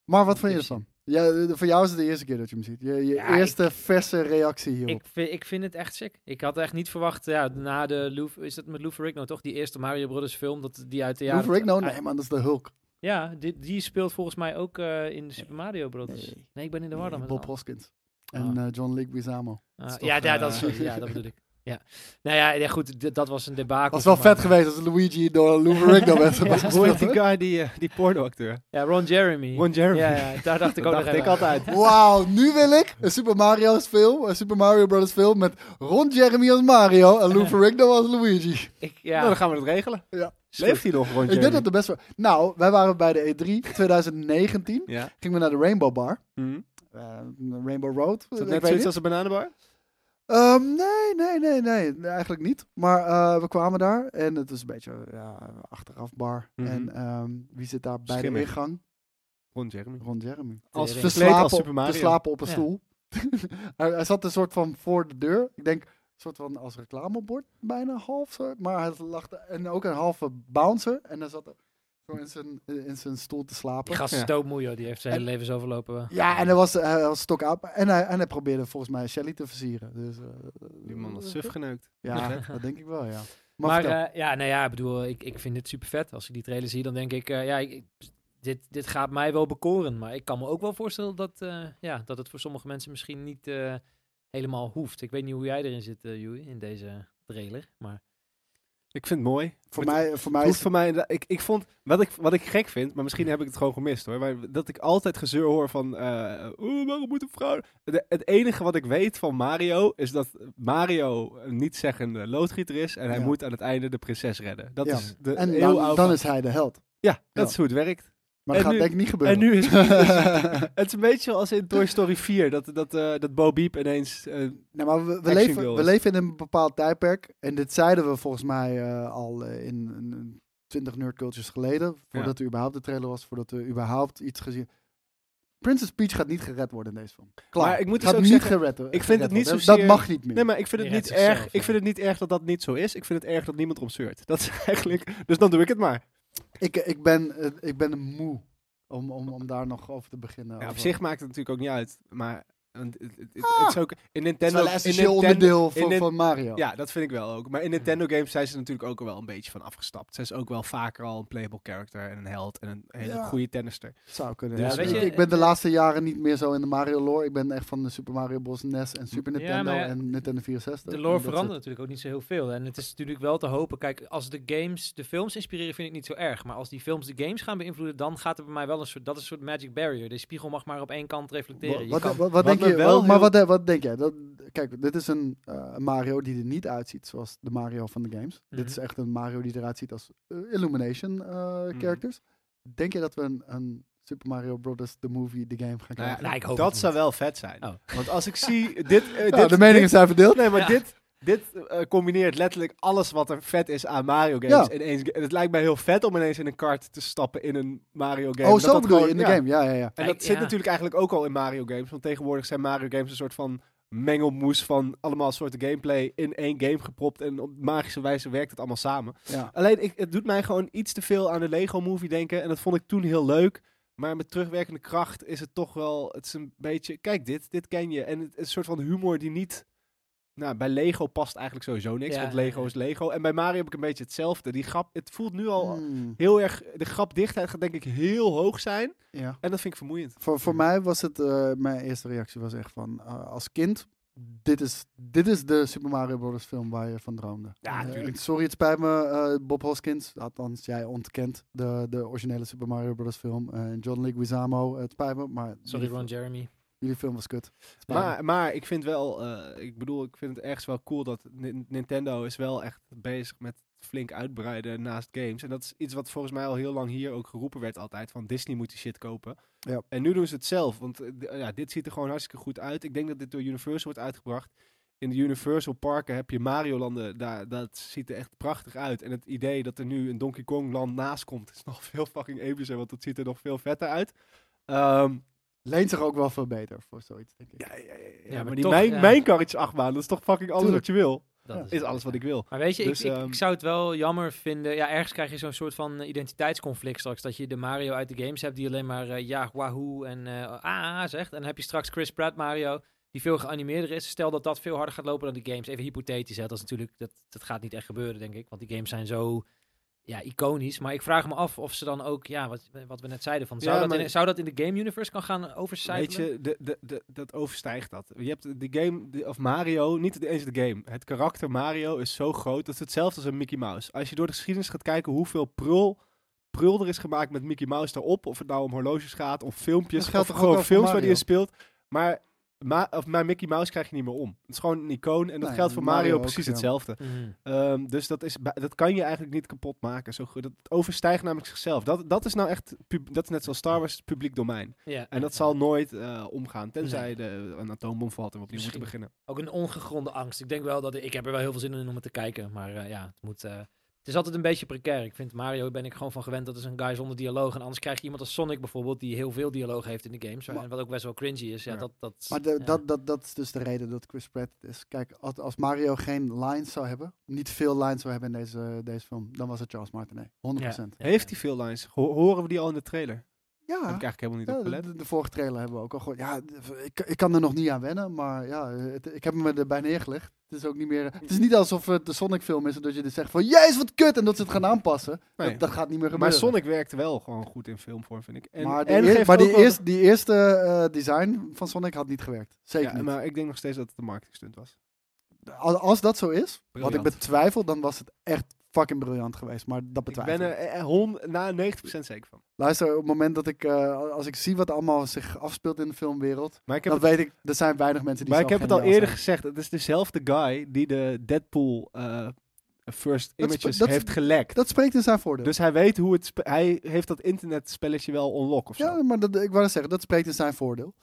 Speaker 4: Maar wat vond je ervan? Ja, eh, voor jou is het de eerste keer dat je hem ziet. Je, je
Speaker 3: Ja,
Speaker 4: eerste verse reactie hierop.
Speaker 3: Ik, vind, ik vind het echt sick. Ik had echt niet verwacht, ja, na de Lou, is dat met Lou Ferrigno toch? Die eerste Mario Brothers film, dat, die uit de
Speaker 4: Ja,
Speaker 3: jaren...
Speaker 4: Rick, nou,
Speaker 3: uit-
Speaker 4: nee man, dat is de Hulk.
Speaker 3: Ja, die, die speelt volgens mij ook eh, in de Super Mario Brothers. Nee, ik ben in de war dan met
Speaker 4: Bob
Speaker 3: een ander.
Speaker 4: Hoskins. En
Speaker 3: Ah.
Speaker 4: eh, John Leguizamo.
Speaker 3: Ah,
Speaker 4: is toch,
Speaker 3: ja, ja, dat
Speaker 4: eh,
Speaker 3: is, sorry, ja, dat bedoel ik. Ja. Nou ja, ja goed, dit- dat was een debakel.
Speaker 4: Was wel
Speaker 3: maar-
Speaker 4: vet geweest als Luigi door Lou Rick nou werd
Speaker 3: Ja.
Speaker 2: Hoe
Speaker 4: gespeeld,
Speaker 2: heet die
Speaker 4: hoor.
Speaker 2: guy, die, eh, die pornoacteur?
Speaker 3: Ja, Ron Jeremy.
Speaker 2: Ron Jeremy.
Speaker 3: Ja, ja, daar dacht ik
Speaker 2: Dat
Speaker 3: ook nog
Speaker 2: dacht ik
Speaker 3: even aan.
Speaker 2: altijd.
Speaker 4: Wauw, nu wil ik een Super Mario's film, een Super Mario Brothers film met Ron Jeremy als Mario en Lou Ferrigno als Luigi.
Speaker 3: Ik,
Speaker 2: Nou,
Speaker 3: ja,
Speaker 2: dan gaan we dat regelen.
Speaker 4: Ja.
Speaker 2: Leeft hij nog, Ron
Speaker 4: Ik denk
Speaker 2: Jeremy?
Speaker 4: dat de best wel... Nou, wij waren bij de E3 2019,
Speaker 2: Ja.
Speaker 4: gingen we naar de Rainbow Bar,
Speaker 2: Hm.
Speaker 4: eh, Rainbow Road.
Speaker 2: Is
Speaker 4: ik
Speaker 2: dat
Speaker 4: weet
Speaker 2: net zoiets
Speaker 4: niet.
Speaker 2: als een bananenbar?
Speaker 4: Ehm, nee, nee, nee, nee, eigenlijk niet. Maar eh, we kwamen daar en het was een beetje ja, achteraf bar.
Speaker 2: Mhm.
Speaker 4: En ehm, wie zit daar bij
Speaker 2: Schimmig.
Speaker 4: de ingang?
Speaker 2: Ron Jeremy.
Speaker 4: Ron Jeremy.
Speaker 2: Als
Speaker 3: Te
Speaker 4: Te
Speaker 2: verkleed
Speaker 4: slapen,
Speaker 2: als
Speaker 4: op,
Speaker 2: Super Mario.
Speaker 4: te slapen op een
Speaker 3: Ja.
Speaker 4: stoel. hij, hij zat een soort van voor de deur. Ik denk, een soort van als reclamebord, bijna half. Zo. Maar hij lachte. En ook een halve bouncer. En hij zat er zo in zijn, in zijn stoel te slapen.
Speaker 3: die gast is
Speaker 2: Ja.
Speaker 3: doodmoe, joh. Die heeft zijn
Speaker 4: En-
Speaker 3: hele leven eh. zo verlopen.
Speaker 4: Ja, en hij was, hij was stok op. En hij, en hij probeerde volgens mij Shelly te versieren. Dus, eh,
Speaker 2: Die man was suf geneukt.
Speaker 4: Ja, dat denk ik wel, ja. Maar,
Speaker 3: Maar
Speaker 4: vertel.
Speaker 3: eh, ja, nou ja, ik bedoel, ik, ik vind dit super vet. Als ik die trailer zie, dan denk ik, eh, ja, ik, ik- dit, dit gaat mij wel bekoren. Maar ik kan me ook wel voorstellen dat, eh, ja, dat het voor sommige mensen misschien niet eh, helemaal hoeft. Ik weet niet hoe jij erin zit, eh Joey, in deze trailer. Maar
Speaker 2: Ik vind het mooi.
Speaker 4: voor,
Speaker 2: Het-
Speaker 4: mij, voor
Speaker 2: het
Speaker 4: mij
Speaker 2: hoeft
Speaker 4: is...
Speaker 2: voor mij, inderdaad- ik, ik vond, wat ik, wat ik gek vind, maar misschien heb ik het gewoon gemist hoor, maar dat ik altijd gezeur hoor van, eh oeh, waarom moet een vrouw... De- het enige wat ik weet van Mario is dat Mario een niet-zeggende loodgieter is en hij
Speaker 4: Ja.
Speaker 2: moet aan het einde de prinses redden. Dat
Speaker 4: Ja.
Speaker 2: is de
Speaker 4: En dan,
Speaker 2: eeuwenoude-
Speaker 4: dan is hij de held.
Speaker 2: Ja, dat
Speaker 4: Ja.
Speaker 2: is hoe het werkt.
Speaker 4: Maar dat
Speaker 2: En
Speaker 4: gaat
Speaker 2: nu-
Speaker 4: denk ik niet gebeuren.
Speaker 2: En nu is het is een beetje zoals in Toy Story 4, dat, dat, eh dat Bo Beep ineens... eh,
Speaker 4: Nee, maar we, we,
Speaker 2: Action
Speaker 4: leven,
Speaker 2: girls.
Speaker 4: we leven in een bepaald tijdperk. En dit zeiden we volgens mij eh, al eh, in, in, in 20 nerdcultures geleden. Voordat er überhaupt de trailer was. Voordat we überhaupt iets gezien... Princess Peach gaat niet gered worden in deze film. Klaar.
Speaker 2: Maar ik moet dus
Speaker 4: gaat
Speaker 2: ook
Speaker 4: niet
Speaker 2: zeggen,
Speaker 4: gered worden.
Speaker 2: ik vind het niet
Speaker 4: zo.
Speaker 2: zozeer-
Speaker 4: Dat mag niet meer.
Speaker 2: nee, maar ik vind, het
Speaker 3: Je
Speaker 2: niet
Speaker 3: redt zichzelf,
Speaker 2: erg,
Speaker 3: ja.
Speaker 2: ik vind het niet erg dat dat niet zo is. Ik vind het erg dat niemand erom zeurt. Dat is eigenlijk... Dus dan doe ik het maar.
Speaker 4: ik, ik, ben, eh, ik ben moe om, om, om daar nog over te beginnen.
Speaker 2: Ja, op
Speaker 4: Over-
Speaker 2: zich maakt het natuurlijk ook niet uit, maar... want Het, het- het- het is ook in
Speaker 4: Ah! Het is
Speaker 2: Nintendo.
Speaker 4: wel een
Speaker 2: in
Speaker 4: essentieel
Speaker 2: Nintendo-
Speaker 4: onderdeel
Speaker 2: in
Speaker 4: van,
Speaker 2: Nin-
Speaker 4: van Mario.
Speaker 2: Ja, dat vind ik wel ook. Maar in Nintendo games zijn ze natuurlijk ook wel een beetje van afgestapt. Ze is ook wel vaker al een playable character en een held en een hele
Speaker 4: Ja.
Speaker 2: goede tennister.
Speaker 4: Zou kunnen.
Speaker 2: Dus,
Speaker 4: Ja, weet
Speaker 2: eh,
Speaker 4: je, ik ben de laatste jaren niet meer zo in de Mario lore. Ik ben echt van de Super Mario Bros. NES en Super
Speaker 3: Ja,
Speaker 4: Nintendo
Speaker 3: maar ja,
Speaker 4: en Nintendo 64.
Speaker 3: De
Speaker 4: En
Speaker 3: lore
Speaker 4: dat
Speaker 3: verandert
Speaker 4: soort-
Speaker 3: natuurlijk ook niet zo heel veel. En het is natuurlijk wel te hopen. Kijk, als de games de films inspireren, vind ik niet zo erg. Maar als die films de games gaan beïnvloeden, dan gaat er bij mij wel een soort... Dat is een soort magic barrier. De spiegel mag maar op één kant reflecteren. Je
Speaker 4: Wat,
Speaker 3: kan-
Speaker 4: wat, wat denk
Speaker 2: me
Speaker 4: je?
Speaker 2: wel
Speaker 4: wat- maar
Speaker 2: heel-
Speaker 4: wat, eh, wat denk jij? Dat, kijk, dit is een eh, Mario die er niet uitziet zoals de Mario van de games. Dit is echt een Mario die eruit ziet als eh, Illumination eh, characters. Denk je dat we een, een Super Mario Bros. The Movie, The Game gaan
Speaker 2: Nou ja,
Speaker 4: krijgen?
Speaker 3: Nou, ik hoop
Speaker 2: dat
Speaker 3: het
Speaker 2: zou wel vet zijn.
Speaker 3: Oh.
Speaker 2: Want als ik zie dit, eh, dit
Speaker 4: Ja, Nou, de meningen
Speaker 2: dit-
Speaker 4: zijn verdeeld.
Speaker 2: nee, maar
Speaker 3: Ja.
Speaker 2: dit, dit eh, combineert letterlijk alles wat er vet is aan Mario games
Speaker 4: Ja.
Speaker 2: ineens. En het lijkt mij heel vet om ineens in een kart te stappen in een Mario game.
Speaker 4: oh,
Speaker 2: Dat
Speaker 4: zo
Speaker 2: dat
Speaker 4: bedoel je,
Speaker 2: gewoon-
Speaker 4: in de
Speaker 2: ja.
Speaker 4: game. Ja, ja, ja.
Speaker 2: En
Speaker 3: Kijk,
Speaker 2: dat zit
Speaker 3: ja.
Speaker 2: natuurlijk eigenlijk ook al in Mario games. Want tegenwoordig zijn Mario games een soort van mengelmoes van allemaal soorten gameplay in één game gepropt. En op magische wijze werkt het allemaal samen.
Speaker 4: ja.
Speaker 2: Alleen, ik, het doet mij gewoon iets te veel aan de Lego Movie denken. En dat vond ik toen heel leuk. Maar met terugwerkende kracht is het toch wel... Het is een beetje... Kijk, dit, dit ken je. En het is een soort van humor die niet... Nou, bij Lego past eigenlijk sowieso niks.
Speaker 3: Ja,
Speaker 2: want
Speaker 3: ja,
Speaker 2: Lego
Speaker 3: ja.
Speaker 2: is Lego. En bij Mario heb ik een beetje hetzelfde. Die grap... Het voelt nu al
Speaker 3: Mm.
Speaker 4: Hmm,
Speaker 2: heel erg... De grapdichtheid gaat denk ik heel hoog zijn.
Speaker 4: ja.
Speaker 2: En dat vind ik vermoeiend.
Speaker 4: Voor, voor mij was het, eh, mijn eerste reactie was echt van, eh, als kind, dit is, dit is de Super Mario Bros. film waar je van droomde.
Speaker 2: Ja,
Speaker 4: Eh,
Speaker 2: tuurlijk.
Speaker 4: sorry, het spijt me, eh, Bob Hoskins, althans jij ontkent de, de originele Super Mario Bros. film. eh, en John Leguizamo, eh, het spijt me, maar
Speaker 3: Sorry,
Speaker 4: jullie,
Speaker 3: Ron Jeremy.
Speaker 4: jullie film was kut. Het spijt me.
Speaker 2: Maar, maar ik vind wel, eh, ik bedoel, ik vind het ergens wel cool dat Nin- Nintendo is wel echt bezig met flink uitbreiden naast games. En dat is iets wat volgens mij al heel lang hier ook geroepen werd altijd, van Disney moet die shit kopen.
Speaker 4: Ja.
Speaker 2: En nu doen ze het zelf, want eh, d- ja, dit ziet er gewoon hartstikke goed uit. Ik denk dat dit door Universal wordt uitgebracht. In de Universal parken heb je Mario-landen, daar, dat ziet er echt prachtig uit. En het idee dat er nu een Donkey Kong-land naast komt, is nog veel fucking epischer, want dat ziet er nog veel vetter uit. Ehm,
Speaker 4: Leent zich ook wel veel beter voor zoiets, denk ik.
Speaker 2: ja, ja, ja, ja,
Speaker 3: maar
Speaker 2: maar, die
Speaker 3: toch,
Speaker 2: mijn,
Speaker 3: ja.
Speaker 2: mijn karretje achtbaan, dat is toch fucking alles
Speaker 4: Tuurlijk.
Speaker 2: wat je wil.
Speaker 3: Dat
Speaker 4: Ja.
Speaker 2: Is alles wat ik wil.
Speaker 3: Maar weet je,
Speaker 2: Dus,
Speaker 3: ik, ik,
Speaker 2: ehm,
Speaker 3: ik zou het wel jammer vinden. Ja, ergens krijg je zo'n soort van eh, identiteitsconflict straks. Dat je de Mario uit de games hebt die alleen maar eh, ja, wahoo en eh ah zegt. En dan heb je straks Chris Pratt Mario, die veel geanimeerder is. Stel dat dat veel harder gaat lopen dan de games. Even hypothetisch, hè. Dat, is natuurlijk, dat, dat gaat niet echt gebeuren, denk ik. Want die games zijn zo ja, iconisch. Maar ik vraag me af of ze dan ook, ja, wat, wat we net zeiden, van, zou,
Speaker 2: Ja,
Speaker 3: dat
Speaker 2: maar-
Speaker 3: in, zou dat in de game universe kan gaan overcijpelen?
Speaker 2: Weet je, de, de, de, dat overstijgt dat. Je hebt de game, de- of Mario, niet eens de game. Het karakter Mario is zo groot, dat is hetzelfde als een Mickey Mouse. Als je door de geschiedenis gaat kijken hoeveel prul, prul er is gemaakt met Mickey Mouse daarop, of het nou om horloges gaat, of filmpjes,
Speaker 4: Dat
Speaker 2: of
Speaker 4: geldt toch ook
Speaker 2: gewoon
Speaker 4: wel voor
Speaker 2: films waar die in
Speaker 4: Mario?
Speaker 2: speelt. Maar, ma, of, maar Mickey Mouse krijg je niet meer om. Het is gewoon een icoon en dat
Speaker 4: Nee,
Speaker 2: geldt voor
Speaker 4: Mario
Speaker 2: Mario,
Speaker 4: ook,
Speaker 2: precies
Speaker 4: ja.
Speaker 2: hetzelfde.
Speaker 3: Mhm.
Speaker 2: Ehm, dus dat, is, bij- dat kan je eigenlijk niet kapot maken. Zo, goed. dat overstijgt namelijk zichzelf. Dat, dat is nou echt, pub- dat is net zoals Star Wars, publiek domein.
Speaker 3: Ja.
Speaker 2: En dat zal nooit eh, omgaan, tenzij
Speaker 3: Nee.
Speaker 2: de, een atoombom valt en we opnieuw moeten
Speaker 3: Misschien.
Speaker 2: beginnen.
Speaker 3: Ook een ongegronde angst. Ik denk wel dat ik heb er wel heel veel zin in om het te kijken. Maar eh, ja, het moet. eh, het is altijd een beetje precair. Ik vind Mario ben ik gewoon van gewend. Dat is een guy zonder dialoog. En anders krijg je iemand als Sonic bijvoorbeeld, die heel veel dialoog heeft in de games.
Speaker 4: Maar-
Speaker 3: en wat ook best wel cringy is. Ja,
Speaker 2: Ja.
Speaker 3: Dat, dat,
Speaker 4: Maar de-
Speaker 3: ja.
Speaker 4: dat, dat, dat is dus de reden dat Chris Pratt het is. Kijk, als, als Mario geen lines zou hebben, niet veel lines zou hebben in deze, deze film, dan was het Charles Martinet. 100%.
Speaker 3: Ja,
Speaker 2: Heeft hij veel lines? Ho- horen we die al in de trailer?
Speaker 4: Ja.
Speaker 2: Heb ik eigenlijk helemaal niet
Speaker 4: Ah. Ja,
Speaker 2: op gelet.
Speaker 4: de, de vorige trailer hebben we ook al gehoord. Ja, ik, ik kan er nog niet aan wennen, maar ja, het- ik heb hem erbij neergelegd. Het is ook niet meer. Het is niet alsof het de Sonic film is en dat je er zegt van jezus wat kut en dat ze het gaan aanpassen.
Speaker 2: Nee.
Speaker 4: Dat, dat gaat niet meer
Speaker 2: Maar
Speaker 4: gebeuren.
Speaker 2: Sonic werkt wel gewoon goed in filmvorm, vind ik. En,
Speaker 4: maar die,
Speaker 2: en
Speaker 4: eer-
Speaker 2: geeft
Speaker 4: maar die,
Speaker 2: ook wel-
Speaker 4: eerste, die eerste eh, design van Sonic had niet gewerkt. Zeker
Speaker 2: Ja,
Speaker 4: niet.
Speaker 2: maar ik denk nog steeds dat het een marketingstunt was.
Speaker 4: Als, als dat zo is, wat
Speaker 2: Briljant.
Speaker 4: ik betwijfel, dan was het echt fucking briljant geweest. Maar dat
Speaker 2: Ik
Speaker 4: betwijfel
Speaker 2: ben er eh, eh, hon- na 90% zeker van.
Speaker 4: Luister, op het moment dat ik, eh, als ik zie wat allemaal zich afspeelt in de filmwereld,
Speaker 2: Maar ik heb
Speaker 4: dan
Speaker 2: het
Speaker 4: weet ik, er zijn weinig mensen die
Speaker 2: Maar
Speaker 4: zo
Speaker 2: ik heb het al
Speaker 4: geniaal
Speaker 2: eerder
Speaker 4: zijn.
Speaker 2: gezegd. Het is dezelfde guy die de Deadpool eh, First
Speaker 4: Dat is-
Speaker 2: Images
Speaker 4: dat is-
Speaker 2: heeft gelekt.
Speaker 4: Dat spreekt in zijn voordeel.
Speaker 2: dus hij weet hoe het... spe- Hij heeft dat internetspelletje wel unlock of zo.
Speaker 4: ja, maar dat, ik wou dat zeggen, dat spreekt in zijn voordeel.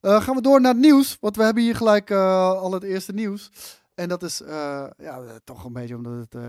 Speaker 4: Eh, gaan we door naar het nieuws, want we hebben hier gelijk eh, al het eerste nieuws. En dat is eh, ja, eh, toch een beetje omdat het eh,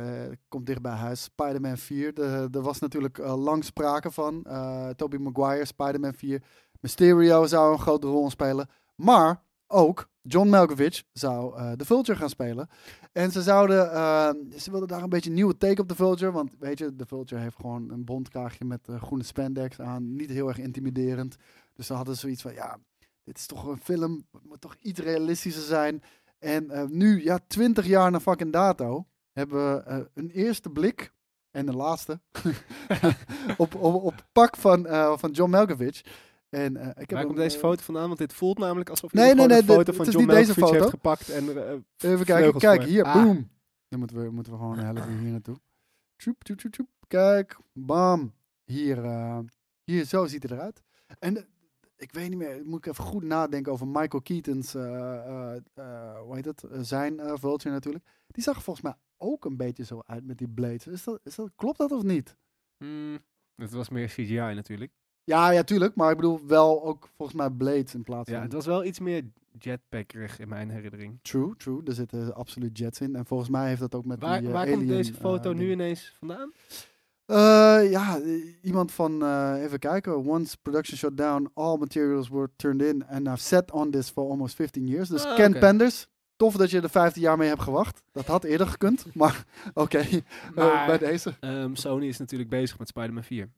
Speaker 4: komt dicht bij huis. Spider-Man 4, de- er was natuurlijk eh, lang sprake van. eh Tobey Maguire, Spider-Man 4. Mysterio zou een grote rol spelen. Maar ook John Malkovich zou eh, de Vulture gaan spelen. En ze zouden, eh, ze wilden daar een beetje een nieuwe take op de Vulture. Want weet je, de Vulture heeft gewoon een bondkraagje met eh, groene spandex aan. Niet heel erg intimiderend. Dus dan hadden ze zoiets van, ja, dit is toch een film. Het moet toch iets realistischer zijn. En eh, nu, ja, twintig jaar na fucking dato, hebben we eh, een eerste blik. En de laatste. op, op, op het pak van, eh, van John Malkovich. En, eh, ik heb
Speaker 2: Waar
Speaker 4: hem,
Speaker 2: komt deze
Speaker 4: eh,
Speaker 2: foto vandaan? Want dit voelt namelijk alsof
Speaker 4: Nee,
Speaker 2: iemand
Speaker 4: nee,
Speaker 2: gewoon
Speaker 4: nee,
Speaker 2: een foto van
Speaker 4: dit- het is
Speaker 2: John
Speaker 4: niet deze
Speaker 2: Malkovich heeft
Speaker 4: foto.
Speaker 2: gepakt. En, eh,
Speaker 4: Even kijken,
Speaker 2: vleugels
Speaker 4: kijk
Speaker 2: voor.
Speaker 4: hier,
Speaker 2: Ah.
Speaker 4: boom. Dan moeten we, moeten we gewoon een helft hier naartoe. Tjoep, tjoep, tjoep, tjoep. Kijk, bam. Hier, eh, hier, zo ziet het eruit. En eh, ik weet niet meer, moet ik even goed nadenken over Michael Keaton's, eh, eh, eh, hoe heet het, Eh, zijn eh Vulture natuurlijk. Die zag er volgens mij ook een beetje zo uit met die blades. Is dat, is dat, klopt dat of niet?
Speaker 2: mm, dat was meer CGI natuurlijk.
Speaker 4: Ja, ja, tuurlijk, maar ik bedoel wel ook volgens mij blades in plaats
Speaker 2: Ja,
Speaker 4: van...
Speaker 2: het was wel iets meer jetpackerig in mijn herinnering.
Speaker 4: True, true. Er zitten absoluut jets in. En volgens mij heeft dat ook met
Speaker 2: Waar,
Speaker 4: die eh,
Speaker 2: waar komt
Speaker 4: alien,
Speaker 2: deze
Speaker 4: eh,
Speaker 2: foto
Speaker 4: dingen.
Speaker 2: nu ineens vandaan?
Speaker 4: Eh, ja, i- iemand van, eh, even kijken. Once production shut down, all materials were turned in and I've sat on this for almost 15 years. Dus
Speaker 2: Ah,
Speaker 4: Ken
Speaker 2: oké.
Speaker 4: Penders, tof dat je er 15 jaar mee hebt gewacht. Dat had eerder gekund, maar oké, eh,
Speaker 2: Maar-
Speaker 4: bij deze.
Speaker 2: Ehm, Sony is natuurlijk bezig met Spider-Man 4.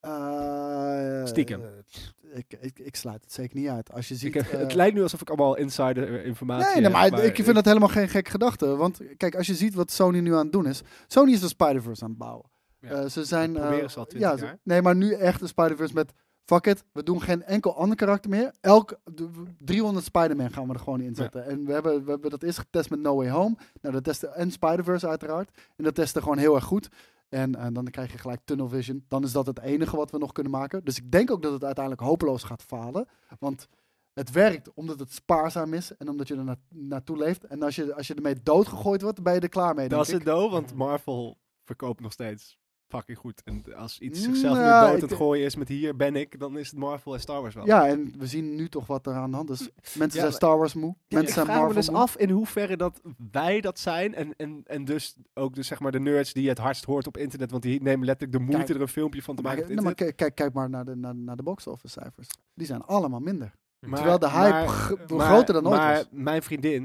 Speaker 4: Eh,
Speaker 2: Stiekem.
Speaker 4: eh, ik, ik, ik sluit het zeker niet uit. Als je ziet...
Speaker 2: Ik heb-
Speaker 4: eh,
Speaker 2: het lijkt nu alsof ik allemaal insider informatie
Speaker 4: Nee, nee, maar,
Speaker 2: heb,
Speaker 4: ik vind dat helemaal geen gekke gedachte. Want kijk, als je ziet wat Sony nu aan het doen is. Sony is de Spider-Verse aan het bouwen.
Speaker 2: Ja,
Speaker 4: Eh, ze zijn.
Speaker 2: dat proberen
Speaker 4: eh,
Speaker 2: ze al 20
Speaker 4: ze-
Speaker 2: jaar.
Speaker 4: Nee, maar nu echt de Spider-Verse met. Fuck it, we doen geen enkel ander karakter meer. Elk de- 300 Spider-Man gaan we er gewoon in zetten. En we hebben, we hebben dat eerst getest met No Way Home. Nou, dat testen en Spider-Verse uiteraard. En dat testen gewoon heel erg goed. En eh, dan krijg je gelijk tunnel vision. Dan is dat het enige wat we nog kunnen maken. Dus ik denk ook dat het uiteindelijk hopeloos gaat falen. Want het werkt omdat het spaarzaam is en omdat je er na- naartoe leeft. En als je, als je ermee doodgegooid wordt, ben je er klaar mee.
Speaker 2: Dat is
Speaker 4: denk
Speaker 2: het
Speaker 4: ik.
Speaker 2: though, want Marvel verkoopt nog steeds fucking goed. En als iets zichzelf nu
Speaker 4: Nou,
Speaker 2: dood aan het
Speaker 4: ik-
Speaker 2: gooien is met hier ben ik, dan is het Marvel en Star Wars wel.
Speaker 4: Ja, en we zien nu toch wat er aan de hand is. Mensen zijn
Speaker 2: maar-
Speaker 4: Star Wars moe.
Speaker 2: Ja, ik
Speaker 4: Mensen
Speaker 2: vraag
Speaker 4: zijn
Speaker 2: me
Speaker 4: Marvel
Speaker 2: dus
Speaker 4: moe.
Speaker 2: af in hoeverre dat wij dat zijn. En, en, en dus ook dus zeg maar de nerds die het hardst hoort op internet. Want die nemen letterlijk de moeite
Speaker 4: Kijk,
Speaker 2: er een filmpje van te
Speaker 4: Maar,
Speaker 2: maken op
Speaker 4: nou, maar
Speaker 2: internet.
Speaker 4: kijk, kijk, kijk maar naar de, naar, naar de box office cijfers. Die zijn allemaal minder.
Speaker 2: Maar-
Speaker 4: terwijl de hype
Speaker 2: maar-
Speaker 4: g-
Speaker 2: maar-
Speaker 4: groter dan ooit
Speaker 2: Maar
Speaker 4: was.
Speaker 2: mijn vriendin,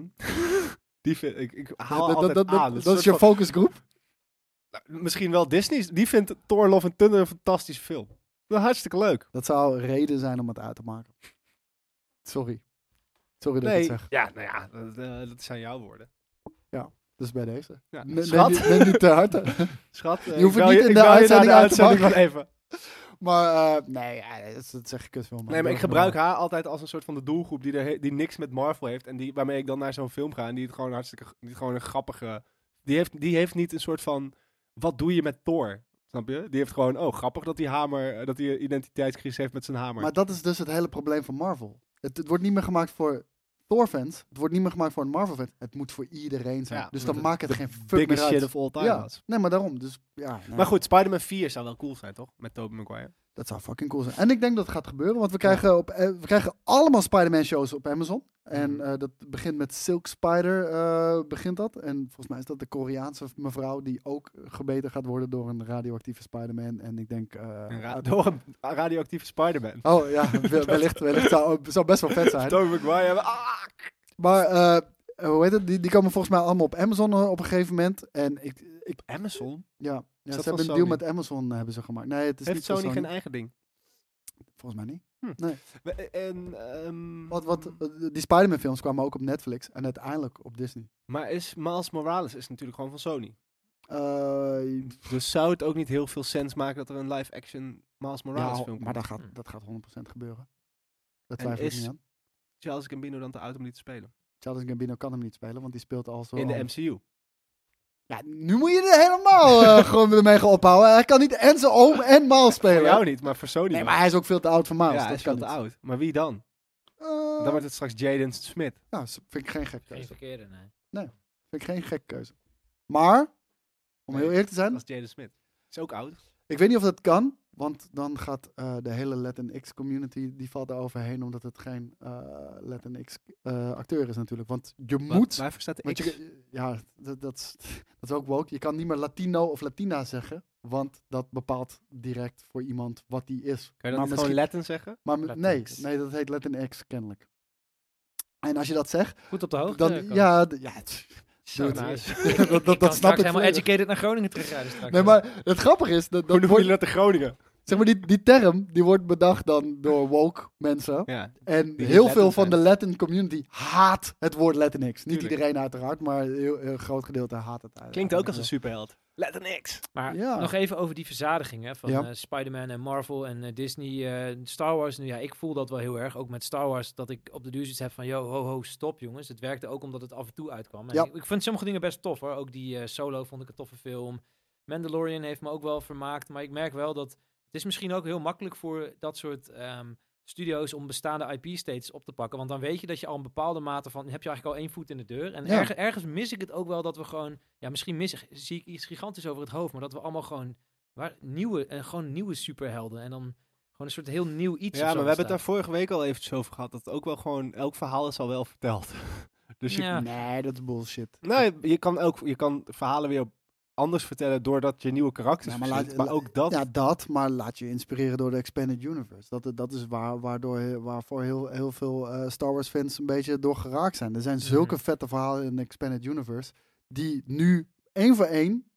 Speaker 2: die vind, ik, ik haal
Speaker 4: dat,
Speaker 2: altijd
Speaker 4: dat, dat,
Speaker 2: aan. dus
Speaker 4: dat
Speaker 2: een
Speaker 4: is
Speaker 2: soort
Speaker 4: je focusgroep.
Speaker 2: van- Nou, misschien wel Disney. Die vindt Thor Love and Thunder een fantastische film. Wel hartstikke leuk.
Speaker 4: Dat zou reden zijn om het uit te maken. Sorry. Sorry dat ik
Speaker 2: Nee,
Speaker 4: het zeg.
Speaker 2: ja, nou ja, dat, eh, dat zijn jouw woorden.
Speaker 4: Dus bij deze.
Speaker 2: Ja,
Speaker 4: Ne- Neem
Speaker 2: Ah, schat,
Speaker 4: niet- neem niet te harte.
Speaker 2: schat eh,
Speaker 4: je hoeft
Speaker 2: ik
Speaker 4: het
Speaker 2: wil
Speaker 4: niet in de
Speaker 2: ik wil je naar
Speaker 4: uitzending uit te
Speaker 2: uitzending wel even.
Speaker 4: Maar eh, nee, ja, dat, dat zeg ik kut veel.
Speaker 2: Nee, maar ik gebruik haar altijd als een soort van de doelgroep die, er he- die niks met Marvel heeft. En die, waarmee ik dan naar zo'n film ga. En die het gewoon hartstikke. Die het gewoon een grappige. Die heeft, die heeft niet een soort van. Wat doe je met Thor? Snap je? Die heeft gewoon. Oh, grappig dat die hamer. eh, Dat hij een identiteitscrisis heeft met zijn hamer.
Speaker 4: Maar dat is dus het hele probleem van Marvel. Het, het wordt niet meer gemaakt voor Thor-fans. Het wordt niet meer gemaakt voor een Marvel-fan. Het moet voor iedereen zijn.
Speaker 2: Ja,
Speaker 4: dus
Speaker 2: want
Speaker 4: dan
Speaker 2: het-
Speaker 4: maakt het
Speaker 2: de
Speaker 4: geen fuck meer
Speaker 2: Biggest
Speaker 4: uit.
Speaker 2: shit of all time.
Speaker 4: ja,
Speaker 2: was.
Speaker 4: nee, maar daarom. Dus ja, nee,
Speaker 2: Maar goed, Spider-Man 4 zou wel cool zijn, toch? Met Tobey Maguire.
Speaker 4: dat zou fucking cool zijn. En ik denk dat het gaat gebeuren, want we krijgen, op, eh, we krijgen allemaal Spider-Man-shows op Amazon. En
Speaker 2: Mhm.
Speaker 4: eh, dat begint met Silk Spider, eh, begint dat. En volgens mij is dat de Koreaanse mevrouw die ook gebeten gaat worden door een radioactieve Spider-Man. En ik denk... eh,
Speaker 2: Een ra-
Speaker 4: uit-
Speaker 2: door een radioactieve Spider-Man.
Speaker 4: Oh ja, we- wellicht, wellicht zou, zou best wel vet zijn.
Speaker 2: Tobey Maguire. Ah!
Speaker 4: Maar eh, hoe heet het? Die, die komen volgens mij allemaal op Amazon eh, op een gegeven moment. En ik, ik
Speaker 2: Amazon?
Speaker 4: ja, ja ze
Speaker 2: dat
Speaker 4: hebben een
Speaker 2: van
Speaker 4: deal
Speaker 2: Sony?
Speaker 4: met Amazon eh, hebben ze gemaakt. Nee, het is
Speaker 2: Heeft
Speaker 4: niet van
Speaker 2: Sony geen
Speaker 4: Sony.
Speaker 2: eigen ding?
Speaker 4: Volgens mij niet.
Speaker 2: We- En, ehm,
Speaker 4: Wat, wat, eh, die Spider-Man films kwamen ook op Netflix en uiteindelijk op Disney.
Speaker 2: Maar is Miles Morales is natuurlijk gewoon van Sony.
Speaker 4: Eh,
Speaker 2: Dus zou het ook niet heel veel sens maken dat er een live-action Miles Morales
Speaker 4: ja,
Speaker 2: film komt?
Speaker 4: maar dat gaat, dat gaat 100% gebeuren. Dat
Speaker 2: En
Speaker 4: twijfel ik
Speaker 2: is-
Speaker 4: niet aan.
Speaker 2: Charles Gambino dan te oud om die te spelen.
Speaker 4: Charles Gambino kan hem niet spelen, want die speelt al zo...
Speaker 2: In de
Speaker 4: al-
Speaker 2: MCU.
Speaker 4: Ja, nu moet je er helemaal eh, gewoon ermee gaan ophouden. Hij kan niet en zijn oom en Maal
Speaker 2: Voor jou
Speaker 4: spelen.
Speaker 2: niet, maar voor Sony
Speaker 4: Nee,
Speaker 2: wel.
Speaker 4: maar hij is ook veel te oud voor Maal.
Speaker 2: ja, hij is veel te oud. Maar wie
Speaker 4: Eh.
Speaker 2: dan? Dan wordt het straks Jaden Smith.
Speaker 4: nou, Ja, s- vind ik geen gek keuze.
Speaker 3: Geen verkeerde, nee.
Speaker 4: Vind ik geen gek keuze. Maar Om heel eerlijk te zijn.
Speaker 2: Dat is Jaden Smith. Is ook oud.
Speaker 4: Ik weet niet of dat kan, want dan gaat eh, de hele Latin X community die valt daar overheen, omdat het geen eh Latin X eh, acteur is natuurlijk. Want je moet.
Speaker 2: Waarvoor staat de
Speaker 4: want
Speaker 2: X?
Speaker 4: je, ja, dat, dat, is, dat is ook woke. Je kan niet meer Latino of Latina zeggen, want dat bepaalt direct voor iemand wat die is.
Speaker 2: Kan je dat niet
Speaker 4: misschien-
Speaker 2: gewoon Latin zeggen?
Speaker 4: maar m- nee,
Speaker 3: Latinx.
Speaker 4: nee, dat heet Latin X kennelijk. En als je dat zegt,
Speaker 3: Goed op de hoogte.
Speaker 4: dan
Speaker 3: eh, Koos.
Speaker 4: ja, d- ja, het-
Speaker 3: Zo
Speaker 4: Dude,
Speaker 3: nice.
Speaker 4: dat, dat,
Speaker 3: Ik kan
Speaker 4: dat snap
Speaker 3: straks
Speaker 4: ik.
Speaker 3: helemaal
Speaker 4: volledig.
Speaker 3: educated naar Groningen terugrijden straks.
Speaker 4: Nee, maar het grappige is dat, dat
Speaker 2: Hoe noemen
Speaker 4: wordt-
Speaker 2: jullie dat in Groningen?
Speaker 4: zeg maar die, die term die wordt bedacht dan door woke mensen.
Speaker 2: Ja.
Speaker 4: En
Speaker 2: niet
Speaker 4: heel
Speaker 2: Latin
Speaker 4: veel van de
Speaker 2: zijn.
Speaker 4: Latin community haat het woord Latinx. Niet
Speaker 2: Tuurlijk.
Speaker 4: iedereen uiteraard, maar een heel, heel groot gedeelte haat het. uit-
Speaker 2: Klinkt ook als een
Speaker 4: eigenlijk Eh,
Speaker 2: superheld. Latin X.
Speaker 3: Maar
Speaker 4: Ja.
Speaker 3: nog even over die verzadiging hè, van
Speaker 4: Ja.
Speaker 3: eh, Spider-Man en Marvel en eh, Disney, eh, Star Wars. Nu ja, ik voel dat wel heel erg. Ook met Star Wars, dat ik op de duur zoiets heb van, yo, ho, ho, stop jongens. Het werkte ook omdat het af en toe uitkwam. En
Speaker 4: Ja.
Speaker 3: ik, ik vind sommige dingen best tof hoor. Ook die eh, Solo vond ik een toffe film. Mandalorian heeft me ook wel vermaakt. Maar ik merk wel dat het is misschien ook heel makkelijk voor dat soort ehm, studio's om bestaande IP steeds op te pakken. Want dan weet je dat je al een bepaalde mate van, heb je eigenlijk al één voet in de deur. En
Speaker 4: Ja.
Speaker 3: erg- ergens mis ik het ook wel dat we gewoon, ja misschien mis, zie ik iets gigantisch over het hoofd. Maar dat we allemaal gewoon, waar, nieuwe, en gewoon nieuwe superhelden. En dan gewoon een soort heel nieuw
Speaker 2: Ja,
Speaker 3: iets. of
Speaker 2: maar
Speaker 3: zo
Speaker 2: we hebben het daar
Speaker 3: bestaat.
Speaker 2: vorige week al eventjes over gehad. Dat ook wel gewoon, elk verhaal is al wel verteld. Dus je,
Speaker 3: Ja.
Speaker 4: wel. Nee, dat is bullshit.
Speaker 2: nou, je, kan ook, je kan verhalen weer anders vertellen doordat je nieuwe karakters
Speaker 4: Ja,
Speaker 2: maar,
Speaker 4: maar laat-
Speaker 2: maar
Speaker 4: la-
Speaker 2: ook dat...
Speaker 4: Ja, dat, maar laat je inspireren door de Expanded Universe. Dat, dat is waar, waardoor, waarvoor heel, heel veel eh, Star Wars fans een beetje door geraakt zijn. Er zijn zulke
Speaker 3: Mhm.
Speaker 4: vette verhalen in de Expanded Universe, die nu één voor één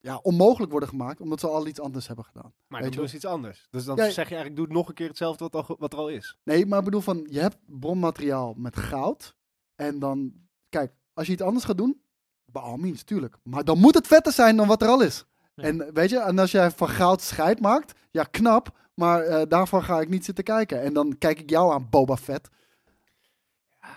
Speaker 4: ja, onmogelijk worden gemaakt, omdat ze al iets anders hebben gedaan.
Speaker 2: maar
Speaker 4: weet
Speaker 2: dan
Speaker 4: je
Speaker 2: doen ze iets anders. Dus dan
Speaker 4: Ja,
Speaker 2: zeg je eigenlijk, doe het nog een keer hetzelfde wat, al, ge- wat er al is.
Speaker 4: Nee, maar ik bedoel van, je hebt bronmateriaal met goud. En dan, kijk, als je iets anders gaat doen, by all means, tuurlijk. Maar dan moet het vetter zijn dan wat er al is.
Speaker 3: Ja.
Speaker 4: En weet je, en als jij van goud scheid maakt, ja, knap. Maar eh, daarvan ga ik niet zitten kijken. En dan kijk ik jou aan, Boba Fett.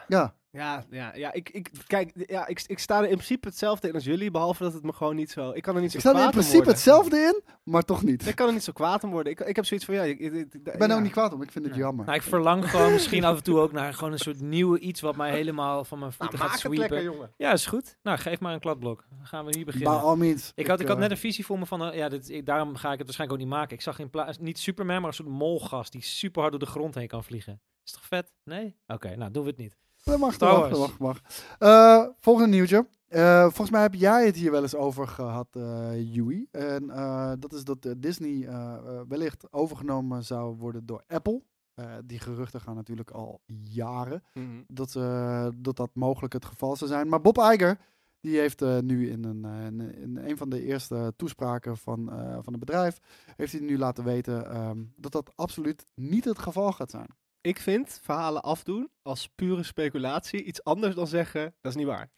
Speaker 4: Ja,
Speaker 2: Ja, ja, ja. Ik, ik, kijk, ja, ik, ik sta er in principe hetzelfde in als jullie, behalve dat het me gewoon niet zo... Ik kan er niet zo
Speaker 4: ik sta er in
Speaker 2: kwaad om
Speaker 4: principe
Speaker 2: worden.
Speaker 4: hetzelfde in, maar toch niet.
Speaker 2: Ik kan er niet zo kwaad om worden. Ik, ik heb zoiets van, ja... Ik, ik- ik-
Speaker 4: Ik ben
Speaker 2: ja.
Speaker 4: er ook niet kwaad om, ik vind het
Speaker 3: Ja.
Speaker 4: jammer.
Speaker 3: Nou, ik verlang gewoon misschien af en toe ook naar gewoon een soort nieuwe iets wat mij helemaal van mijn
Speaker 2: Nou,
Speaker 3: voeten
Speaker 2: maak
Speaker 3: gaat
Speaker 2: het
Speaker 3: sweepen.
Speaker 2: lekker, jongen.
Speaker 3: ja, is goed. Nou, geef maar een kladblok. Dan gaan we hier
Speaker 4: By
Speaker 3: beginnen.
Speaker 4: all means.
Speaker 3: Ik had, ik had
Speaker 4: eh,
Speaker 3: net een visie voor me van, eh, ja, dit, ik- daarom ga ik het waarschijnlijk ook niet maken. Ik zag in plaats, niet Superman, maar een soort molgast die super hard door de grond heen kan vliegen. Is toch vet? Nee? Oké, nou doen we het niet.
Speaker 4: Dat mag,
Speaker 3: Star
Speaker 4: dat mag,
Speaker 3: Wars.
Speaker 4: dat mag, dat mag. Eh, volgende nieuwtje. Eh, volgens mij heb jij het hier wel eens over gehad, eh Yui. En eh, dat is dat eh, Disney eh, eh, wellicht overgenomen zou worden door Apple. Eh, die geruchten gaan natuurlijk al jaren
Speaker 2: Mhm.
Speaker 4: dat, eh, dat dat mogelijk het geval zou zijn. Maar Bob Iger, die heeft eh, nu in een, eh, in, in een van de eerste toespraken van, eh, van het bedrijf, heeft hij nu laten weten ehm, dat dat absoluut niet het geval gaat zijn.
Speaker 2: Ik vind verhalen afdoen als pure speculatie iets anders dan zeggen, dat is niet waar.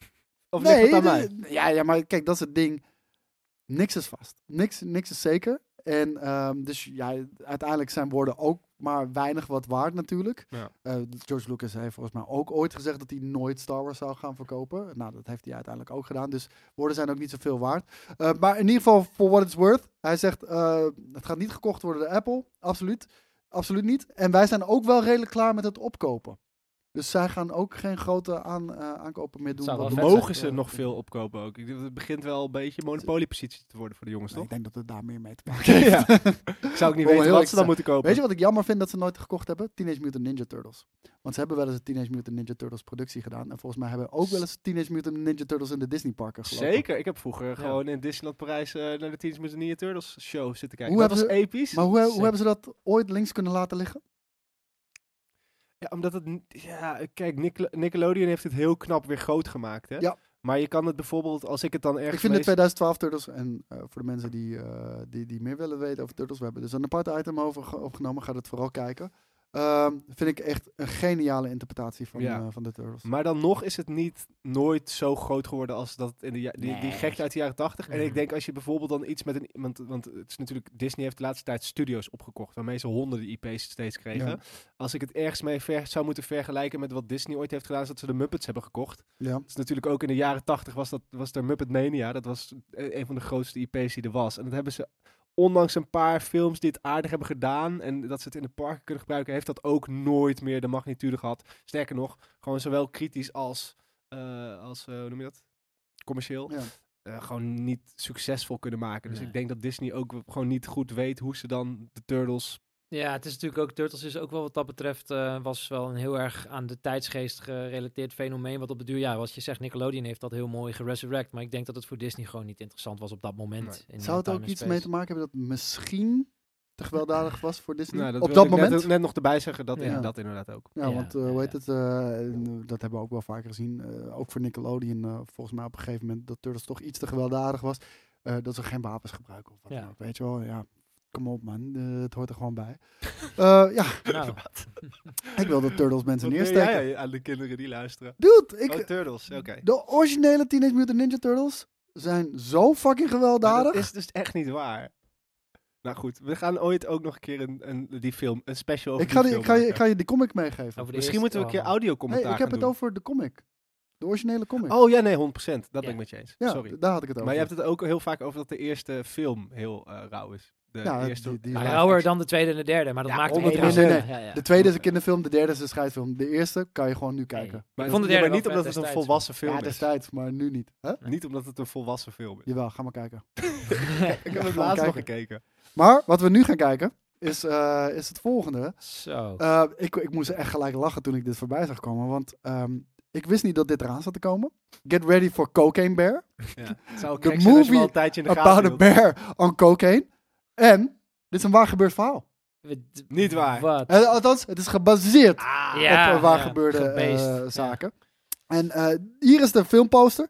Speaker 2: Of nee, ligt het aan mij?
Speaker 4: de- Ja, ja, maar kijk, dat is het ding. Niks is vast. Niks, niks is zeker. En ehm, dus ja, uiteindelijk zijn woorden ook maar weinig wat waard natuurlijk.
Speaker 2: Ja.
Speaker 4: Eh, George Lucas heeft volgens mij ook ooit gezegd dat hij nooit Star Wars zou gaan verkopen. Nou, dat heeft hij uiteindelijk ook gedaan. Dus woorden zijn ook niet zoveel waard. Eh, maar in ieder geval, for what it's worth. Hij zegt, eh, het gaat niet gekocht worden door Apple. Absoluut. Absoluut niet. En wij zijn ook wel redelijk klaar met het opkopen. Dus zij gaan ook geen grote aan, eh, aankopen meer doen.
Speaker 3: zou
Speaker 4: wat
Speaker 3: wel
Speaker 4: we-
Speaker 3: vet
Speaker 2: Mogen
Speaker 3: zijn.
Speaker 2: ze nog veel opkopen ook? Ik denk dat Het begint wel een beetje monopoliepositie te worden voor de jongens,
Speaker 4: Nee,
Speaker 2: toch?
Speaker 4: ik denk dat het daar meer mee te maken heeft.
Speaker 2: ja. Zou ik niet
Speaker 4: Om
Speaker 2: weten
Speaker 4: heel
Speaker 2: wat
Speaker 4: eerlijk
Speaker 2: ze
Speaker 4: te
Speaker 2: dan
Speaker 4: zijn.
Speaker 2: moeten kopen.
Speaker 4: Weet je wat ik jammer vind dat ze nooit gekocht hebben? Teenage Mutant Ninja Turtles. Want ze hebben wel eens een Teenage Mutant Ninja Turtles productie gedaan. En volgens mij hebben ook wel eens Teenage Mutant Ninja Turtles in de Disney parken gelopen.
Speaker 2: Zeker, ik heb vroeger gewoon in Disneyland Parijs eh, naar de Teenage Mutant Ninja Turtles show zitten kijken.
Speaker 4: Hoe
Speaker 2: dat was
Speaker 4: hebben
Speaker 2: episch.
Speaker 4: Maar hoe, hoe
Speaker 3: Zeker.
Speaker 4: hebben ze dat ooit links kunnen laten liggen?
Speaker 2: Ja, omdat het... n- Ja, kijk, Nickel- Nickelodeon heeft het heel knap weer groot gemaakt, hè?
Speaker 4: Ja.
Speaker 2: Maar je kan het bijvoorbeeld, als ik het dan ergens
Speaker 4: ik vind de
Speaker 2: lees-
Speaker 4: 2012 Turtles, en eh, voor de mensen die, eh, die, die meer willen weten over Turtles, we hebben dus een apart item over ge- opgenomen. Ga dat vooral kijken. Ehm, vind ik echt een geniale interpretatie van,
Speaker 2: Ja. Mm.
Speaker 4: eh, van de Turtles.
Speaker 2: Maar dan nog is het niet nooit zo groot geworden als dat in de ja- die, die gekte uit de jaren 80. En ik
Speaker 3: Mhm.
Speaker 2: denk als je bijvoorbeeld dan iets met een. Want, want het is natuurlijk, Disney heeft de laatste tijd studios opgekocht, waarmee ze honderden IP's steeds kregen.
Speaker 4: Ja.
Speaker 2: Als ik het ergens mee ver, zou moeten vergelijken met wat Disney ooit heeft gedaan, is dat ze de Muppets hebben gekocht.
Speaker 4: Ja.
Speaker 2: Dat is natuurlijk ook in de jaren 80 was, dat, was er Muppet Mania. Dat was eh, een van de grootste IP's die er was. En dat hebben ze, ondanks een paar films die het aardig hebben gedaan... en dat ze het in de parken kunnen gebruiken... heeft dat ook nooit meer de magnitude gehad. Sterker nog, gewoon zowel kritisch als... eh, als eh, hoe noem je dat? Commercieel.
Speaker 4: Ja.
Speaker 2: eh, gewoon niet succesvol kunnen maken. Dus
Speaker 3: Nee.
Speaker 2: ik denk dat Disney ook gewoon niet goed weet hoe ze dan de Turtles...
Speaker 3: Ja, het is natuurlijk ook, Turtles is ook wel wat dat betreft, eh, was wel een heel erg aan de tijdsgeest gerelateerd fenomeen. Wat op de duur, ja, wat je zegt, Nickelodeon heeft dat heel mooi geresurrect. Maar ik denk dat het voor Disney gewoon niet interessant was op dat moment. in, eh,
Speaker 4: Zou het
Speaker 3: time
Speaker 4: ook
Speaker 3: en
Speaker 4: iets
Speaker 3: space.
Speaker 4: mee te maken hebben dat misschien te gewelddadig was voor Disney?
Speaker 2: Nou,
Speaker 4: Hm, Op
Speaker 2: wilde
Speaker 4: dat
Speaker 2: ik net-
Speaker 4: moment?
Speaker 2: Net, nog erbij zeggen, dat, in-
Speaker 4: Ja.
Speaker 2: dat inderdaad ook.
Speaker 4: Ja,
Speaker 3: Ja,
Speaker 4: want eh,
Speaker 3: ja,
Speaker 4: hoe heet
Speaker 3: ja.
Speaker 4: het? eh, en, eh, dat hebben we ook wel vaker gezien. eh, ook voor Nickelodeon, eh, volgens mij op een gegeven moment, dat Turtles toch iets te gewelddadig was. eh, dat ze geen wapens gebruiken of wat
Speaker 3: Ja.
Speaker 4: dan ook. Weet je wel, ja, kom op man, eh, het hoort er gewoon bij. Eh, ja,
Speaker 3: Nou,
Speaker 4: ik wil dat Turtles mensen
Speaker 2: Wat deed
Speaker 4: neersteken.
Speaker 2: jij aan de kinderen die luisteren.
Speaker 4: Dude, ik, Hm.
Speaker 2: oh, Turtles, oké.
Speaker 4: de originele Teenage Mutant Ninja Turtles zijn zo fucking
Speaker 2: Maar
Speaker 4: gewelddadig.
Speaker 2: Dat is dus echt niet waar. Nou goed, we gaan ooit ook nog een keer een, een, die film, een special over
Speaker 4: ik, ga
Speaker 2: die film
Speaker 4: die, ik, ga je, ik
Speaker 2: maken.
Speaker 4: ga je die comic meegeven.
Speaker 3: over de
Speaker 2: Misschien
Speaker 3: eerste-
Speaker 2: moeten we een keer
Speaker 3: oh.
Speaker 4: Nee,
Speaker 2: audio-commentaar
Speaker 4: ik heb
Speaker 2: gaan
Speaker 4: het
Speaker 2: doen.
Speaker 4: over de comic. De originele comic.
Speaker 2: Oh ja, nee, 100%. Dat ben
Speaker 3: Ja.
Speaker 2: ik met je eens.
Speaker 4: ja,
Speaker 2: Sorry.
Speaker 4: daar had ik het over.
Speaker 2: Maar je hebt het ook heel vaak over dat de eerste film heel eh, rauw is. De
Speaker 4: Ja,
Speaker 2: eerste,
Speaker 4: die- die
Speaker 2: live
Speaker 3: nou,
Speaker 4: laat
Speaker 3: rauwer
Speaker 2: action.
Speaker 3: dan de tweede en de derde, maar dat
Speaker 2: Ja,
Speaker 3: maakt het
Speaker 2: 100%.
Speaker 3: niet
Speaker 4: Nee, nee,
Speaker 3: Ja, ja.
Speaker 4: De tweede is een kinderffilm, de derde is een scheidfilm. De eerste kan je gewoon nu kijken.
Speaker 2: Maar,
Speaker 3: Ik vond de
Speaker 2: ja,
Speaker 3: derde
Speaker 2: maar niet
Speaker 3: wel
Speaker 2: omdat het
Speaker 3: vet
Speaker 2: een
Speaker 3: destijds,
Speaker 2: volwassen film
Speaker 4: Ja,
Speaker 2: is.
Speaker 4: destijds, maar nu niet. Hè?
Speaker 2: Niet omdat het een volwassen film is.
Speaker 4: Jawel, ga maar kijken.
Speaker 2: Ik heb het
Speaker 4: gewoon
Speaker 2: laatst nog
Speaker 4: kijken.
Speaker 2: gekeken.
Speaker 4: Maar wat we nu gaan kijken, is, eh, is het volgende.
Speaker 3: Zo.
Speaker 4: Eh, ik, ik moest echt gelijk lachen toen ik dit voorbij zag komen, want ehm, ik wist niet dat dit eraan zat te komen. Get ready for Cocaine Bear.
Speaker 2: Ja. Het zou ook
Speaker 4: The
Speaker 2: gek zijn als je hem al
Speaker 4: movie
Speaker 2: een tijdje in de gaten
Speaker 4: About a
Speaker 2: hield.
Speaker 4: bear on cocaine. En, dit is een waar gebeurd verhaal.
Speaker 3: We- d-
Speaker 2: Niet waar.
Speaker 3: Wat?
Speaker 4: Eh, althans, het is gebaseerd op eh, waar
Speaker 3: Ah, ja,
Speaker 4: gebeurde
Speaker 3: gebeest.
Speaker 4: eh,
Speaker 3: Ja.
Speaker 4: zaken. En eh, hier is de filmposter.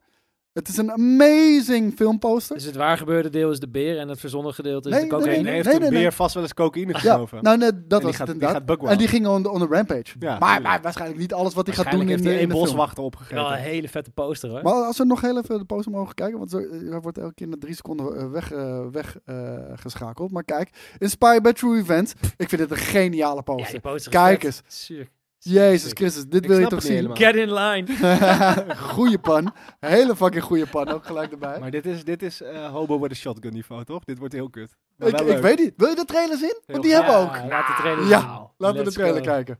Speaker 4: Het is een amazing filmposter.
Speaker 3: Dus het waar gebeurde deel is de beer en het verzonnen gedeelte is
Speaker 4: Nee,
Speaker 3: de
Speaker 4: nee,
Speaker 3: cocaïne.
Speaker 2: En hij heeft
Speaker 4: Nee,
Speaker 2: een
Speaker 4: nee, nee.
Speaker 2: beer vast wel eens cocaïne
Speaker 4: Ja,
Speaker 2: gesnoven.
Speaker 4: nou nee, dat
Speaker 2: En
Speaker 4: was
Speaker 2: die gaat,
Speaker 4: het
Speaker 2: die
Speaker 4: inderdaad.
Speaker 2: gaat buckwalk.
Speaker 4: en die ging on, on the rampage.
Speaker 2: Ja,
Speaker 4: maar, maar
Speaker 2: tuurlijk.
Speaker 4: waarschijnlijk niet alles wat hij gaat doen
Speaker 2: Waarschijnlijk
Speaker 4: in
Speaker 2: heeft hij
Speaker 4: de, in
Speaker 2: één
Speaker 4: de film.
Speaker 2: boswachter
Speaker 3: Wel een
Speaker 2: opgegeten.
Speaker 3: hele vette poster hoor.
Speaker 4: Maar als we nog heel even de poster mogen kijken, want zo- eh, hij wordt elke keer na drie seconden eh, weg, eh, weg, eh, geschakeld. Maar kijk, Inspired by True Events. Ik vind dit een geniale
Speaker 3: ja,
Speaker 4: poster.
Speaker 3: die poster
Speaker 4: Kijk
Speaker 3: is vet. Zuur.
Speaker 4: Jezus
Speaker 3: Sick.
Speaker 4: Christus, dit
Speaker 2: Ik
Speaker 4: wil je
Speaker 2: snap het
Speaker 4: toch
Speaker 2: niet
Speaker 4: zien?
Speaker 2: helemaal.
Speaker 3: Get in line.
Speaker 4: goeie pan. Hele fucking goeie pan, ook gelijk erbij.
Speaker 2: Maar dit is, dit is eh, hobo with a shotgun niveau, toch? Dit wordt heel kut. Maar
Speaker 4: ik,
Speaker 2: wel
Speaker 4: ik
Speaker 2: leuk.
Speaker 4: weet niet. Wil je de trailer zien? Want die
Speaker 3: Ja,
Speaker 4: hebben we ook.
Speaker 3: Laat de trailer
Speaker 4: Ja,
Speaker 3: zien.
Speaker 4: Laten we de
Speaker 3: Let's
Speaker 4: trailer
Speaker 3: go.
Speaker 4: kijken.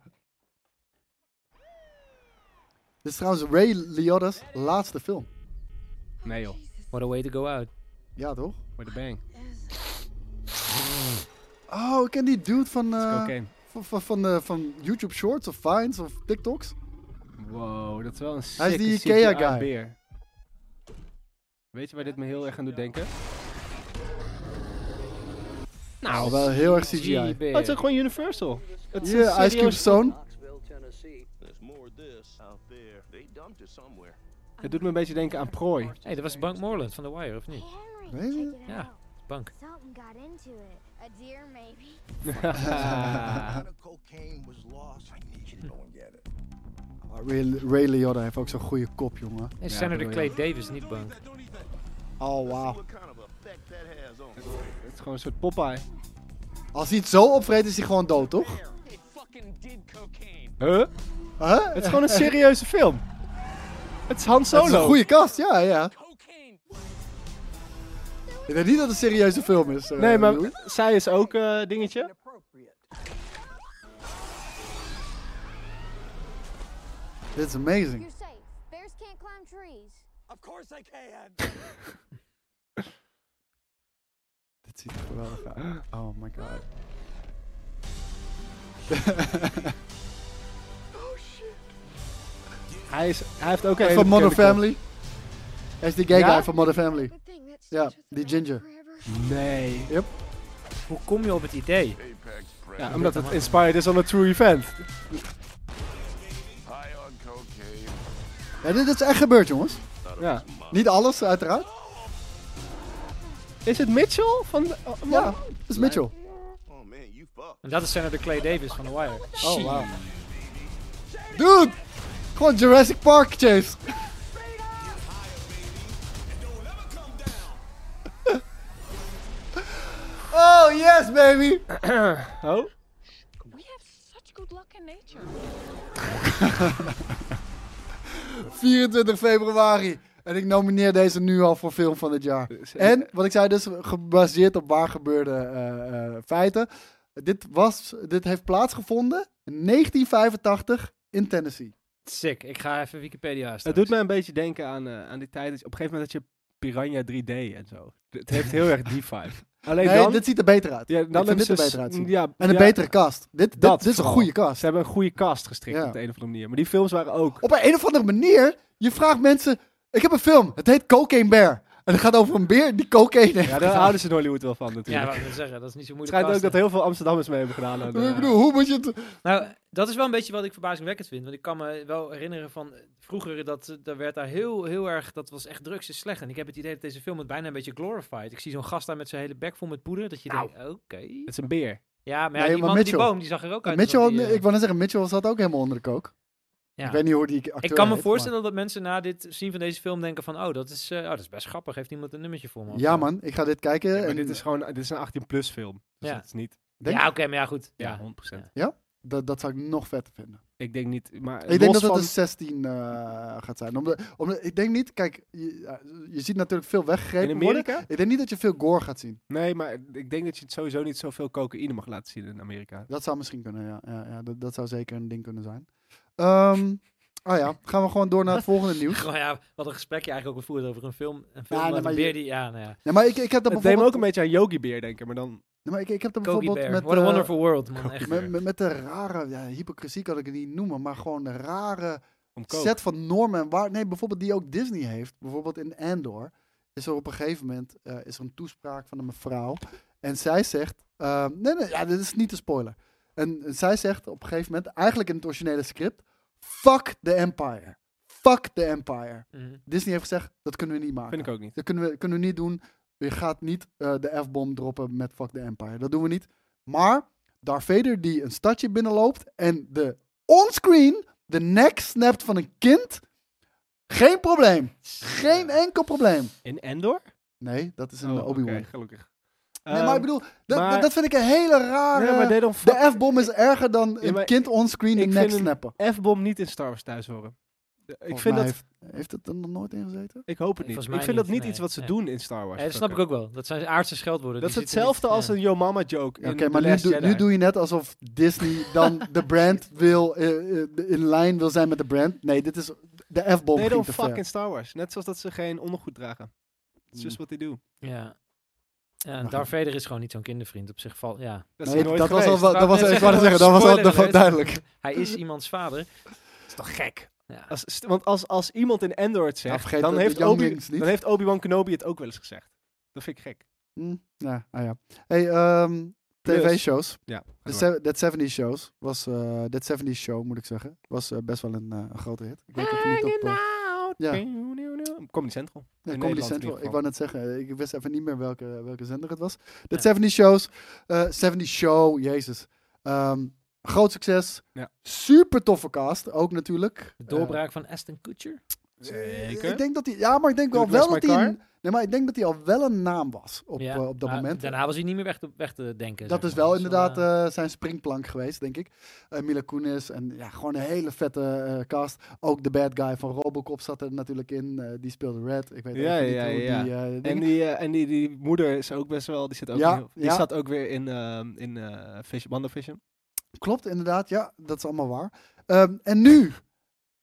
Speaker 4: Dit is trouwens Ray Liotta's laatste film.
Speaker 2: Nee joh,
Speaker 3: What a way to go out.
Speaker 4: Ja, toch?
Speaker 2: voor de bang.
Speaker 4: Oh, ik ken die dude van, eh,
Speaker 2: Cocaine.
Speaker 4: van, van, van, eh, van YouTube Shorts of Vines of TikToks.
Speaker 2: Wow, dat is wel een
Speaker 4: Hij is die
Speaker 2: sick
Speaker 4: Ikea guy.
Speaker 2: beer. Weet je waar dit me heel erg aan doet denken?
Speaker 4: Nou, wel heel erg CGI.
Speaker 3: Gee,
Speaker 4: Ja,
Speaker 3: beer.
Speaker 2: Oh, het is ook gewoon Universal. Het is een
Speaker 4: Ice Cube
Speaker 2: serieus-
Speaker 4: Zone.
Speaker 9: Knoxville, Tennessee. There's more of this out there. They dumped it somewhere.
Speaker 2: Het doet me een beetje denken aan Prooi.
Speaker 3: hey, dat was Bank Moreland van The Wire, of niet?
Speaker 4: Weet je?
Speaker 3: Ja, Bank.
Speaker 10: Something got into it. A deer, maybe.
Speaker 6: A lot of cocaine was lost. I need you to go and get it.
Speaker 4: Maar Oh, Ray, Ray Liotta heeft ook zo'n goede kop, jongen.
Speaker 3: Nee, Senator
Speaker 2: bedoel
Speaker 3: Clay
Speaker 2: je.
Speaker 3: Davis, niet Bank.
Speaker 4: Oh, wauw.
Speaker 6: What kind of effect that has on
Speaker 2: Het is gewoon een soort Popeye.
Speaker 4: Als hij het zo opvreet, is hij gewoon dood, toch?
Speaker 9: They fucking did cocaine.
Speaker 2: Huh?
Speaker 4: Huh?
Speaker 2: Het is gewoon een serieuze film. Het is Han Solo.
Speaker 4: Dat is een goede kast, ja, ja.
Speaker 9: Cocaine.
Speaker 4: Ik denk niet dat het een serieuze film is. eh,
Speaker 2: Nee, maar
Speaker 4: Louis.
Speaker 2: zij is ook eh dingetje.
Speaker 9: Appropriate.
Speaker 4: Dit is amazing.
Speaker 10: You're safe. Bears can't climb trees.
Speaker 9: Of course I can.
Speaker 4: Dit ziet er geweldig uit. Oh my god.
Speaker 2: Hij, is, hij heeft ook een
Speaker 4: Kijk,
Speaker 2: hele
Speaker 4: van Modern
Speaker 2: bekende
Speaker 4: Family. Hij is die gay
Speaker 2: Ja?
Speaker 4: guy van Modern Family.
Speaker 10: The thing that
Speaker 4: Yeah,
Speaker 10: stays with
Speaker 4: the
Speaker 10: them
Speaker 4: ginger.
Speaker 10: forever.
Speaker 2: kop. Nee.
Speaker 3: Hoe kom je op het idee?
Speaker 6: Apex Press.
Speaker 2: Ja, omdat het inspired is on a true event.
Speaker 6: High on cocaine.
Speaker 4: Ja, dit is echt gebeurd, jongens.
Speaker 2: Ja.
Speaker 4: Niet alles, uiteraard.
Speaker 2: Is het Mitchell van... de- oh,
Speaker 4: Ja, dat is Mitchell.
Speaker 6: Oh man, you fucked.
Speaker 3: En dat is Senator Clay Davis van The Wire.
Speaker 4: Oh, wow. Dude! Gewoon Jurassic Park, Chase. Oh, yes, baby!
Speaker 2: Oh?
Speaker 8: We have such good luck in nature.
Speaker 4: 24 februari. En ik nomineer deze nu al voor film van het jaar. En wat ik zei, dus gebaseerd op waar gebeurde eh, eh, feiten. Dit, was, dit heeft plaatsgevonden in 1985 in Tennessee.
Speaker 3: Sick. Ik ga even Wikipedia staan.
Speaker 2: Het doet mij een beetje denken aan, eh, aan die tijd dat je op een gegeven moment dat je Piranha 3D en zo. Het heeft heel erg die vibe. Alleen
Speaker 4: Nee,
Speaker 2: dan...
Speaker 4: dit ziet er beter uit.
Speaker 2: ja,
Speaker 4: Ik vind
Speaker 2: dan hebben
Speaker 4: dit
Speaker 2: ze
Speaker 4: er beter uitzien.
Speaker 2: Ja,
Speaker 4: En een
Speaker 2: ja,
Speaker 4: betere cast. Dit, dit,
Speaker 2: dat
Speaker 4: dit is een
Speaker 2: vooral.
Speaker 4: goede
Speaker 2: Ze
Speaker 4: cast.
Speaker 2: hebben een goede cast gestrikt
Speaker 4: Ja. Oh,
Speaker 2: op de een of andere manier. Maar die films waren ook...
Speaker 4: Op een of andere manier, je vraagt mensen... Ik heb een film, het heet Cocaine Bear. En het gaat over een beer die cocaïne heeft
Speaker 2: Ja, Ah, daar
Speaker 4: gedaan.
Speaker 2: houden ze in Hollywood wel van
Speaker 3: Ja,
Speaker 2: natuurlijk.
Speaker 3: wat ik wil zeggen, dat is niet zo
Speaker 2: het
Speaker 3: moeilijk.
Speaker 2: schijnt ook dat
Speaker 3: casten.
Speaker 2: heel veel Amsterdammers mee hebben gedaan. aan eh, de-
Speaker 4: Ik bedoel, hoe moet je het...
Speaker 3: Nou, dat is wel een beetje wat ik verbazingwekkend vind. Want ik kan me wel herinneren van eh, vroeger, dat eh, daar werd daar heel, heel erg, dat was echt drugs is slecht. En ik heb het idee dat deze film het bijna een beetje glorified. Ik zie zo'n gast daar met zijn hele bek vol met poeder, dat je
Speaker 2: Nou.
Speaker 3: denkt, oké.
Speaker 2: het is een beer.
Speaker 3: Ja, maar,
Speaker 4: Nee,
Speaker 3: ja, die
Speaker 4: maar
Speaker 3: man op die
Speaker 4: Mitchell.
Speaker 3: boom, die zag er ook uit.
Speaker 4: Mitchell,
Speaker 3: alsof
Speaker 4: had-
Speaker 3: die, eh,
Speaker 4: ik wou net zeggen, Mitchell zat ook helemaal onder de kook.
Speaker 3: ja.
Speaker 4: Ik weet niet hoe die acteur
Speaker 3: Ik kan me
Speaker 4: heet,
Speaker 3: voorstellen dat mensen na dit zien van deze film denken van, oh, dat is, eh, oh, dat is best grappig. Heeft iemand een nummertje voor me?
Speaker 4: maar-
Speaker 3: Of,
Speaker 4: Ja
Speaker 3: eh,
Speaker 4: man, ik ga dit kijken.
Speaker 2: Ja, maar
Speaker 4: en
Speaker 2: dit is gewoon dit is een 18-plus film. Dus
Speaker 3: Ja.
Speaker 2: dat is niet...
Speaker 4: denk-
Speaker 3: Ja, oké, maar ja, goed. Ja.
Speaker 2: Ja, 100%.
Speaker 3: Ja.
Speaker 4: dat, dat zou ik nog vetter vinden.
Speaker 2: Ik denk niet... Maar
Speaker 4: Ik denk
Speaker 2: los
Speaker 4: dat het
Speaker 2: van-
Speaker 4: een 16 eh, gaat zijn. Omdat, omdat, ik denk niet, kijk, je, ja, je ziet natuurlijk veel
Speaker 2: In
Speaker 4: weggegrepen worden.
Speaker 2: Amerika?
Speaker 4: Ik denk niet dat je veel gore gaat zien.
Speaker 2: Nee, maar ik denk dat je het sowieso niet zoveel cocaïne mag laten zien in Amerika.
Speaker 4: Dat zou misschien kunnen, ja. ja, ja dat, dat zou zeker een ding kunnen zijn. Ehm ah ja, gaan we gewoon door naar het volgende nieuws.
Speaker 3: Gewoon, Oh, ja, wat een gesprek je eigenlijk ook gevoerd over een film. Een film
Speaker 4: Ja, nee,
Speaker 3: met
Speaker 4: maar
Speaker 3: een
Speaker 4: je-
Speaker 3: beer die, ja, nou ja.
Speaker 4: Nee, maar ik, ik heb dat
Speaker 2: Het deed me
Speaker 4: bijvoorbeeld...
Speaker 2: ook een beetje aan Yogi Beer denken, maar dan...
Speaker 4: Nee, maar ik, ik heb dat
Speaker 3: Kogi
Speaker 4: bijvoorbeeld met,
Speaker 3: Bear. What a
Speaker 4: eh,
Speaker 3: wonderful world, man. Echt.
Speaker 4: met, met, met de rare... Ja, hypocrisie kan ik het niet noemen, maar gewoon de rare...
Speaker 2: Om coke.
Speaker 4: set van normen en waar. Nee, bijvoorbeeld die ook Disney heeft. Bijvoorbeeld in Andor is er op een gegeven moment eh, is er een toespraak van een mevrouw. En zij zegt. eh, nee, nee, ja, dit is niet de spoiler. En, en zij zegt op een gegeven moment, eigenlijk in het originele script: Fuck the Empire. Fuck the Empire.
Speaker 3: Mhm.
Speaker 4: Disney heeft gezegd: dat kunnen we niet maken.
Speaker 2: Vind ik ook niet.
Speaker 4: Dat kunnen we, kunnen we niet doen. Je gaat niet eh, de F-bom droppen met Fuck the Empire. Dat doen we niet. Maar Darth Vader die een stadje binnenloopt en de onscreen de nek snapt van een kind. Geen probleem. Geen enkel probleem.
Speaker 2: In Endor?
Speaker 4: Nee, dat is een eh,
Speaker 2: Oh,
Speaker 4: Obi-Wan.
Speaker 2: oké, gelukkig.
Speaker 4: Nee, maar ik bedoel, dat,
Speaker 2: maar-
Speaker 4: dat- dat vind ik een hele rare...
Speaker 2: Nee, maar they don't fuck-
Speaker 4: de F-bom is erger dan
Speaker 2: Ja, maar
Speaker 4: een kind onscreen de
Speaker 2: ik
Speaker 4: nek
Speaker 2: vind hem-
Speaker 4: snappen.
Speaker 2: F-bom niet in Star Wars thuis horen. Eh, Ik,
Speaker 4: Volgens
Speaker 2: vind
Speaker 4: mij
Speaker 2: dat,
Speaker 4: Heeft, heeft het er nog nooit in gezeten?
Speaker 2: ik hoop het niet.
Speaker 3: Volgens
Speaker 2: Ik
Speaker 3: mij
Speaker 2: vind dat
Speaker 3: niet,
Speaker 2: niet
Speaker 3: nee,
Speaker 2: iets wat ze
Speaker 3: nee.
Speaker 2: doen in Star Wars.
Speaker 3: Ja, dat snap ik ook wel. Dat zijn aardse scheldwoorden.
Speaker 2: Dat is
Speaker 3: die zitten niet-
Speaker 2: hetzelfde als
Speaker 3: ja.
Speaker 2: een Yo Mama joke.
Speaker 4: Ja,
Speaker 2: in
Speaker 4: Oké,
Speaker 2: The
Speaker 4: maar nu,
Speaker 2: Last
Speaker 4: doe-
Speaker 2: Jedi.
Speaker 4: nu doe je net alsof Disney dan de brand wil, eh, eh, in lijn wil zijn met de brand. Nee, dit is de F-bom
Speaker 2: They
Speaker 4: ging
Speaker 2: don't
Speaker 4: te
Speaker 2: fuck
Speaker 4: ver. Mm.
Speaker 2: in Star Wars. Net zoals dat ze geen ondergoed dragen. It's just what they do.
Speaker 3: Ja. Ja, en
Speaker 4: goed.
Speaker 3: Darth Vader is gewoon niet zo'n kindervriend. Op zich valt, ja.
Speaker 2: Dat is
Speaker 4: Nee,
Speaker 2: nooit
Speaker 4: dat was al
Speaker 2: geweest.
Speaker 4: wel, Oh, dat was,
Speaker 3: net
Speaker 4: ik wou net zeggen,
Speaker 3: zeggen,
Speaker 4: dat was al
Speaker 3: spoiler
Speaker 4: dat was
Speaker 3: alert.
Speaker 4: duidelijk. Oh,
Speaker 3: Hij is iemands vader.
Speaker 2: Dat is toch gek?
Speaker 3: Ja.
Speaker 2: Als, st- want als, als iemand in Endor het
Speaker 4: Ja,
Speaker 2: zegt,
Speaker 4: vergeet
Speaker 2: dan,
Speaker 4: de- de
Speaker 2: heeft Obi,
Speaker 4: younglings niet.
Speaker 2: dan heeft Obi-Wan Kenobi het ook wel eens gezegd. Dat vind ik gek.
Speaker 4: Hm, ja, ah ja. Hey, ehm,
Speaker 2: Plus.
Speaker 4: tv-shows.
Speaker 2: Ja, ga
Speaker 4: De
Speaker 2: door.
Speaker 4: se- That 70 Shows was, eh That 70 Show moet ik zeggen, was eh, best wel een, eh, een grote hit. Ik weet even niet op... eh,
Speaker 2: out.
Speaker 4: ja.
Speaker 2: Comedy Central.
Speaker 4: Ja,
Speaker 2: In Nederland
Speaker 4: Comedy
Speaker 2: in
Speaker 4: Central.
Speaker 2: ieder
Speaker 4: Ik
Speaker 2: geval.
Speaker 4: wou net zeggen, eh, ik wist even niet meer welke, eh, welke zender het was.
Speaker 3: Ja.
Speaker 4: Dat 70 shows. eh 70 show, jezus. Ehm, groot succes.
Speaker 2: Ja.
Speaker 4: Super toffe cast, ook natuurlijk.
Speaker 3: De doorbraak van Aston Kutcher.
Speaker 4: Eh,
Speaker 2: Zeker.
Speaker 4: ik denk dat hij, ja, maar ik denk wel,
Speaker 2: Toen ik
Speaker 4: wel
Speaker 2: was
Speaker 4: dat
Speaker 2: my
Speaker 4: hij. een- Nee, maar ik denk dat hij al wel een naam was op,
Speaker 3: Ja,
Speaker 4: eh, op dat
Speaker 3: maar
Speaker 4: moment.
Speaker 3: Daarna was hij niet meer weg te, weg te denken.
Speaker 4: Dat
Speaker 3: zeg
Speaker 4: is
Speaker 3: maar.
Speaker 4: wel
Speaker 3: Dus dan,
Speaker 4: inderdaad
Speaker 3: eh,
Speaker 4: eh, zijn springplank geweest, denk ik. Eh Mila Kunis en ja, gewoon een hele vette eh, cast. Ook de bad guy van Robocop zat er natuurlijk in. eh, die speelde Red. Ik weet
Speaker 2: Ja,
Speaker 4: even niet
Speaker 2: ja,
Speaker 4: hoe
Speaker 2: ja.
Speaker 4: die... eh,
Speaker 2: En,
Speaker 4: ding-
Speaker 2: die, eh, en die, die moeder is ook best wel, die zit ook,
Speaker 4: Ja,
Speaker 2: heel- die
Speaker 4: ja.
Speaker 2: zat ook weer in, ehm in eh Fish, WandaVision.
Speaker 4: Klopt, inderdaad. Ja, dat is allemaal waar. Ehm, en nu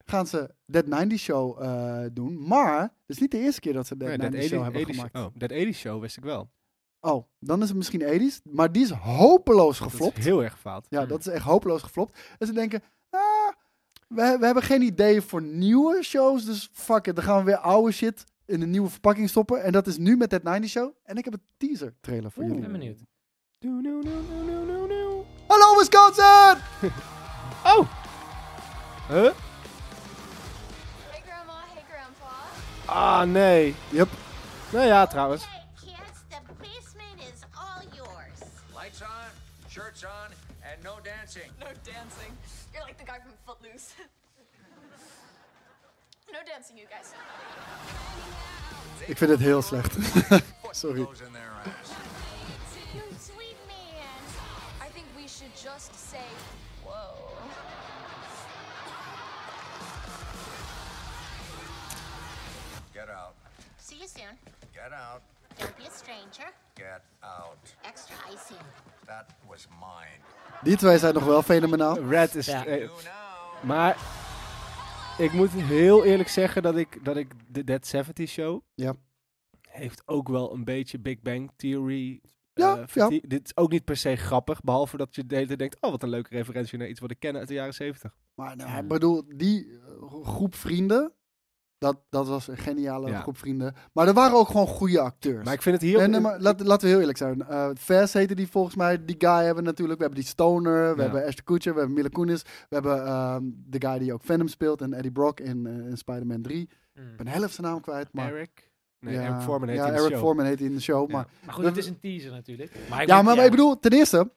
Speaker 4: gaan ze Dead 90 Show eh, doen. Maar het is niet de eerste keer dat ze Dead
Speaker 2: Nee,
Speaker 4: 90 Show hebben
Speaker 2: 80
Speaker 4: gemaakt.
Speaker 2: Oh, dat 80 show wist ik wel.
Speaker 4: Oh. dan is het misschien 80s. Maar die is hopeloos
Speaker 2: Dat is
Speaker 4: geflopt.
Speaker 2: heel Hmm. erg gefaald.
Speaker 4: Ja,
Speaker 3: Mm.
Speaker 4: dat is echt hopeloos geflopt. En ze denken, ah, we, we hebben geen idee voor nieuwe shows. Dus fuck it, dan gaan we weer oude shit in een nieuwe verpakking stoppen. En dat is nu met Dead 90 Show. En ik heb een teaser trailer voor
Speaker 3: Ik
Speaker 4: jullie.
Speaker 3: ben benieuwd.
Speaker 2: Doe, doe, doe, doe, doe, doe, doe. Oh!
Speaker 4: Hallo Wisconsin!
Speaker 2: Huh?
Speaker 10: Hey, Grandma. Hey, Grandpa.
Speaker 2: Ah, nee.
Speaker 4: Yep.
Speaker 2: Nou ja, trouwens.
Speaker 10: Hey, kids. The basement is all yours.
Speaker 9: Lights on, shirts on, and no dancing.
Speaker 11: No dancing. You're like the guy from Footloose. no dancing, you guys.
Speaker 4: Ik vind het heel slecht. Sorry.
Speaker 9: Those in their ass.
Speaker 10: You sweet man.
Speaker 11: I think we should just say, whoa.
Speaker 9: Get out.
Speaker 10: See you soon.
Speaker 9: Get out.
Speaker 10: Don't be a stranger.
Speaker 9: Get out.
Speaker 10: Extra ice in.
Speaker 9: That was mine.
Speaker 4: Die twee zijn nog wel fenomenaal.
Speaker 2: Red is...
Speaker 3: Ja.
Speaker 2: eh,
Speaker 9: You now.
Speaker 2: maar ik moet heel eerlijk zeggen dat ik, dat ik de Dead 70 show...
Speaker 4: Ja.
Speaker 2: heeft ook wel een beetje Big Bang Theory.
Speaker 4: Ja,
Speaker 2: eh,
Speaker 4: ja.
Speaker 2: verti- Dit is ook niet per se grappig, behalve dat je de hele tijd denkt, oh wat een leuke referentie naar iets wat ik ken uit de jaren zeventig.
Speaker 4: Maar nou, ik bedoel, die eh, groep vrienden, dat, dat was een geniale
Speaker 2: Ja.
Speaker 4: groep vrienden. Maar er waren ook gewoon goede acteurs.
Speaker 2: Maar ik vind het heel...
Speaker 4: En, eh, maar laat- laten we heel eerlijk zijn. Eh Fast heette die volgens mij. Die guy hebben we natuurlijk. We hebben die Stoner.
Speaker 2: Ja.
Speaker 4: We hebben Ashton Kutcher. We hebben Mila Kunis. We hebben ehm, de guy die ook Venom speelt. En Eddie Brock in, eh, in Spider-Man 3.
Speaker 3: Mm.
Speaker 4: Ik ben de helft zijn naam kwijt. Maar,
Speaker 2: Hmm. Eric? Nee,
Speaker 4: ja,
Speaker 2: Eric Foreman heet
Speaker 4: ja,
Speaker 2: hij in de
Speaker 4: Eric
Speaker 2: show.
Speaker 4: Foreman heet hij in de show.
Speaker 2: Ja.
Speaker 4: Maar,
Speaker 3: Maar goed,
Speaker 4: Dat-
Speaker 3: het is een teaser natuurlijk. Maar
Speaker 4: ja, maar ik bedoel, ten eerste.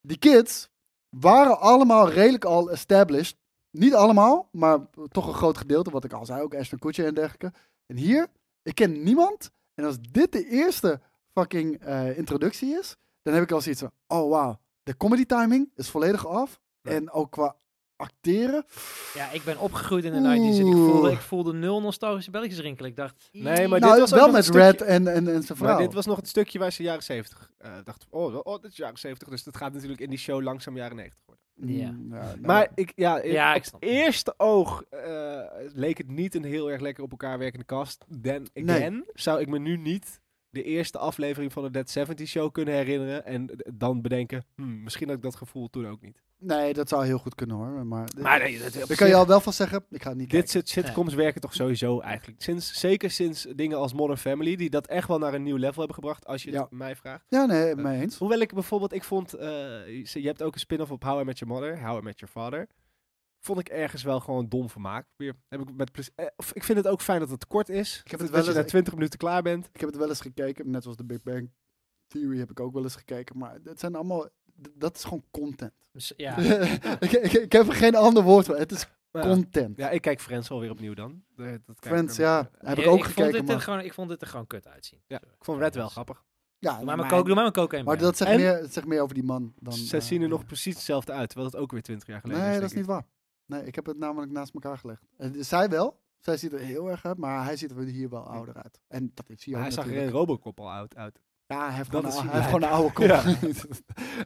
Speaker 4: Die kids waren allemaal redelijk al established. Niet allemaal, maar toch een groot gedeelte. Wat ik al zei, ook Ashton Kutcher en dergelijke. En hier, ik ken niemand. En als dit de eerste fucking eh, introductie is, dan heb ik al zoiets van, oh wauw, de comedy timing is volledig af. En ook qua acteren.
Speaker 3: Ja, ik ben opgegroeid in de 90s en ik voelde, ik voelde nul nostalgische belletjes rinkelen. Ik dacht...
Speaker 2: Nee, maar
Speaker 4: nou,
Speaker 2: dit was ook
Speaker 4: wel
Speaker 2: nog
Speaker 4: met
Speaker 2: een
Speaker 4: Red
Speaker 2: stukje-
Speaker 4: en, en, en zijn
Speaker 2: Maar
Speaker 4: vrouw.
Speaker 2: dit was nog het stukje waar ze jaren 70 eh dacht. Oh, oh, dit is jaren 70, dus dat gaat natuurlijk in die show langzaam jaren 90 worden.
Speaker 4: Mm,
Speaker 3: Ja.
Speaker 4: nou,
Speaker 2: Maar ik, ja, ik-
Speaker 3: Ja, ik
Speaker 2: op
Speaker 3: snap.
Speaker 2: het eerste oog eh, leek het niet een heel erg lekker op elkaar werkende cast. Dan again, zou ik me nu niet de eerste aflevering van de Dead 70 show kunnen herinneren. En d- dan bedenken, hmm, misschien had ik dat gevoel toen ook niet.
Speaker 4: nee, dat zou heel goed kunnen hoor. Maar,
Speaker 3: Maar nee, dat,
Speaker 4: daar kan je al wel van zeggen, ik ga het niet
Speaker 2: Dit
Speaker 4: kijken.
Speaker 2: soort sitcoms werken toch sowieso eigenlijk. Sinds, zeker sinds dingen als Modern Family, die dat echt wel naar een nieuw level hebben gebracht, als je
Speaker 4: Ja.
Speaker 2: het mij vraagt.
Speaker 4: Ja, nee, mee eens.
Speaker 2: Hoewel ik bijvoorbeeld, ik vond, eh, je je hebt ook een spin-off op How I Met Your Mother, How I Met Your Father. Vond ik ergens wel gewoon dom vermaak. Weer, heb ik, met plezier- eh, of ik vind het ook fijn dat het kort is.
Speaker 4: Ik heb het
Speaker 2: dat
Speaker 4: wel
Speaker 2: je
Speaker 4: eens-
Speaker 2: na
Speaker 4: ik-
Speaker 2: 20 minuten klaar bent.
Speaker 4: Ik heb het wel eens gekeken, net zoals de Big Bang Theory heb ik ook wel eens gekeken. Maar het zijn allemaal, d- dat is gewoon content.
Speaker 3: dus, Ja,
Speaker 4: ik, ik, ik heb er geen ander woord voor. Het is
Speaker 2: Maar ja.
Speaker 4: content.
Speaker 2: ja, ik kijk Friends alweer opnieuw dan. Eh, Dat kijk ik
Speaker 4: Friends,
Speaker 2: dan.
Speaker 4: ja, heb ik
Speaker 3: Ja,
Speaker 4: ook
Speaker 3: Vond
Speaker 4: gekeken.
Speaker 3: dit er
Speaker 4: Maar,
Speaker 3: gewoon, ik vond dit er gewoon kut uitzien.
Speaker 2: Ja, ik vond Red wel grappig.
Speaker 4: ja,
Speaker 3: Doe maar mijn coke, doe maar mijn coke en
Speaker 4: maar
Speaker 3: Bam.
Speaker 4: dat zegt
Speaker 2: En-
Speaker 4: meer, het zegt meer over die man dan.
Speaker 2: Ze
Speaker 4: eh,
Speaker 2: zien er
Speaker 4: ja.
Speaker 2: nog precies hetzelfde uit, terwijl het ook weer 20 jaar geleden
Speaker 4: Nee,
Speaker 2: is.
Speaker 4: dat is niet
Speaker 2: denk
Speaker 4: waar. Nee, ik heb het namelijk naast elkaar gelegd. En zij wel. Zij ziet er heel erg uit, maar hij ziet er hier wel ouder uit. En dat is
Speaker 2: ik.
Speaker 4: hier
Speaker 2: Maar
Speaker 4: ook
Speaker 2: hij zag er in
Speaker 4: natuurlijk.
Speaker 2: Robocop al oud uit.
Speaker 4: Ja, hij heeft, gewoon
Speaker 2: Dat
Speaker 4: een,
Speaker 2: is
Speaker 4: hij
Speaker 2: hij.
Speaker 4: heeft gewoon een oude kop.
Speaker 2: Ja.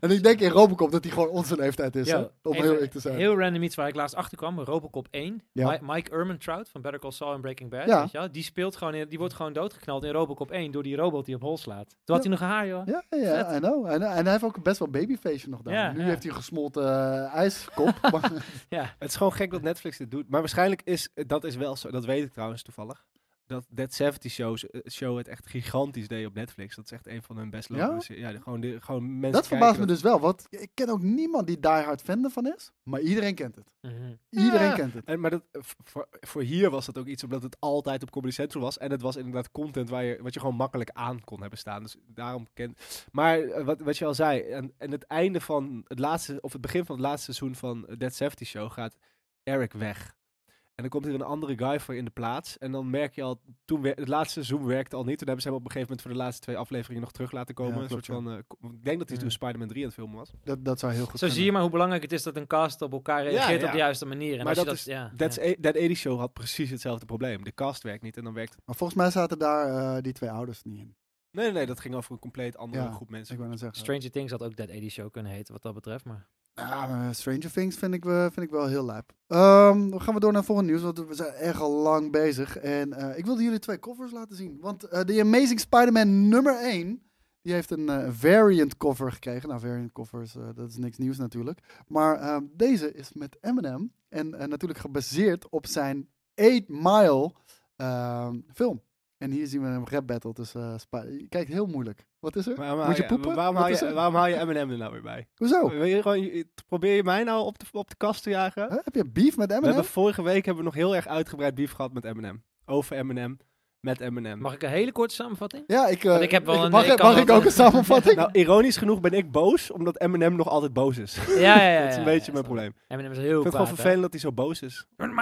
Speaker 4: en ik denk in Robocop dat hij gewoon onze leeftijd is.
Speaker 3: Yo,
Speaker 4: hè? Om
Speaker 3: even
Speaker 4: heel eerlijk te zijn.
Speaker 3: Heel random iets waar ik laatst achter kwam. Robocop 1.
Speaker 4: Ja.
Speaker 3: Mi- Mike Ermentrout van Better Call Saul en Breaking Bad.
Speaker 4: Ja.
Speaker 3: Weet je wel? Die speelt gewoon, in, die wordt gewoon doodgeknald in Robocop 1 door die robot die op hol slaat. Toen had hij nog een haar, joh.
Speaker 4: Ja, ja, I know. En, en hij heeft ook best wel babyface nog gedaan.
Speaker 3: Ja,
Speaker 4: nu
Speaker 3: ja.
Speaker 4: heeft hij een gesmolten eh, ijskop. maar-
Speaker 2: Het is gewoon gek dat Netflix dit doet. Maar waarschijnlijk is, eh, dat is wel zo, dat weet ik trouwens toevallig. Dat Dead 70 shows, eh, show het echt gigantisch deed op Netflix. Dat is echt een van hun best
Speaker 4: Ja?
Speaker 2: lopende se- Ja, de- gewoon, de, gewoon mensen
Speaker 4: dat
Speaker 2: kijken
Speaker 4: verbaast me dus wel, want ik ken ook niemand die diehard fan ervan is. Maar iedereen kent het.
Speaker 3: Mhm.
Speaker 4: Iedereen
Speaker 2: Ja.
Speaker 4: kent het.
Speaker 2: En, maar dat, eh, v- voor, voor hier was dat ook iets omdat het altijd op Comedy Central was. En het was inderdaad content waar je, wat je gewoon makkelijk aan kon hebben staan. Dus daarom kent. Maar eh, wat, wat je al zei, en, en het einde van het laatste, of het begin van het laatste seizoen van eh, Dead 70 Show gaat Eric weg. En dan komt er een andere guy voor in de plaats. En dan merk je al, toen wer- het laatste seizoen werkte al niet. Toen hebben ze hem op een gegeven moment voor de laatste twee afleveringen nog terug laten komen.
Speaker 4: Ja,
Speaker 2: een
Speaker 4: klopt,
Speaker 2: soort van, eh, ko- ik denk dat hij toen
Speaker 3: Ja.
Speaker 2: Spider-Man 3 aan het filmen was.
Speaker 4: Dat, dat zou heel goed
Speaker 3: Zo zie je maar hoe belangrijk het is dat een cast op elkaar reageert
Speaker 2: ja.
Speaker 3: op de juiste manier. En
Speaker 2: Maar
Speaker 3: als
Speaker 2: dat
Speaker 3: je dat, ja,
Speaker 2: That's
Speaker 3: ja.
Speaker 2: A- That 80 Show had precies hetzelfde probleem. De cast werkt niet en dan werkt
Speaker 4: Maar volgens mij zaten daar eh, die twee ouders niet in.
Speaker 2: Nee, nee, nee, dat ging over een compleet andere
Speaker 4: Ja,
Speaker 2: groep
Speaker 4: Ik
Speaker 2: mensen.
Speaker 4: wou net zeggen.
Speaker 3: Stranger Things had ook Dead 80 Show kunnen heten, wat dat betreft. Maar
Speaker 4: Ja, maar Stranger Things vind ik, we- vind ik wel heel lijp. Ehm, dan gaan we door naar volgend nieuws, want we zijn echt al lang bezig. En eh, ik wilde jullie twee covers laten zien. Want eh The Amazing Spider-Man nummer 1, die heeft een eh, variant cover gekregen. Nou, variant covers, eh, dat is niks nieuws natuurlijk. Maar ehm, deze is met Eminem. En eh, natuurlijk gebaseerd op zijn 8 Mile ehm, film. En hier zien we een rap battle tussen eh Spider- Je kijkt heel moeilijk. Wat is er?
Speaker 2: Waarom
Speaker 4: Moet
Speaker 2: haal
Speaker 4: je
Speaker 2: je-
Speaker 4: poepen?
Speaker 2: Waarom
Speaker 4: Wat
Speaker 2: haal
Speaker 4: is
Speaker 2: je,
Speaker 4: er? Oh.
Speaker 2: waarom haal je Eminem er nou weer bij?
Speaker 4: Hoezo?
Speaker 2: Wil je gewoon, je- probeer je mij nou op de, op de kast te jagen?
Speaker 4: Hè? Heb je beef met
Speaker 2: We
Speaker 4: Eminem?
Speaker 2: hebben vorige week hebben we nog heel erg uitgebreid beef gehad met Eminem. Over Eminem, met Eminem.
Speaker 3: mag ik een hele korte samenvatting?
Speaker 4: Ja, ik, eh,
Speaker 3: Want ik heb wel een-
Speaker 4: mag
Speaker 3: ik
Speaker 4: ik,
Speaker 3: kan
Speaker 4: mag
Speaker 3: wel
Speaker 4: ik
Speaker 3: een-
Speaker 4: ook een samenvatting?
Speaker 2: Nou, ironisch genoeg ben ik boos, omdat Eminem nog altijd boos is.
Speaker 3: Ja, ja, ja.
Speaker 2: dat is een beetje
Speaker 3: ja, ja,
Speaker 2: mijn
Speaker 3: snap ik.
Speaker 2: probleem. Ik
Speaker 3: Eminem is heel
Speaker 2: vind het
Speaker 3: kwaad,
Speaker 2: gewoon
Speaker 3: hè?
Speaker 2: vervelend dat hij zo boos is.
Speaker 3: Hij
Speaker 2: En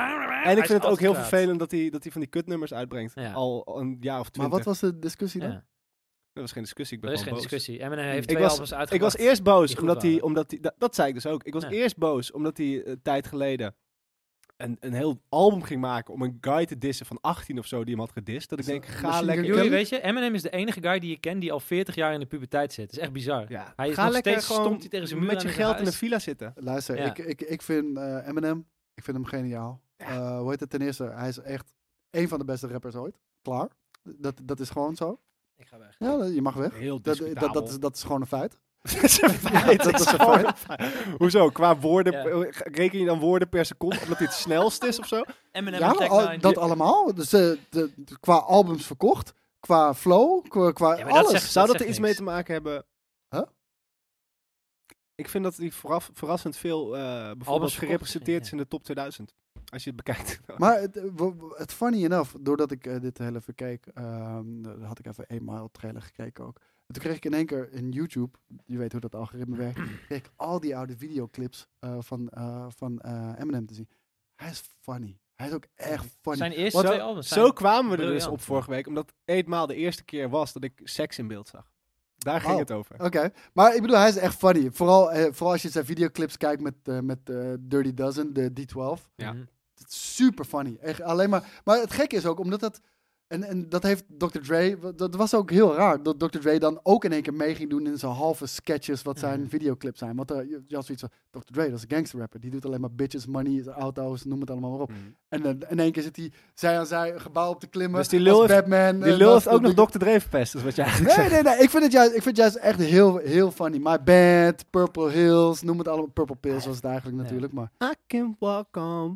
Speaker 2: ik vind
Speaker 3: is
Speaker 2: het ook
Speaker 3: altijd
Speaker 2: heel
Speaker 3: kwaad.
Speaker 2: vervelend dat hij, dat hij van die kutnummers uitbrengt.
Speaker 3: Ja.
Speaker 2: Al een jaar of
Speaker 4: Maar
Speaker 2: twintig.
Speaker 4: wat was de discussie dan?
Speaker 3: Ja.
Speaker 2: Dat was geen discussie, ik ben
Speaker 3: Er is geen
Speaker 2: gewoon boos.
Speaker 3: discussie. Eminem heeft
Speaker 2: Ik
Speaker 3: twee
Speaker 2: was-
Speaker 3: albums
Speaker 2: Ik
Speaker 3: uitgebracht.
Speaker 2: was eerst boos
Speaker 3: die goed
Speaker 2: omdat hij,
Speaker 3: waren.
Speaker 2: omdat hij, dat, dat zei ik dus ook. Ik was
Speaker 3: Ja.
Speaker 2: eerst boos omdat hij eh, een tijd geleden een, een heel album ging maken om een guy te dissen van 18 of zo die hem had gedist. Dat ik denk, ga
Speaker 4: Machine
Speaker 2: lekker.
Speaker 4: Gun
Speaker 3: Jullie,
Speaker 4: Kelly?
Speaker 3: weet je, Eminem is de enige guy die ik ken die al 40 jaar in de puberteit zit. Dat is echt bizar.
Speaker 2: Ja,
Speaker 3: Hij is
Speaker 2: ga
Speaker 3: nog
Speaker 2: lekker
Speaker 3: steeds
Speaker 2: gewoon
Speaker 3: stomt hij tegen zijn muur
Speaker 2: met
Speaker 3: aan
Speaker 2: je
Speaker 3: in
Speaker 2: geld in
Speaker 3: huis.
Speaker 2: de villa zitten.
Speaker 4: Luister,
Speaker 3: Ja.
Speaker 4: ik, ik, ik vind eh, Eminem, ik vind hem geniaal. Eh, hoe heet het ten eerste? Hij is echt één van de beste rappers ooit. Klaar. Dat, dat is gewoon zo.
Speaker 3: Ik ga weg.
Speaker 4: Ja, dat- je mag weg.
Speaker 7: Heel
Speaker 4: dat, dat, dat,
Speaker 7: discutabel.
Speaker 4: is, dat is gewoon een feit.
Speaker 2: dat is een feit.
Speaker 4: dat is een
Speaker 2: gewoon
Speaker 4: feit.
Speaker 2: een feit. Hoezo? Qua woorden, eh,
Speaker 3: Ja.
Speaker 2: reken je dan woorden per seconde omdat dit het snelst is of zo?
Speaker 3: Eminem
Speaker 4: Ja,
Speaker 3: en Tech
Speaker 4: al-
Speaker 3: Nine.
Speaker 4: dat allemaal. Dus, eh, de, de- qua albums verkocht, qua flow, qua, qua
Speaker 3: Ja, maar dat
Speaker 4: alles.
Speaker 3: zegt-
Speaker 2: Zou dat,
Speaker 3: zegt
Speaker 2: er iets
Speaker 3: niks.
Speaker 2: mee te maken hebben?
Speaker 4: Huh?
Speaker 2: Ik vind dat die vooraf, verrassend veel eh bijvoorbeeld
Speaker 3: verkocht,
Speaker 2: gerepresenteerd is
Speaker 3: ja.
Speaker 2: in de top 2000. Als je het bekijkt.
Speaker 4: Maar het, eh, w- w- het funny enough, doordat ik eh, dit heel even keek, ehm, dan had ik even eenmaal trailer gekeken ook. En toen kreeg ik in één keer in YouTube, je weet hoe dat algoritme werkt, kreeg ik al die oude videoclips eh, van, eh, van eh, Eminem te zien. Hij is funny. Hij is ook echt funny.
Speaker 3: Zijn eerste
Speaker 2: Wat-
Speaker 3: twee albums. zijn-
Speaker 2: Zo kwamen we er dus
Speaker 3: briljant.
Speaker 2: op vorige week. Omdat eenmaal de eerste keer was dat ik seks in beeld zag. Daar ging
Speaker 4: Oh.
Speaker 2: het over.
Speaker 4: Oké, maar ik bedoel, hij is echt funny. Vooral, eh, vooral als je zijn videoclips kijkt met, eh, met eh, Dirty Dozen, de D12.
Speaker 2: Ja.
Speaker 3: Mhm.
Speaker 4: Het is super funny. Echt alleen maar. Maar het gekke is ook omdat dat. En, en dat heeft Dr. Dre. wa- Dat was ook heel raar. Dat Dr. Dre dan ook in één keer mee ging doen in zijn halve sketches. wat zijn
Speaker 3: Mhm.
Speaker 4: videoclips zijn. Want eh, je je had zoiets van. Dr. Dre, dat is een gangster rapper. Die doet alleen maar bitches, money, auto's, noem het allemaal maar op.
Speaker 3: Hmm.
Speaker 2: Mhm.
Speaker 4: En dan in één keer zit hij zij aan zij een gebouw op te klimmen.
Speaker 2: Dus die lul
Speaker 4: als
Speaker 2: heeft-
Speaker 4: Batman.
Speaker 2: Die
Speaker 4: eh,
Speaker 2: lul
Speaker 4: naast
Speaker 2: heeft ook
Speaker 4: de-
Speaker 2: nog Dr. Dre verpest. Dat is wat je eigenlijk
Speaker 4: Nee,
Speaker 2: zegt.
Speaker 4: nee, nee. Ik vind het juist, ik vind het juist echt heel, heel funny. My Bad, Purple Hills, noem het allemaal. Purple
Speaker 2: Ah,
Speaker 4: Pills was het eigenlijk
Speaker 3: Ja.
Speaker 4: natuurlijk. Maar
Speaker 2: I can walk on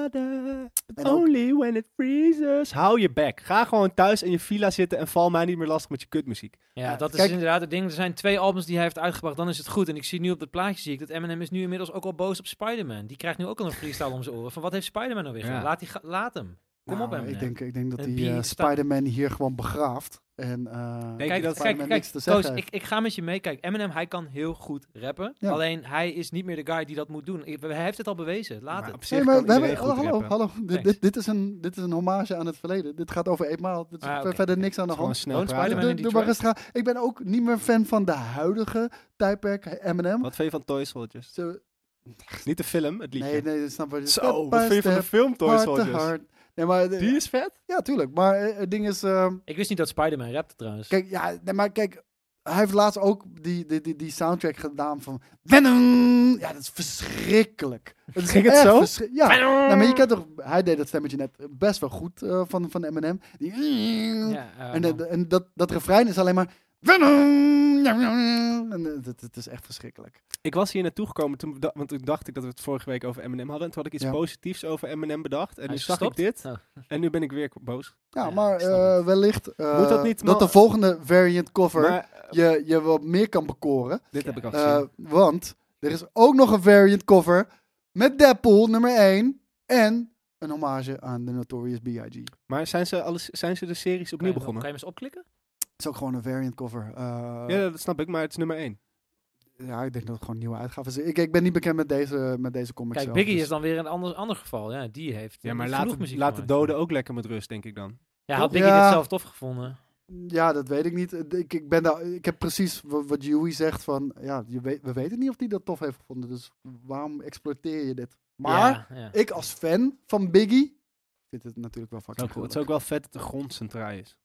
Speaker 2: water, but
Speaker 4: En ook-
Speaker 2: only when it freezes. Hou je bek. Ga gewoon thuis in je villa zitten en val mij niet meer lastig met je kutmuziek.
Speaker 3: Ja, dat is
Speaker 4: kijk-
Speaker 3: inderdaad het ding. Er zijn twee albums die hij heeft uitgebracht, dan is het goed. En ik zie nu op het plaatje zie ik dat Eminem is nu inmiddels ook al boos op Spider-Man. Die krijgt nu ook al een freestyle om zijn oren. Van wat heeft Spider-Man nou weer
Speaker 2: Ja.
Speaker 3: gedaan? Laat, die ga- laat hem. Kom op
Speaker 4: Nou,
Speaker 3: Eminem.
Speaker 4: Ik denk, ik denk dat
Speaker 3: En
Speaker 4: die
Speaker 3: Being
Speaker 4: eh,
Speaker 3: staat-
Speaker 4: Spider-Man hier gewoon begraaft. En, eh
Speaker 2: Denk je
Speaker 3: Kijk,
Speaker 2: dat
Speaker 3: dat kijk,
Speaker 4: Spider-Man
Speaker 3: kijk,
Speaker 4: niks te
Speaker 3: Koos,
Speaker 4: zeggen heeft?
Speaker 3: ik, ik ga met je mee. Kijk, Eminem, hij kan heel goed rappen.
Speaker 4: Ja.
Speaker 3: Alleen, hij is niet meer de guy die dat moet doen. Ik- Hij heeft het al bewezen. Laat
Speaker 2: Maar
Speaker 3: het.
Speaker 2: op zich
Speaker 4: Nee, maar
Speaker 2: kan
Speaker 4: we hebben,
Speaker 2: iedereen goed
Speaker 4: hallo,
Speaker 2: rappen.
Speaker 4: hallo. Dit,
Speaker 3: Thanks.
Speaker 4: dit, dit is een, dit is een hommage aan het verleden. Dit gaat over eenmaal. Dit is
Speaker 3: Ah,
Speaker 4: ver-
Speaker 3: oké.
Speaker 4: verder niks aan
Speaker 2: Het
Speaker 4: de
Speaker 2: is gewoon
Speaker 4: hand.
Speaker 2: snel
Speaker 3: Don't
Speaker 2: praten.
Speaker 3: Spider-Man.
Speaker 4: Doe,
Speaker 3: in
Speaker 4: doe maar
Speaker 3: Detroit.
Speaker 4: rustig aan. Ik ben ook niet meer fan van de huidige tijdperk Eminem.
Speaker 2: Wat vind je van Toy Soldiers?
Speaker 4: Zo-
Speaker 2: Niet de film, het liedje.
Speaker 4: nee, nee, dat snap ik.
Speaker 2: Zo, wat vind je van de film Toy Soldiers?
Speaker 4: Nee, maar,
Speaker 2: Die is vet.
Speaker 4: ja, tuurlijk. Maar eh, het ding is... ehm,
Speaker 3: Ik wist niet dat Spider-Man rapte trouwens.
Speaker 4: Kijk, ja, nee, maar kijk, hij heeft laatst ook die, die, die, die soundtrack gedaan van Venom. Ja, dat is verschrikkelijk. Dat is
Speaker 2: Ging het
Speaker 4: echt
Speaker 2: zo?
Speaker 4: verschri- ja, nou, maar je kent toch, hij deed dat stemmetje net best wel goed eh, van, van Eminem. Die,
Speaker 3: ja, eh,
Speaker 4: en
Speaker 3: man.
Speaker 4: dat- en dat, dat refrein is alleen maar Venom. En eh, dat, dat is echt verschrikkelijk.
Speaker 2: Ik was hier naartoe gekomen, toen, beda- want toen dacht ik dat we het vorige week over Eminem hadden. En toen had ik iets
Speaker 4: Ja.
Speaker 2: positiefs over Eminem bedacht. En
Speaker 3: Hij
Speaker 2: nu
Speaker 3: is
Speaker 2: zag ik
Speaker 3: gestopt?
Speaker 2: dit.
Speaker 3: Oh.
Speaker 2: En nu ben ik weer k- boos.
Speaker 4: Ja,
Speaker 3: Ja,
Speaker 4: maar
Speaker 3: ik snap
Speaker 4: eh, wellicht eh,
Speaker 2: Moet dat niet ma-
Speaker 4: de volgende variant cover
Speaker 2: Maar eh,
Speaker 4: je, je wat meer kan bekoren.
Speaker 2: dit
Speaker 3: ja.
Speaker 2: heb ik al gezien.
Speaker 4: Eh, want er is ook nog een variant cover met Deadpool nummer 1 en een hommage aan de Notorious B.I.G. Het
Speaker 2: maar zijn ze, alles, zijn ze de series
Speaker 3: Kan je
Speaker 2: opnieuw
Speaker 3: hem- Kan
Speaker 2: begonnen?
Speaker 3: je hem eens opklikken?
Speaker 4: is ook gewoon een variant cover. Eh, ja.
Speaker 2: Ja, dat snap ik, maar het is nummer 1.
Speaker 4: ik denk dat het gewoon nieuwe uitgaven is. Ik, ik ben niet bekend met deze, met deze comic
Speaker 3: Kijk,
Speaker 4: zelf,
Speaker 3: Biggie
Speaker 4: dus-
Speaker 3: is dan weer een ander, ander geval. Ja, die heeft
Speaker 2: Ja,
Speaker 3: eh,
Speaker 2: maar
Speaker 3: niet
Speaker 2: laat,
Speaker 3: genoeg
Speaker 2: het-
Speaker 3: muziek
Speaker 2: laat de
Speaker 3: gemaakt.
Speaker 2: doden ook lekker met rust, denk ik dan.
Speaker 3: Ja, had Biggie
Speaker 4: Ja.
Speaker 3: dit zelf tof gevonden?
Speaker 4: Ja, dat weet ik niet. Eh, Ik, ik, ben daar, ik heb precies wa- wat Joey zegt van... Ja, je weet, we weten niet of die dat tof heeft gevonden. Dus waarom exploiteer je dit? Maar
Speaker 3: Ja, ja.
Speaker 4: ik als fan van Biggie... vind het natuurlijk wel
Speaker 2: Wel
Speaker 4: fucking
Speaker 2: cool.
Speaker 4: cool.
Speaker 2: Het is ook wel vet dat de grond centraal is.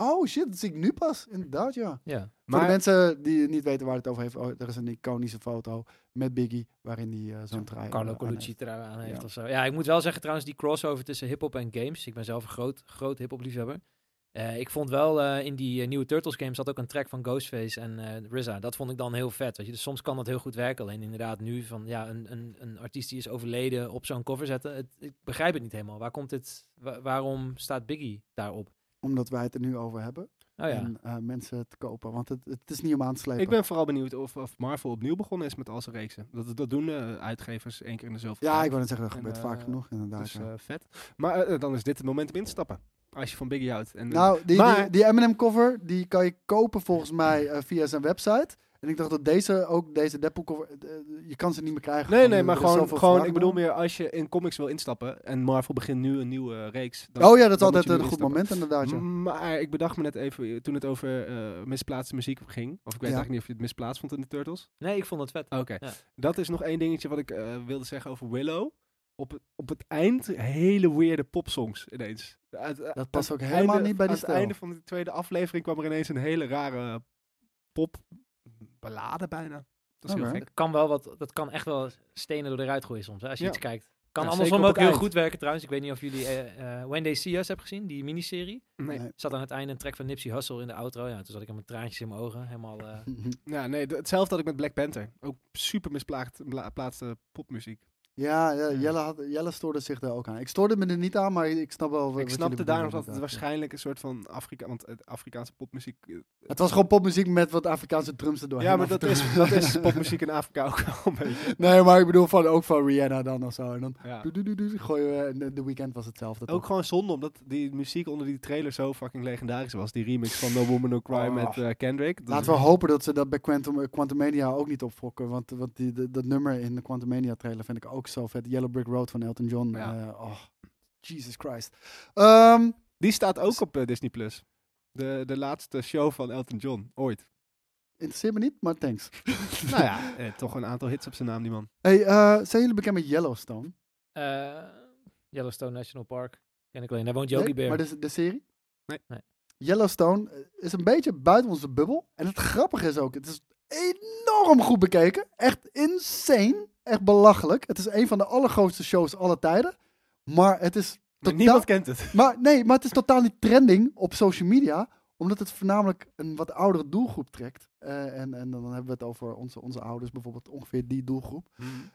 Speaker 4: Oh shit, dat zie ik nu pas. Inderdaad, ja.
Speaker 3: Ja.
Speaker 4: Voor de
Speaker 2: Maar
Speaker 4: mensen die niet weten waar het over heeft, oh, er is een iconische foto met Biggie waarin hij eh, zo'n trui
Speaker 3: Carlo
Speaker 4: eh,
Speaker 3: Colucci
Speaker 4: aan
Speaker 3: er aan heeft
Speaker 4: Ja.
Speaker 3: of zo. Ja, ik moet wel zeggen trouwens, die crossover tussen hip-hop en games. Ik ben zelf een groot, groot hip-hop liefhebber. Eh, ik vond wel eh, in die eh, nieuwe Turtles game zat ook een track van Ghostface en eh RZA. Dat vond ik dan heel vet. Weet je? Dus soms kan dat heel goed werken. Alleen inderdaad nu van ja, een, een, een artiest die is overleden op zo'n cover zetten. Het, ik begrijp het niet helemaal. Waar komt dit? wa- waarom staat Biggie daarop?
Speaker 4: heeft. Omdat wij het er nu over hebben
Speaker 3: Oh ja.
Speaker 4: en eh, mensen het kopen, want het, het is niet om aan te slepen.
Speaker 2: ik ben vooral benieuwd of, of Marvel opnieuw begonnen is met al zijn reeksen. Dat, dat doen eh, uitgevers één keer in de zoveel
Speaker 4: ja,
Speaker 2: tijd.
Speaker 4: ik wou net zeggen, dat
Speaker 2: En,
Speaker 4: gebeurt
Speaker 2: eh,
Speaker 4: vaak genoeg inderdaad.
Speaker 2: Dus
Speaker 4: ja.
Speaker 2: eh, vet. Maar eh, dan is dit het moment om in te stappen. Als je van Biggie houdt. En,
Speaker 4: nou, die, die,
Speaker 2: maar-
Speaker 4: die Eminem cover, die kan je kopen volgens mij eh, via zijn website. En ik dacht dat deze, ook deze Deadpool cover, eh, je kan ze niet meer krijgen.
Speaker 2: nee,
Speaker 4: van,
Speaker 2: nee,
Speaker 4: eh,
Speaker 2: maar
Speaker 4: er is
Speaker 2: gewoon,
Speaker 4: zoveel
Speaker 2: gewoon
Speaker 4: vraag
Speaker 2: ik bedoel
Speaker 4: naar.
Speaker 2: meer als je in comics wil instappen. En Marvel begint nu een nieuwe eh, reeks. dan-
Speaker 4: Oh ja, dat is
Speaker 2: dan moet
Speaker 4: altijd
Speaker 2: je nu
Speaker 4: een goed
Speaker 2: instappen.
Speaker 4: moment inderdaad, ja.
Speaker 2: Maar ik bedacht me net even eh, toen het over eh, misplaatste muziek ging. Of ik weet
Speaker 4: Ja.
Speaker 2: eigenlijk niet of je het misplaatst vond in de Turtles.
Speaker 3: Nee, ik vond het vet.
Speaker 2: Oké.
Speaker 3: Ja.
Speaker 2: Dat is nog één dingetje wat ik eh, wilde zeggen over Willow. Op het, op het eind hele weirde popsongs ineens. Uit- uit-
Speaker 4: Dat past
Speaker 2: aan
Speaker 4: ook
Speaker 2: het
Speaker 4: helemaal
Speaker 2: einde-
Speaker 4: niet bij die
Speaker 2: Aan het einde
Speaker 4: stijl.
Speaker 2: van de tweede aflevering kwam er ineens een hele rare pop ballade bijna. Dat is
Speaker 4: Oké.
Speaker 2: heel gek.
Speaker 3: Dat kan wel wat, dat kan echt wel stenen door de ruit gooien soms. Hè, als je
Speaker 2: Ja.
Speaker 3: iets kijkt. Kan
Speaker 2: Ja,
Speaker 3: andersom
Speaker 2: zeker
Speaker 3: ook
Speaker 2: op het
Speaker 3: heel
Speaker 2: eind.
Speaker 3: goed werken trouwens. Ik weet niet of jullie eh, eh, When They See Us hebben gezien, die miniserie.
Speaker 2: Nee.
Speaker 3: Zat aan het einde een track van Nipsey Hussle in de outro. Ja, toen zat ik met traantjes in mijn ogen. Helemaal, eh,
Speaker 2: Ja, nee, d- hetzelfde had ik met Black Panther. Ook super misplaatste popmuziek.
Speaker 4: Ja, ja, Jelle, had, Jelle stoorde zich daar ook aan. Ik stoorde me er niet aan, maar ik snap wel wat
Speaker 2: ik
Speaker 4: jullie
Speaker 2: snapte
Speaker 4: bedoelen
Speaker 2: daarom dat het
Speaker 4: inderdaad, ja.
Speaker 2: waarschijnlijk een soort van Afrika... Want het Afrikaanse popmuziek... eh,
Speaker 4: Het was gewoon popmuziek met wat Afrikaanse drums er doorheen.
Speaker 2: Ja, maar
Speaker 4: af en
Speaker 2: dat
Speaker 4: toe.
Speaker 2: is, dat is popmuziek in Afrika ook wel een beetje.
Speaker 4: Nee, maar ik bedoel van, ook van Rihanna dan of zo. En dan
Speaker 2: Ja.
Speaker 4: doe, doe, doe, doe, gooien we, en de- de weekend was hetzelfde.
Speaker 2: Ook
Speaker 4: toch?
Speaker 2: gewoon zonde, omdat die muziek onder die trailer zo fucking legendarisch was. Die remix van No Woman No Cry
Speaker 4: Oh.
Speaker 2: met eh, Kendrick. Dat
Speaker 4: Laten we hopen dat ze dat bij Quantum, Quantumania ook niet opfokken. Want, want die, de- dat nummer in de Quantumania trailer vind ik ook zo vet. Yellow Brick Road van Elton John.
Speaker 2: Ja.
Speaker 4: eh, oh, Jesus Christ. Ehm,
Speaker 2: Die staat ook op eh, Disney+. Plus. De, de laatste show van Elton John, ooit.
Speaker 4: interesseert me niet, maar thanks.
Speaker 2: nou ja, eh, toch een aantal hits op zijn naam, die man.
Speaker 4: Hey, eh, zijn jullie bekend met Yellowstone?
Speaker 3: eh, Yellowstone National Park. Ken ik alleen. Daar woont Yogi
Speaker 4: Nee,
Speaker 3: Bear.
Speaker 4: Maar de, de serie?
Speaker 2: Nee.
Speaker 3: Nee.
Speaker 4: Yellowstone eh, is een beetje buiten onze bubbel. En het grappige is ook, het is enorm goed bekeken. Echt insane. Echt belachelijk. Het is een van de allergrootste shows aller tijden. Maar het is
Speaker 2: Maar
Speaker 4: totaal...
Speaker 2: niemand kent het.
Speaker 4: Maar nee, maar het is totaal niet trending op social media, omdat het voornamelijk een wat oudere doelgroep trekt. Eh, en, en dan hebben we het over onze, onze ouders bijvoorbeeld, ongeveer die doelgroep.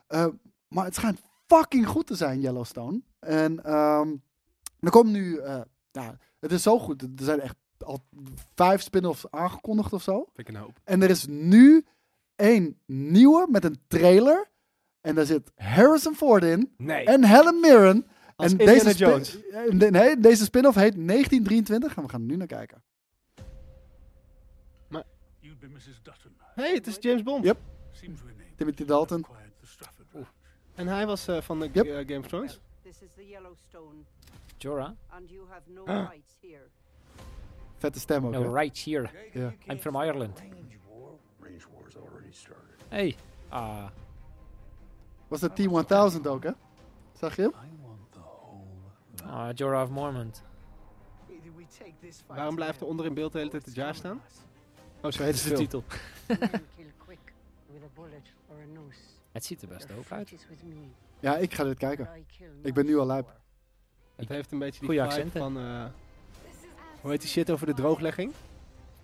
Speaker 4: Eh, maar het schijnt fucking goed te zijn, Yellowstone. En ehm er komt nu, eh, ja, het is zo goed, er zijn echt al vijf spin-offs aangekondigd of zo.
Speaker 2: Vind ik een hoop.
Speaker 4: En er is nu één nieuwe met een trailer. En daar zit Harrison Ford in.
Speaker 2: Nee.
Speaker 4: En Helen Mirren.
Speaker 2: Als
Speaker 4: en
Speaker 2: Indiana
Speaker 4: spin-
Speaker 2: Jones.
Speaker 4: en de- nee, deze spin-off heet 1923. En we gaan er nu naar kijken.
Speaker 12: You'd be Mrs. Dutton.
Speaker 2: hey, het is James Bond.
Speaker 4: Yep.
Speaker 12: Seems we named
Speaker 4: Timothy Dalton.
Speaker 12: acquired the Strafford.
Speaker 6: Oh,
Speaker 2: En hij was eh, van de
Speaker 4: Yep.
Speaker 2: eh, Game of Thrones.
Speaker 13: This is the Yellowstone,
Speaker 3: Jorah.
Speaker 13: and you have no
Speaker 2: Ah.
Speaker 13: rights here.
Speaker 4: Vette stem ook. hè?
Speaker 3: No, right here.
Speaker 4: Ja.
Speaker 3: I'm from Ireland.
Speaker 12: Range war's already started.
Speaker 3: Hey. Ah.
Speaker 4: Was dat T-1000 ook, hè? Zag je hem?
Speaker 3: ah, Jorah of Mormont.
Speaker 2: Waarom blijft er onder in beeld de hele tijd het jaar staan? Oh, zo heet
Speaker 3: Dat is de
Speaker 2: het
Speaker 3: titel.
Speaker 13: Kill quick with a bullet or a noose.
Speaker 3: Het ziet er best ook uit.
Speaker 13: Fight is with me.
Speaker 4: Ja, ik ga dit kijken.
Speaker 13: I kill
Speaker 4: Ik ben nu al lijp.
Speaker 2: Het heeft een beetje die
Speaker 3: Goeie
Speaker 2: vibe
Speaker 3: accenten.
Speaker 2: van... eh, hoe heet die shit over de drooglegging?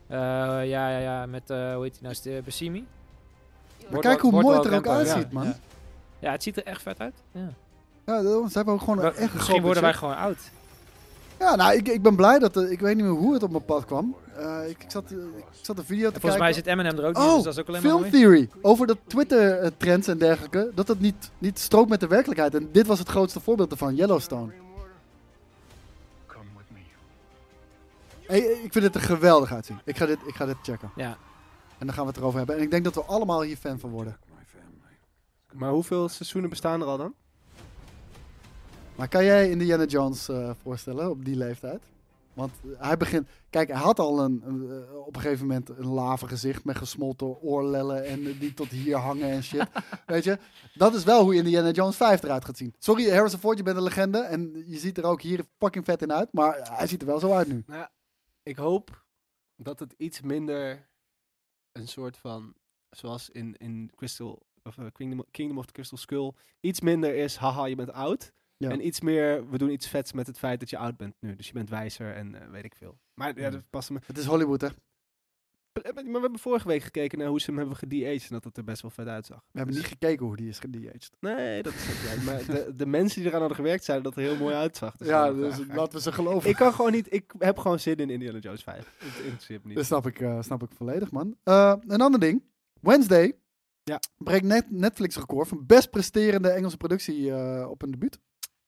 Speaker 3: Eh, ja, ja, ja. Met, eh, hoe heet die nou? Is het, eh, Bassimi?
Speaker 4: Maar
Speaker 3: Wordt
Speaker 4: kijk
Speaker 3: wel-
Speaker 4: hoe mooi
Speaker 3: wordt
Speaker 4: het er
Speaker 3: wel
Speaker 4: ook
Speaker 3: kenbaar, ja.
Speaker 4: uitziet, man.
Speaker 3: Ja. Ja, het ziet er echt vet uit. Ja.
Speaker 4: Ja, daarom, ze hebben ook gewoon
Speaker 3: Wa-
Speaker 4: echt een
Speaker 3: Misschien
Speaker 4: groot
Speaker 3: worden wij
Speaker 4: budget.
Speaker 3: gewoon oud.
Speaker 4: Ja, nou, ik, ik ben blij dat... er- ik weet niet meer hoe het op mijn pad kwam. Eh, ik, ik, zat, eh, ik zat een video te
Speaker 3: En volgens mij
Speaker 4: kijken.
Speaker 3: zit Eminem er ook in,
Speaker 4: Oh,
Speaker 3: dus dat is ook alleen maar
Speaker 4: Film
Speaker 3: mooi.
Speaker 4: Theory. Over dat Twitter-trends en dergelijke. Dat dat niet, niet strookt met de werkelijkheid. En dit was het grootste voorbeeld ervan. Yellowstone.
Speaker 12: Come with me.
Speaker 4: Hey, eh, ik vind het er geweldig uitzien. Ik ga dit, ik ga dit checken.
Speaker 3: Ja.
Speaker 4: En dan gaan we het erover hebben. En ik denk dat we allemaal hier fan van worden.
Speaker 12: My family.
Speaker 2: Maar hoeveel seizoenen bestaan er al dan?
Speaker 4: Maar kan jij Indiana Jones eh, voorstellen op die leeftijd? Want hij begint... Kijk, hij had al een, een, eh, op een gegeven moment een lave gezicht met gesmolten oorlellen en eh, die tot hier hangen en shit. Weet je? Dat is wel hoe Indiana Jones 5 eruit gaat zien. Sorry Harrison Ford, je bent een legende en je ziet er ook hier fucking vet in uit. Maar hij ziet er wel zo uit nu.
Speaker 2: Nou ja, ik hoop dat het iets minder een soort van, zoals in, in Crystal, of, eh, Kingdom, Kingdom of the Crystal Skull, iets minder is, haha, je bent oud.
Speaker 4: Ja.
Speaker 2: En iets meer, we doen iets vets met het feit dat je oud bent nu. Dus je bent wijzer en eh, weet ik veel. Maar ja,
Speaker 4: Hmm.
Speaker 2: dat past me.
Speaker 4: Het is Hollywood, hè?
Speaker 2: Maar we hebben vorige week gekeken naar hoe ze hem hebben gedeaged en dat het er best wel vet uitzag.
Speaker 4: We hebben niet gekeken hoe die is gedeaged.
Speaker 2: Nee, dat is ook waar. Maar de, de mensen die eraan hadden gewerkt zeiden dat het er heel mooi uitzag. Dus
Speaker 4: Ja,
Speaker 2: dan-
Speaker 4: dus
Speaker 2: ah,
Speaker 4: laten we ze geloven.
Speaker 2: Ik kan gewoon niet, ik heb gewoon zin in Indiana Jones 5. Het interesseert me niet.
Speaker 4: Dat snap ik, eh, snap ik volledig, man. Eh, een ander ding. Wednesday
Speaker 2: Ja.
Speaker 4: breekt net Netflix record van best presterende Engelse productie eh, op een debuut.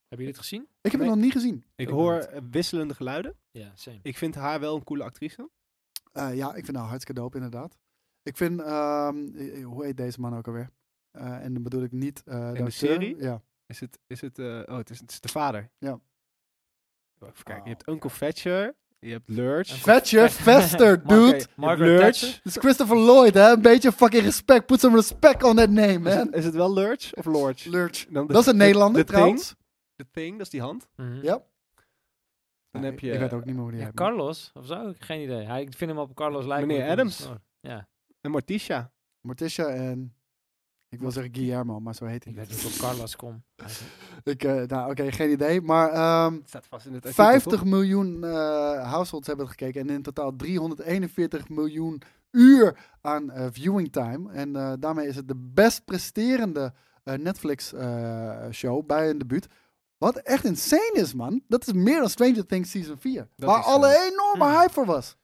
Speaker 3: Hebben jullie het gezien?
Speaker 4: Ik heb
Speaker 2: Nee.
Speaker 4: het nog niet gezien.
Speaker 2: ik
Speaker 3: Ik
Speaker 2: hoor
Speaker 3: niet.
Speaker 2: eh, wisselende geluiden.
Speaker 3: Ja, same.
Speaker 2: Ik vind haar wel een coole actrice.
Speaker 4: Eh, ja, ik vind nou hartstikke dope, inderdaad. Ik vind, ehm, eh, hoe heet deze man ook alweer? Eh, en dan bedoel ik niet... eh, de acteur.
Speaker 2: serie?
Speaker 4: Ja.
Speaker 2: Is het, is het, eh, oh, het is, het is de vader.
Speaker 4: Ja.
Speaker 2: Oh, Even kijken, je hebt Uncle Fetcher, je hebt Lurch.
Speaker 4: Fetcher, Fester,
Speaker 3: Margaret-
Speaker 4: dude.
Speaker 3: Margaret
Speaker 2: Lurch.
Speaker 3: Thatcher?
Speaker 4: Dit is Christopher Lloyd, hè? Een beetje fucking respect. Put some respect on that name,
Speaker 2: Is
Speaker 4: man.
Speaker 2: het, is het wel Lurch of Lorch?
Speaker 4: Lurch.
Speaker 2: Dan de-
Speaker 4: Dat is een
Speaker 2: de-
Speaker 4: Nederlander,
Speaker 2: de
Speaker 4: trouwens.
Speaker 2: Thing, de thing, dat is die hand.
Speaker 3: Mhm.
Speaker 4: Ja.
Speaker 2: Dan
Speaker 4: Nee,
Speaker 2: heb je eh,
Speaker 4: Ik weet ook niet meer hoe die
Speaker 3: Ja,
Speaker 4: heet.
Speaker 3: Carlos of zo? Geen idee. Hij, ik vind hem op Oh, Carlos lijken.
Speaker 2: Meneer
Speaker 3: maar ik weet
Speaker 2: Adams.
Speaker 3: niet. Oh, Ja.
Speaker 2: en Morticia.
Speaker 4: Morticia en... Ik wil zeggen Guillermo, maar zo heet hij
Speaker 3: Ik
Speaker 4: niet.
Speaker 3: weet niet of Carlos kom.
Speaker 4: Ik, eh, nou, oké, geen idee. Maar ehm,
Speaker 2: staat vast in het artikel,
Speaker 4: 50
Speaker 2: toch?
Speaker 4: miljoen eh, households hebben het gekeken. En in totaal 341 miljoen uur aan eh, viewing time. En eh, daarmee is het de best presterende eh, Netflix-show bij een debuut. Wat echt insane is, man. Dat is meer dan Stranger Things Season 4.
Speaker 2: Dat
Speaker 4: waar
Speaker 2: is,
Speaker 4: alle
Speaker 2: eh,
Speaker 4: enorme hype voor was.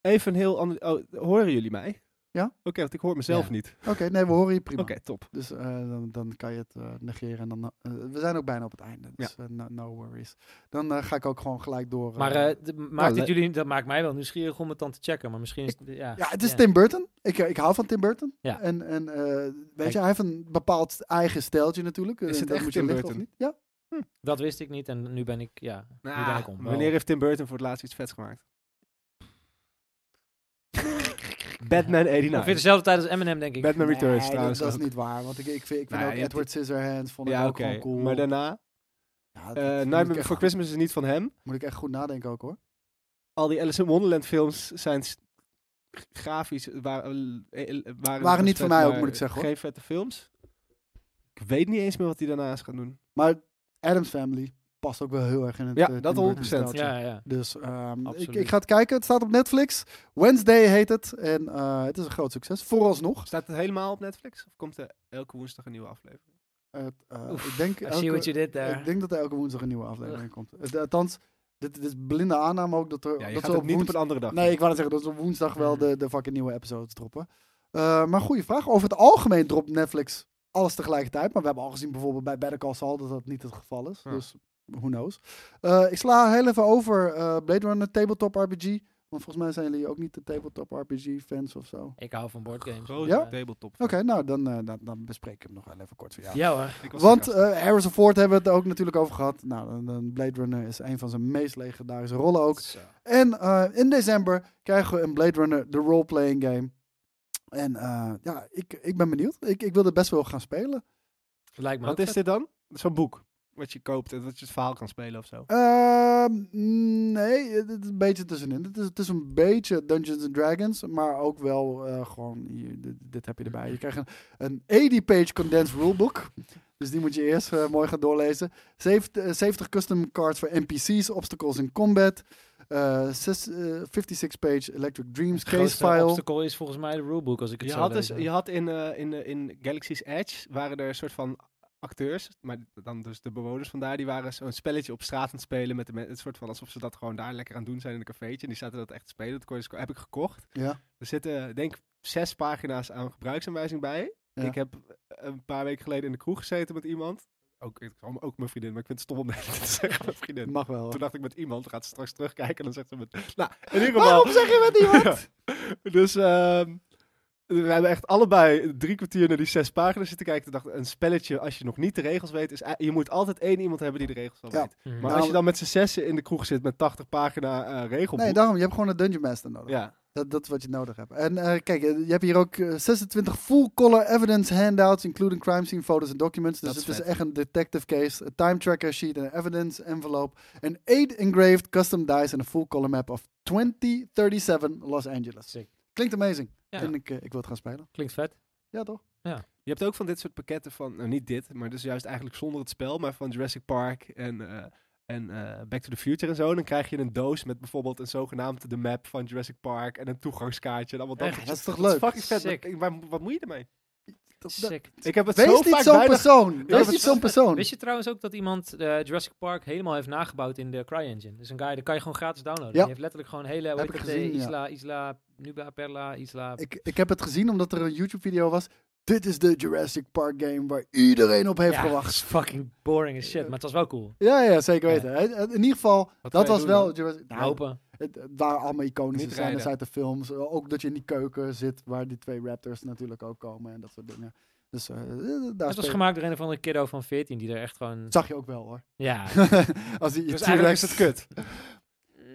Speaker 2: Even een heel ander... Oh, horen jullie mij?
Speaker 4: Ja?
Speaker 2: Oké, want ik hoor mezelf
Speaker 4: Ja.
Speaker 2: niet.
Speaker 4: Oké, nee, we horen je prima.
Speaker 2: Oké, top.
Speaker 4: Dus eh, dan, dan kan je het eh, negeren. En dan, eh, we zijn ook bijna op het einde. Dus eh, no, no worries. Dan eh, ga ik ook gewoon gelijk door. eh,
Speaker 3: Maar eh, d- maakt
Speaker 4: le-
Speaker 3: het jullie, dat maakt mij wel nieuwsgierig om het dan te checken. Maar misschien is ja.
Speaker 4: Ja, het is
Speaker 3: ja.
Speaker 4: Tim Burton. Ik, eh, ik hou van Tim Burton.
Speaker 3: Ja.
Speaker 4: En, en eh, weet
Speaker 3: Kijk.
Speaker 4: je, hij heeft een bepaald eigen stijltje natuurlijk.
Speaker 2: Is
Speaker 4: En
Speaker 2: het
Speaker 4: dat
Speaker 2: echt
Speaker 4: moet je
Speaker 2: Tim
Speaker 4: lichten,
Speaker 2: Burton?
Speaker 4: of niet? Ja.
Speaker 3: Dat wist ik niet en nu ben ik, ja, nu ben ik om.
Speaker 2: Nou, Ah, wanneer heeft Tim Burton voor het laatst iets vets gemaakt? Batman
Speaker 3: Ongeveer
Speaker 2: 89.
Speaker 3: dezelfde tijd als Eminem, denk ik.
Speaker 2: Batman Returns
Speaker 4: Nee, dat,
Speaker 2: trouwens
Speaker 4: dat is
Speaker 2: ook.
Speaker 4: niet waar. Want ik, ik vind, ik vind
Speaker 2: Nee,
Speaker 4: ook
Speaker 2: dat-
Speaker 4: Edward Scissorhands vond ik
Speaker 2: Ja,
Speaker 4: ook
Speaker 2: oké.
Speaker 4: gewoon cool.
Speaker 2: Maar daarna...
Speaker 4: Ja, dat-
Speaker 2: eh,
Speaker 4: dat moet ik
Speaker 2: Nightmare
Speaker 4: echt-
Speaker 2: Before Christmas is niet van hem.
Speaker 4: Moet ik echt goed nadenken ook hoor.
Speaker 2: Al die Alice in Wonderland films zijn s- g- grafisch... Waren, eh, waren,
Speaker 4: Waren niet
Speaker 2: vet,
Speaker 4: van mij ook,
Speaker 2: maar
Speaker 4: moet ik zeggen, hoor.
Speaker 2: Geen vette films. Ik weet niet eens meer wat hij daarnaast gaat doen.
Speaker 4: Maar Adam's Family past ook wel heel erg in het
Speaker 2: Ja,
Speaker 4: eh,
Speaker 2: dat
Speaker 4: Tim Burton
Speaker 2: 100%.
Speaker 4: stijltje.
Speaker 3: Ja, ja.
Speaker 4: Dus ehm, ik,
Speaker 3: Absoluut.
Speaker 4: ik ga het kijken. Het staat op Netflix. Wednesday heet het. En eh, het is een groot succes. Vooralsnog.
Speaker 2: Staat het helemaal op Netflix? Of komt er elke woensdag een nieuwe aflevering?
Speaker 4: Het, eh,
Speaker 3: Oef,
Speaker 4: ik, denk
Speaker 3: I see
Speaker 4: elke-
Speaker 3: what you did there.
Speaker 4: ik denk dat er elke woensdag een nieuwe aflevering komt. Het- althans, dit, dit is blinde aanname ook dat er.
Speaker 2: Ja, je
Speaker 4: dat
Speaker 2: gaat
Speaker 4: ze
Speaker 2: het niet op
Speaker 4: woens-
Speaker 2: een andere dag.
Speaker 4: Nee, ik wou net zeggen dat ze op woensdag wel de, de fucking nieuwe episodes droppen. Eh, maar goede vraag. Over het algemeen dropt Netflix alles tegelijkertijd. Maar we hebben al gezien bijvoorbeeld bij Better Call Saul dat dat niet het geval is.
Speaker 2: Ja.
Speaker 4: Dus who knows. Eh, ik sla heel even over eh, Blade Runner Tabletop RPG. Want volgens mij zijn jullie ook niet de Tabletop RPG fans of zo. Oké,
Speaker 3: Ik hou van boardgames.
Speaker 2: Grote
Speaker 4: Ja?
Speaker 2: tabletop.
Speaker 4: nou dan, eh, dan, dan bespreek ik hem nog wel even kort voor jou.
Speaker 3: Ja hoor.
Speaker 2: Ik was
Speaker 4: Want
Speaker 2: verrast.
Speaker 4: eh, Harrison Ford hebben we het ook natuurlijk over gehad. Nou, dan- dan Blade Runner is een van zijn meest legendarische rollen ook.
Speaker 3: Zo.
Speaker 4: En eh, in december krijgen we een Blade Runner, de role-playing game. En eh, ja, ik, ik ben benieuwd. Ik, ik wil er best wel gaan spelen.
Speaker 3: Lijkt me
Speaker 2: Wat
Speaker 3: ook
Speaker 2: is
Speaker 3: vet.
Speaker 2: dit dan? Zo'n boek. Wat je koopt en dat je het verhaal kan spelen of zo.
Speaker 4: Ehm, nee, het het is een beetje tussenin. Het is, het is een beetje Dungeons and Dragons, maar ook wel eh, gewoon, hier, dit, dit heb je erbij. Je krijgt een, een 80-page condensed rulebook. Dus die moet je eerst eh, mooi gaan doorlezen. 70, eh, 70 custom cards voor NPC's, obstacles in combat. Eh, zes- eh, 56-page Electric Dreams
Speaker 3: Het grootste
Speaker 4: case file.
Speaker 3: obstacle is volgens mij de rulebook, als ik het
Speaker 2: Je
Speaker 3: zo
Speaker 2: had,
Speaker 3: lees,
Speaker 2: dus,
Speaker 3: hè.
Speaker 2: je had in, eh, in, eh, in Galaxy's Edge waren er een soort van acteurs, maar dan dus de bewoners van daar, die waren zo'n spelletje op straat aan het spelen met de men- het soort van alsof ze dat gewoon daar lekker aan het doen zijn in een cafeetje. En die zaten dat echt te spelen. Dat kon je dus ko- heb ik gekocht.
Speaker 4: Ja.
Speaker 2: Er zitten, eh, denk ik, zes pagina's aan gebruiksaanwijzing bij.
Speaker 4: Ja.
Speaker 2: Ik heb eh, een paar weken geleden in de kroeg gezeten met iemand. Ook, ik- ook mijn vriendin, maar ik vind het stom om dat te zeggen, mijn vriendin.
Speaker 4: Mag wel.
Speaker 2: Toen
Speaker 4: hoor.
Speaker 2: dacht ik met iemand, gaat ze straks terugkijken en dan zegt ze met... Nou, in ieder geval...
Speaker 4: Waarom zeg je met iemand?
Speaker 2: Ja. Dus ehm, we hebben echt allebei drie kwartier naar die zes pagina's zitten kijken. Toen dacht ik, een spelletje, als je nog niet de regels weet, is... ei- Je moet altijd één iemand hebben die de regels wel
Speaker 4: Ja.
Speaker 2: weet.
Speaker 3: Mhm.
Speaker 2: Maar
Speaker 4: Nou-
Speaker 2: als je dan met z'n zessen in de kroeg zit met 80 pagina eh, regelboek...
Speaker 4: Nee, daarom, je hebt gewoon een Dungeon Master nodig.
Speaker 2: Ja,
Speaker 4: Dat, dat is wat je nodig hebt. En eh, kijk, eh, je hebt hier ook eh, 26 full-color evidence handouts, including crime scene photos en documents. Dus
Speaker 2: Dat
Speaker 4: het
Speaker 2: is
Speaker 4: is
Speaker 2: vet.
Speaker 4: echt een detective case, een time tracker sheet, een evidence envelope, een 8 engraved custom dice en een full-color map of 2037 Los Angeles.
Speaker 3: Sick.
Speaker 4: Klinkt amazing.
Speaker 3: Ja.
Speaker 4: En ik, eh, ik wil het gaan spelen.
Speaker 3: Klinkt vet.
Speaker 4: Ja, toch?
Speaker 2: je hebt ook van dit soort pakketten van... Nou, niet dit, maar dus juist eigenlijk zonder het spel, maar van Jurassic Park en... eh, en eh, Back to the Future en zo. Dan krijg je een doos met bijvoorbeeld een zogenaamde de map van Jurassic Park. En een toegangskaartje. En allemaal dat
Speaker 3: Echt?
Speaker 2: soort
Speaker 4: Dat is toch
Speaker 2: Dat is
Speaker 4: leuk?
Speaker 2: fucking vet.
Speaker 3: Sick.
Speaker 2: maar ik- maar wat moet je ermee?
Speaker 4: Dat- dat-
Speaker 3: Sick.
Speaker 2: Ik heb het
Speaker 4: Wees
Speaker 2: zo
Speaker 4: niet
Speaker 2: vaak
Speaker 4: zo'n
Speaker 2: bijna-
Speaker 4: persoon. Wees
Speaker 2: heb
Speaker 4: niet
Speaker 2: het
Speaker 4: zo'n persoon.
Speaker 3: Wist je trouwens ook dat iemand eh, Jurassic Park helemaal heeft nagebouwd in de CryEngine? Dus een guy, dat kan je gewoon gratis downloaden.
Speaker 4: Ja.
Speaker 3: Die heeft letterlijk gewoon hele,
Speaker 4: Heb
Speaker 3: hoe heet
Speaker 4: ik
Speaker 3: dat, eh,
Speaker 4: gezien, ja.
Speaker 3: Isla, Isla, Nuba, Perla, Isla...
Speaker 4: Ik, ik heb het gezien omdat er een YouTube-video was. Dit is de Jurassic Park game waar iedereen op heeft
Speaker 3: ja,
Speaker 4: gewacht.
Speaker 3: is fucking boring as shit, maar het was wel cool.
Speaker 4: Ja, ja, zeker
Speaker 3: Ja.
Speaker 4: weten. Hè, In ieder geval,
Speaker 2: Wat kan
Speaker 4: dat
Speaker 2: je
Speaker 4: was
Speaker 2: doen
Speaker 4: wel...
Speaker 2: dan?
Speaker 4: Jurassic- nou,
Speaker 3: Lopen.
Speaker 4: Het, het waren allemaal iconische
Speaker 2: Niet
Speaker 4: scènes
Speaker 2: rijden.
Speaker 4: uit de films. Eh, Ook dat je in die keuken zit waar die twee raptors natuurlijk ook komen en dat soort dingen. Dus eh, eh, daar
Speaker 3: Het was
Speaker 4: speel-
Speaker 3: gemaakt door een of andere kiddo van 14 die er echt gewoon...
Speaker 4: zag je ook wel hoor.
Speaker 3: Ja,
Speaker 4: Als die
Speaker 2: Dus
Speaker 4: T-Rex-
Speaker 2: eigenlijk is het kut.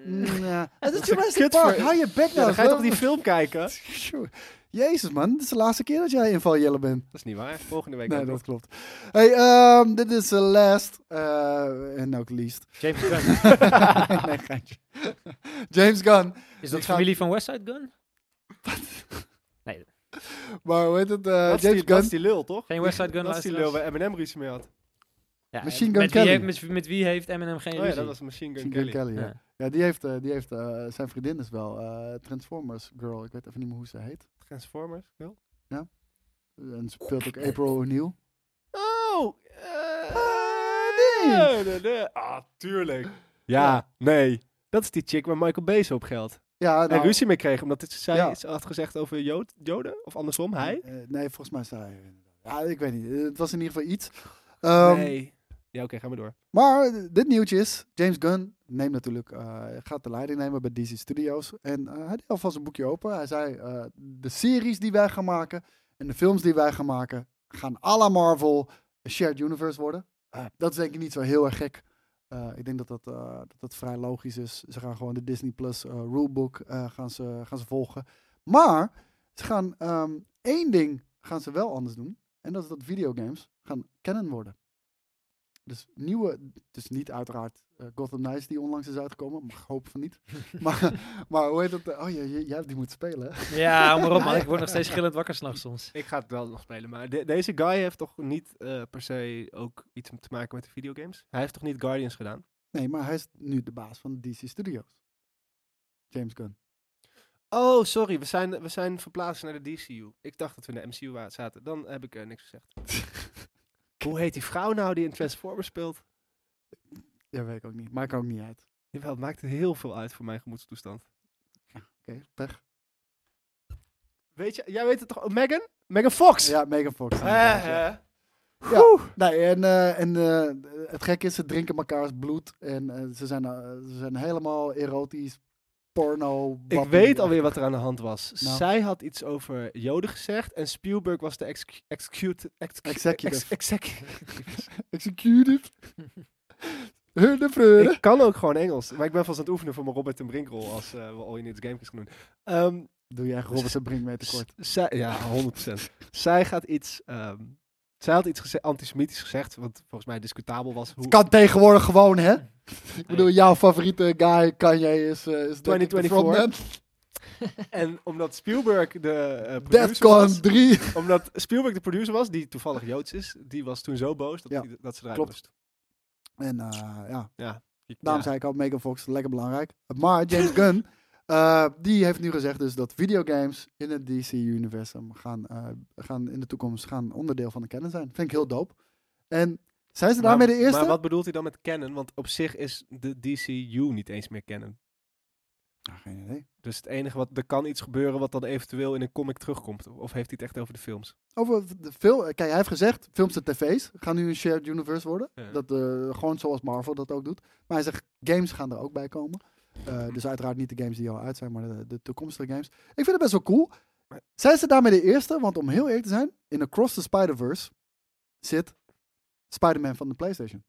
Speaker 4: Mm, ja. Het is
Speaker 2: Dat is een
Speaker 4: Jurassic
Speaker 2: kut
Speaker 4: Park,
Speaker 2: voor-
Speaker 4: hou je bek
Speaker 2: Ja,
Speaker 4: nou.
Speaker 2: dan ga je
Speaker 4: zo.
Speaker 2: toch die film kijken? Dat
Speaker 4: Sure. Jezus man, dit is de laatste keer dat jij inval Jelle bent.
Speaker 2: is niet waar. Volgende week.
Speaker 4: Nee,
Speaker 2: ook
Speaker 4: dat
Speaker 2: nog.
Speaker 4: klopt. Hey, ehm, dit is de last eh, en ook least.
Speaker 3: James Gunn.
Speaker 4: nee, geintje. James Gunn.
Speaker 3: Is dat
Speaker 4: ga-
Speaker 3: familie van West Side Gun? Nee.
Speaker 4: Maar hoe heet het? eh,
Speaker 2: dat, is
Speaker 4: James
Speaker 2: die,
Speaker 4: Gunn.
Speaker 2: dat is die lul, toch?
Speaker 3: Geen West Side Gun
Speaker 2: Dat is die lul
Speaker 3: luisteraars?
Speaker 2: waar Eminem ruzie mee had.
Speaker 3: Ja,
Speaker 4: Machine Gun
Speaker 3: met wie,
Speaker 4: Kelly.
Speaker 3: heeft- met, met wie heeft Eminem geen
Speaker 2: Oh ja,
Speaker 3: ruzie?
Speaker 2: dat was Machine Gun
Speaker 4: Machine Gun
Speaker 2: Kelly.
Speaker 4: Kelly, ja.
Speaker 3: Ja.
Speaker 4: ja. die heeft, eh, die heeft eh, zijn vriendin is wel eh, Transformers Girl. Ik weet even niet meer hoe ze heet.
Speaker 2: Transformers, lul.
Speaker 4: En speelt ook April O'Neil.
Speaker 2: Oh! eh, nee, nee, nee. Ah, tuurlijk. Ja,
Speaker 4: Ja.
Speaker 2: nee. Dat is die chick waar Michael Bay zo op geldt.
Speaker 4: Ja,
Speaker 2: En
Speaker 4: nou,
Speaker 2: ruzie mee kreeg, omdat het, zij
Speaker 4: Ja.
Speaker 2: iets had gezegd over Jood, Joden. Of andersom, hij.
Speaker 4: eh, nee, volgens mij is hij. Ja, ik weet niet. Eh, Het was in ieder geval iets. Ehm,
Speaker 2: nee. Ja, oké, ga maar door.
Speaker 4: Maar eh, dit nieuwtje is, James Gunn neemt natuurlijk, eh, gaat de leiding nemen bij DC Studios. En eh, hij deed alvast een boekje open. Hij zei, eh, de series die wij gaan maken en de films die wij gaan maken, gaan à la Marvel een shared universe worden. Eh, dat is denk ik niet zo heel erg gek. Eh, ik denk dat dat, eh, dat dat vrij logisch is. Ze gaan gewoon de Disney Plus eh, rulebook eh, gaan, ze, gaan ze volgen. Maar ze gaan ehm, één ding gaan ze wel anders doen. En dat is dat videogames gaan canon worden. Dus nieuwe, dus niet uiteraard eh, Gotham Knights die onlangs is uitgekomen, maar ik hoop van niet. maar, maar hoe heet dat? eh, Oh ja, j- jij hebt die moet spelen. hè?
Speaker 3: Ja, hou maar op man. Ik word nog steeds gillend wakker s'nachts soms.
Speaker 2: Ik ga het wel nog spelen, maar de- deze guy heeft toch niet eh, per se ook iets te maken met de videogames? Hij heeft toch niet Guardians gedaan?
Speaker 4: Nee, maar hij is nu de baas van DC Studios. James Gunn.
Speaker 2: Oh, sorry, we zijn, we zijn verplaatst naar de DCU. Ik dacht dat we in de MCU wa- zaten. Dan heb ik eh, niks gezegd. Hoe heet die vrouw nou die in Transformers speelt?
Speaker 4: Ja, weet ik ook niet. Maakt ook niet uit.
Speaker 2: Jawel, het maakt heel veel uit voor mijn gemoedstoestand.
Speaker 4: Oké, pech.
Speaker 2: Weet je, jij weet het toch? Megan? Megan Fox!
Speaker 4: Ja, Megan Fox.
Speaker 2: Eh, eh.
Speaker 4: Ja, nee, en, eh, en eh, het gekke is, ze drinken mekaars bloed en eh, ze, zijn, eh, ze zijn helemaal erotisch, porno.
Speaker 2: Ik
Speaker 4: wappie.
Speaker 2: weet alweer wat er aan de hand was.
Speaker 4: Nou.
Speaker 2: Zij had iets over Joden gezegd en Spielberg was de exec- execute- ex-
Speaker 4: Executive.
Speaker 2: ex- executive.
Speaker 4: Executed. Hun de vreuren.
Speaker 2: Ik kan ook gewoon Engels, maar ik ben vast aan het oefenen voor mijn Robert en Brinkrol als eh, we al in dit gamekist gaan doen. Ehm,
Speaker 4: Doe jij Robert en Brink mee tekort.
Speaker 2: s- zij, ja, 100%. zij gaat iets, ehm, zij had iets geze- antisemitisch gezegd, wat volgens mij discutabel was. Hoe
Speaker 4: Kan tegenwoordig gewoon, hè? Ik bedoel, jouw favoriete guy, Kanye, is, eh, is denk ik de
Speaker 2: 2024.
Speaker 4: frontman.
Speaker 2: En omdat Spielberg de eh, producer
Speaker 4: Deathcon
Speaker 2: was,
Speaker 4: 3.
Speaker 2: omdat Spielberg de producer was, die toevallig Joods is, die was toen zo boos dat,
Speaker 4: Ja,
Speaker 2: die- dat ze eruit
Speaker 4: klopt.
Speaker 2: moest.
Speaker 4: En eh, ja,
Speaker 2: Ik- ja.
Speaker 4: Daarom zei ik al, Megan Fox, lekker belangrijk. Maar James Gunn, eh, die heeft nu gezegd dus dat videogames in het DC-universum gaan, eh, gaan in de toekomst gaan onderdeel van de canon zijn. Vind ik heel dope. En zijn ze daarmee
Speaker 2: Maar-
Speaker 4: de eerste?
Speaker 2: Maar wat bedoelt hij dan met canon? Want op zich is de DCU niet eens meer canon.
Speaker 4: Ah, geen idee.
Speaker 2: Dus het enige wat er kan iets gebeuren wat dan eventueel in een comic terugkomt. Of heeft hij het echt over de films?
Speaker 4: Over de film, eh, kijk, hij heeft gezegd, films en tv's gaan nu een shared universe worden.
Speaker 2: Ja.
Speaker 4: Dat, eh, gewoon zoals Marvel dat ook doet. Maar hij zegt, games gaan er ook bij komen. Eh, dus uiteraard niet de games die al uit zijn, maar de, de toekomstige games. Ik vind het best wel cool. Zijn ze daarmee de eerste? Want om heel eerlijk te zijn, in Across the Spider-Verse zit Spider-Man van de PlayStation.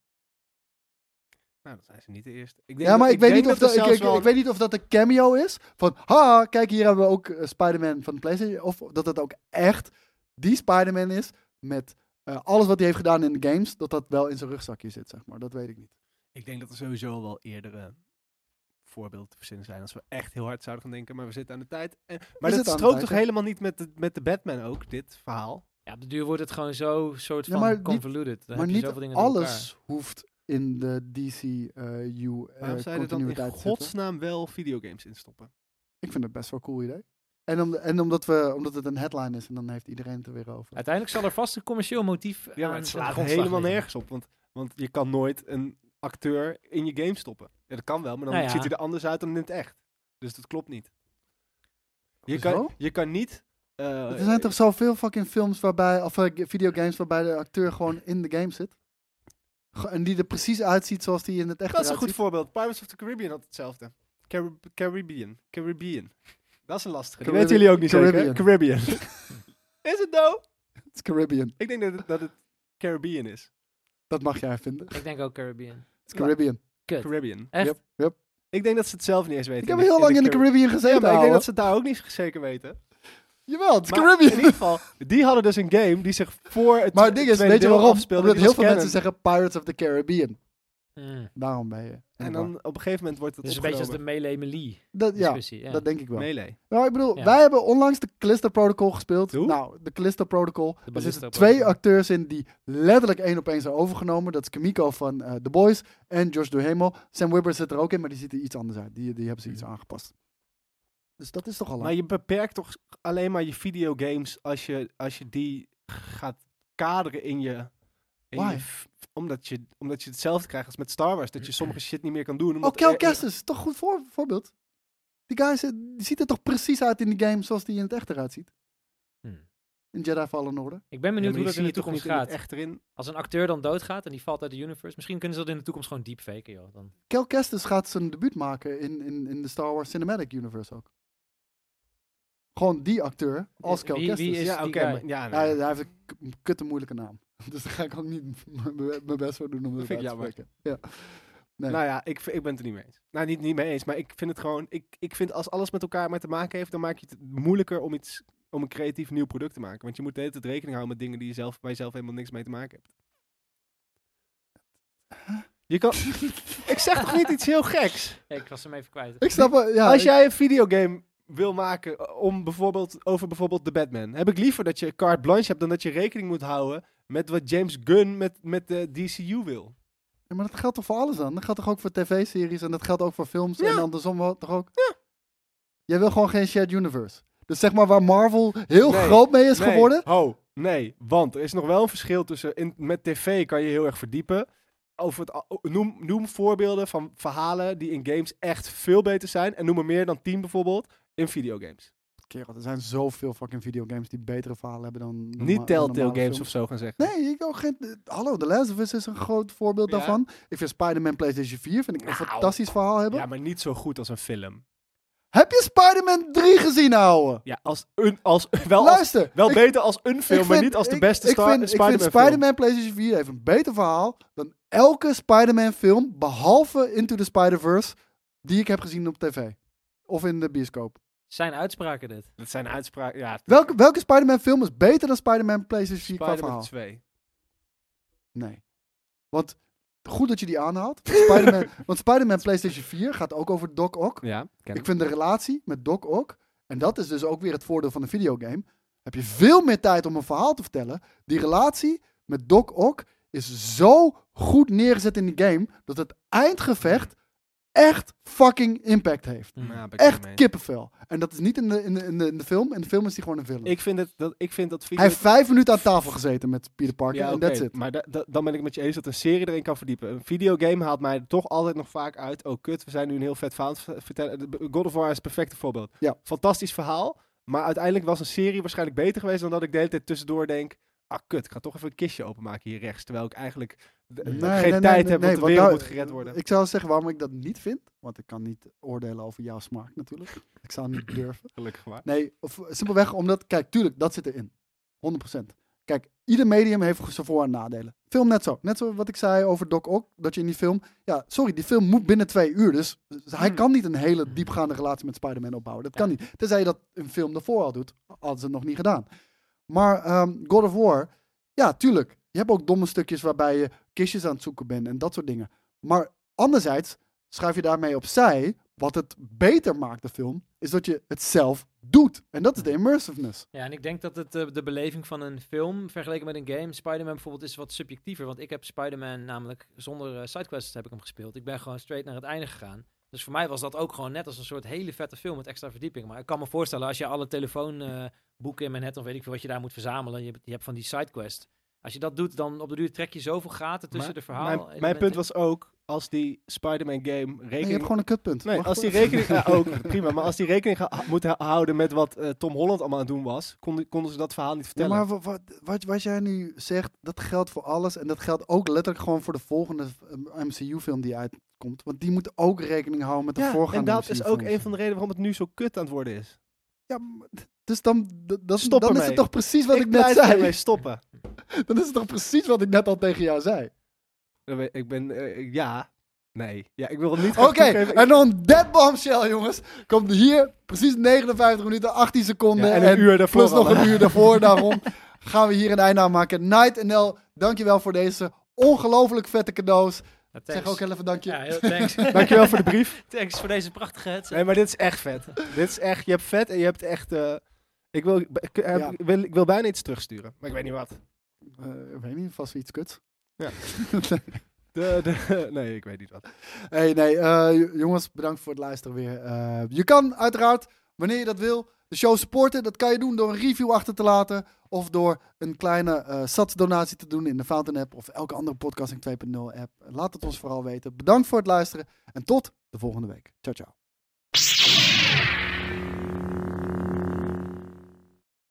Speaker 2: Nou, dan zijn ze niet de eerste. Ik
Speaker 4: ja, maar ik, weet
Speaker 2: denk
Speaker 4: niet
Speaker 2: er
Speaker 4: of dat, ik,
Speaker 2: zelfs
Speaker 4: ik,
Speaker 2: wel-
Speaker 4: ik weet niet of dat een cameo is. Van, ha, kijk, hier hebben we ook eh, Spider-Man van de PlayStation. Of dat het ook echt die Spider-Man is met eh, alles wat hij heeft gedaan in de games. Dat dat wel in zijn rugzakje zit, zeg maar. Dat weet ik niet.
Speaker 2: ik denk dat er sowieso wel eerdere voorbeelden te verzinnen zijn. Als we echt heel hard zouden gaan denken, maar we zitten aan de tijd. En, maar dat
Speaker 4: zitten aan de
Speaker 2: strookt
Speaker 4: tijd,
Speaker 2: toch
Speaker 4: ja.
Speaker 2: helemaal niet met de, met de Batman ook, dit verhaal?
Speaker 3: Ja, op de duur wordt het gewoon zo soort
Speaker 4: Ja,
Speaker 3: van
Speaker 4: maar niet-
Speaker 3: convoluted. Dan
Speaker 4: maar
Speaker 3: heb je
Speaker 4: niet
Speaker 3: zoveel dingen door elkaar.
Speaker 4: alles hoeft in de DCU eh
Speaker 2: Waarom zou je er dan in
Speaker 4: continuïteit zitten.
Speaker 2: godsnaam wel videogames in stoppen?
Speaker 4: Ik vind het best wel een cool idee. En, om, en omdat, we, omdat het een headline is en dan heeft iedereen het er weer over.
Speaker 3: Uiteindelijk zal er vast een commercieel motief
Speaker 2: Ja, maar
Speaker 3: aan
Speaker 2: het
Speaker 3: ten
Speaker 2: Ah, slaat
Speaker 3: grondslag
Speaker 2: helemaal
Speaker 3: liggen.
Speaker 2: nergens op. Want, want je kan nooit een acteur in je game stoppen. Ja, dat kan wel, maar dan
Speaker 3: Nou ja.
Speaker 2: ziet hij er anders uit dan in het echt. Dus dat klopt niet. Je
Speaker 4: Hoezo?
Speaker 2: kan, je kan niet... eh,
Speaker 4: Er zijn toch zoveel fucking films waarbij, of eh, g- videogames waarbij de acteur gewoon in de game zit. Ge- En die er precies uitziet zoals die in het echt
Speaker 2: Dat is een
Speaker 4: eruit
Speaker 2: goed
Speaker 4: ziet.
Speaker 2: voorbeeld. Pirates of the Caribbean had hetzelfde. Carib- Caribbean. Caribbean. Dat is een lastige. Die
Speaker 4: Caribbean-
Speaker 2: weten jullie ook niet zeker. hè? Caribbean.
Speaker 4: Caribbean.
Speaker 2: is het nou?
Speaker 4: Het is Caribbean.
Speaker 2: Ik denk dat het, dat het Caribbean is.
Speaker 4: Dat mag jij vinden. Het
Speaker 3: Ik denk ook Caribbean.
Speaker 4: is Caribbean.
Speaker 3: Kut.
Speaker 2: Caribbean.
Speaker 3: Echt?
Speaker 4: Yep, yep.
Speaker 2: Ik denk dat ze het zelf niet eens weten.
Speaker 4: Ik heb heel lang in de Caribbean gezeten.
Speaker 2: Ja, maar ik denk
Speaker 4: ouwe.
Speaker 2: dat ze het daar ook niet zeker weten.
Speaker 4: Jawel, het is
Speaker 2: Maar In
Speaker 4: Caribbean.
Speaker 2: ieder geval, die hadden dus een game die zich voor het
Speaker 4: Maar het ding is,
Speaker 2: tweede
Speaker 4: weet je
Speaker 2: deel
Speaker 4: waarom?
Speaker 2: afspeelde,
Speaker 4: Omdat
Speaker 2: die
Speaker 4: heel
Speaker 2: was
Speaker 4: veel mensen
Speaker 2: canon.
Speaker 4: zeggen Pirates of the Caribbean.
Speaker 3: Mm.
Speaker 4: Daarom ben je.
Speaker 2: En dan dus- op een gegeven moment wordt het
Speaker 3: Het is een beetje als de
Speaker 2: opgenomen.
Speaker 3: melee melee
Speaker 4: Dat, ja,
Speaker 3: discussie. Ja,
Speaker 4: dat denk ik wel.
Speaker 2: Melee.
Speaker 4: Nou, ik bedoel,
Speaker 3: Ja.
Speaker 4: wij hebben onlangs de Callisto Protocol gespeeld. Nou, de Callisto Protocol. er
Speaker 3: Ballisto
Speaker 4: zitten
Speaker 3: Protocol.
Speaker 4: twee acteurs in die letterlijk één op één zijn overgenomen. Dat is Kimiko van eh, The Boys en Josh Duhamel. Sam Wibber zit er ook in, maar die ziet er iets anders uit. Die, die hebben ze iets aangepast. Dus dat is toch al lang.
Speaker 2: Maar je beperkt toch alleen maar je videogames als je, als je die gaat kaderen in je... in je
Speaker 4: Why?
Speaker 2: f- omdat, je, omdat je hetzelfde krijgt als met Star Wars. Dat je sommige shit niet meer kan doen.
Speaker 4: Oh,
Speaker 2: omdat
Speaker 4: Cal
Speaker 2: er- er-
Speaker 4: Kestis, toch een goed voor, voorbeeld. Die guy is- die ziet er toch precies uit in de game zoals die in het echt eruit ziet.
Speaker 3: Hmm.
Speaker 4: In Jedi Fallen Order.
Speaker 3: Ik ben benieuwd
Speaker 2: Ja,
Speaker 3: hoe
Speaker 2: maar die
Speaker 3: dat in de
Speaker 2: zie je toch
Speaker 3: toekomst
Speaker 2: niet in het
Speaker 3: gaat.
Speaker 2: echt erin?
Speaker 3: Als een acteur dan doodgaat en die valt uit de universe, misschien kunnen ze dat in de toekomst gewoon deepfaken, joh. Dan.
Speaker 4: Cal Kestis gaat zijn debuut maken in, in, in de Star Wars Cinematic Universe ook. Gewoon die acteur als Cal
Speaker 3: Wie- wie
Speaker 4: Kestis.
Speaker 3: is
Speaker 2: Ja,
Speaker 3: die
Speaker 2: oké,
Speaker 3: guy?
Speaker 2: maar- ja, nee.
Speaker 4: hij, hij heeft een k- een kutte moeilijke naam. Dus daar ga ik ook niet m- m- mijn best voor doen om dat
Speaker 2: vind
Speaker 4: uit
Speaker 2: ik
Speaker 4: te
Speaker 2: jammer.
Speaker 4: spreken. Ja. Nee.
Speaker 2: Nou ja, ik, v- ik ben het er niet mee eens. Nou, niet, niet mee eens, maar ik vind het gewoon... Ik, ik vind als alles met elkaar maar te maken heeft, dan maak je het moeilijker om iets... om een creatief nieuw product te maken. Want je moet de hele tijd rekening houden met dingen die je zelf, waar je zelf helemaal niks mee te maken hebt. Je kan... ik zeg toch niet iets heel geks?
Speaker 3: Ja, ik was hem even kwijt.
Speaker 4: Ik snap wel- ja,
Speaker 2: als
Speaker 4: ik-
Speaker 2: jij een videogame wil maken om bijvoorbeeld, over bijvoorbeeld de Batman... heb ik liever dat je carte blanche hebt dan dat je rekening moet houden... met wat James Gunn met, met de DCU wil.
Speaker 4: Ja, maar dat geldt toch voor alles dan? Dat geldt toch ook voor tv-series en dat geldt ook voor films en andersom wel toch ook? Ja. Jij wil gewoon geen shared universe. Dus zeg maar waar Marvel heel
Speaker 2: Nee,
Speaker 4: groot mee is
Speaker 2: nee,
Speaker 4: geworden.
Speaker 2: Oh, nee, want er is nog wel een verschil tussen. In, met tv kan je heel erg verdiepen. Over het, al- noem, noem voorbeelden van verhalen die in games echt veel beter zijn. En noem er meer dan 10 bijvoorbeeld in videogames.
Speaker 4: Kerel, er zijn zoveel fucking videogames die betere verhalen hebben dan...
Speaker 2: Niet Telltale games of zo gaan zeggen.
Speaker 4: Nee, ik ook geen... eh, Hallo, The Last of Us is een groot voorbeeld
Speaker 2: Ja.
Speaker 4: daarvan. Ik vind Spider-Man PlayStation 4 vind ik een
Speaker 2: Nou.
Speaker 4: fantastisch verhaal hebben.
Speaker 2: Ja, maar niet zo goed als een film.
Speaker 4: Heb je Spider-Man 3 gezien, ouwe?
Speaker 2: Ja, als een, als, wel, als-
Speaker 4: Luister,
Speaker 2: wel
Speaker 4: ik-
Speaker 2: beter als een film,
Speaker 4: Ik
Speaker 2: maar
Speaker 4: vind-
Speaker 2: niet als de
Speaker 4: ik-
Speaker 2: beste
Speaker 4: ik,
Speaker 2: Star-
Speaker 4: vind,
Speaker 2: Spider-Man
Speaker 4: Ik vind
Speaker 2: film.
Speaker 4: Spider-Man PlayStation 4 heeft een beter verhaal dan elke Spider-Man film, behalve Into the Spider-Verse, die ik heb gezien op tv. Of in de bioscoop.
Speaker 3: Zijn uitspraken dit.
Speaker 2: Dat zijn uitspraken. Ja,
Speaker 4: Welke, welke Spider-Man film is beter dan Spider-Man PlayStation 4 qua
Speaker 2: Spider-Man
Speaker 4: verhaal?
Speaker 2: 2.
Speaker 4: Nee. Want goed dat je die aanhaalt. Spider-Man, want Spider-Man PlayStation 4 gaat ook over Doc Ock.
Speaker 2: Ja, ken
Speaker 4: Ik vind de relatie met Doc ook, en dat is dus ook weer het voordeel van een videogame, heb je veel meer tijd om een verhaal te vertellen. Die relatie met Doc ook is zo goed neergezet in de game, dat het eindgevecht echt fucking impact heeft.
Speaker 2: Ja, ben Mm, ik niet mee
Speaker 4: Echt
Speaker 2: eens.
Speaker 4: kippenvel. En dat is niet in de, in de, in de, in de film. In de film is die gewoon een film.
Speaker 2: Ik vind het, dat, ik vind dat video...
Speaker 4: Hij heeft vijf minuten aan tafel gezeten met Peter Parker en
Speaker 2: oké,
Speaker 4: that's it.
Speaker 2: Maar da- da- dan ben ik met je eens dat een serie erin kan verdiepen. Een videogame haalt mij toch altijd nog vaak uit. Oh, kut, we zijn nu een heel vet verhaal aan het v- vertellen. De- God of War is het perfecte voorbeeld.
Speaker 4: Ja.
Speaker 2: Fantastisch verhaal. Maar uiteindelijk was een serie waarschijnlijk beter geweest dan dat ik de hele tijd tussendoor denk. Ah, kut, ik ga toch even een kistje openmaken hier rechts. Terwijl ik eigenlijk d-
Speaker 4: Nee,
Speaker 2: geen
Speaker 4: nee,
Speaker 2: tijd
Speaker 4: nee,
Speaker 2: heb, want
Speaker 4: nee,
Speaker 2: de
Speaker 4: want
Speaker 2: wereld
Speaker 4: daar-
Speaker 2: moet gered worden.
Speaker 4: Ik zou zeggen waarom ik dat niet vind. Want ik kan niet oordelen over jouw smaak natuurlijk. Ik zou niet durven.
Speaker 2: Gelukkig maar.
Speaker 4: Nee, of, simpelweg omdat, kijk, tuurlijk, dat zit erin. 100%. Kijk, ieder medium heeft zijn voor- en nadelen. Film net zo. Net zo wat ik zei over Doc Ock, dat je in die film... Ja, sorry, die film moet binnen twee uur. Dus hij kan niet een hele diepgaande relatie met Spider-Man opbouwen. Dat kan niet. Tenzij je dat een film daarvoor al doet, hadden ze het nog niet gedaan. Maar ehm, God of War, ja, tuurlijk. Je hebt ook domme stukjes waarbij je kistjes aan het zoeken bent en dat soort dingen. Maar anderzijds schuif je daarmee opzij. Wat het beter maakt, de film, is dat je het zelf doet. En dat is de immersiveness.
Speaker 3: Ja, en ik denk dat het, eh, de beleving van een film vergeleken met een game, Spider-Man bijvoorbeeld, is wat subjectiever. Want ik heb Spider-Man namelijk zonder eh, sidequests heb ik hem gespeeld. Ik ben gewoon straight naar het einde gegaan. Dus voor mij was dat ook gewoon net als een soort hele vette film met extra verdieping. Maar ik kan me voorstellen, als je alle telefoonboeken in Manhattan of weet ik veel wat je daar moet verzamelen, je, hebt- je hebt van die sidequest. Als je dat doet, dan op de duur trek je zoveel gaten tussen de verhaal.
Speaker 2: Mijn, mijn punt was ook, als die Spider-Man game
Speaker 4: En je
Speaker 2: rekening
Speaker 4: hebt gewoon een kutpunt.
Speaker 2: Nee,
Speaker 4: Wacht
Speaker 2: als die
Speaker 4: even.
Speaker 2: rekening ja, ook prima, maar als die rekening geha- moet ha- houden met wat eh, Tom Holland allemaal aan het doen was, konden, konden ze dat verhaal niet
Speaker 4: Ja,
Speaker 2: vertellen.
Speaker 4: maar wat, wat, wat, wat jij nu zegt, dat geldt voor alles. En dat geldt ook letterlijk gewoon voor de volgende eh, MCU-film die uitkomt. Want die moet ook rekening houden met de
Speaker 2: Ja,
Speaker 4: voorgaande
Speaker 2: en dat is ook
Speaker 4: MCU-films.
Speaker 2: een van de redenen waarom het nu zo kut aan het worden is.
Speaker 4: Ja, maar d- dus dan, d- dat,
Speaker 2: Stop
Speaker 4: dan is
Speaker 2: ermee.
Speaker 4: het toch precies wat ik, net
Speaker 2: blijf
Speaker 4: zei.
Speaker 2: ermee stoppen.
Speaker 4: Dan is het toch precies wat ik net al tegen jou zei.
Speaker 2: Dan ben- Ik ben, eh, ja, nee. Ja, ik wil het niet
Speaker 4: Oké,
Speaker 2: gaan toegeven.
Speaker 4: en dan dead bombshell, jongens. Komt hier precies 59 minuten, 18 seconden.
Speaker 2: Ja, en een uur daarvoor
Speaker 4: eh, Plus nog
Speaker 2: al, hè?
Speaker 4: een uur daarvoor. Daarom gaan we hier een einde aan maken. Night NL, dankjewel voor deze ongelooflijk vette cadeaus. Zeg ook heel even dankje.
Speaker 3: Ja, heel- thanks.
Speaker 2: Dankjewel voor de brief.
Speaker 3: Thanks voor deze prachtige headset.
Speaker 2: Nee, maar dit is echt vet. dit is echt, je hebt vet en je hebt echt... eh, ik, wil, ik, eh,
Speaker 4: Ja.
Speaker 2: ik wil, ik wil bijna iets terugsturen, maar ik weet niet wat.
Speaker 4: Eh, ik weet niet, vast iets kuts.
Speaker 2: Ja. De, de, nee, ik weet niet wat.
Speaker 4: Hey, nee, eh, j- jongens, bedankt voor het luisteren weer. Eh, je kan uiteraard, wanneer je dat wil, de show supporten. Dat kan je doen door een review achter te laten. Of door een kleine eh satsdonatie te doen in de Fountain app of elke andere podcasting 2.0 app. Laat het ons vooral weten. Bedankt voor het luisteren en tot de volgende week. Ciao, ciao.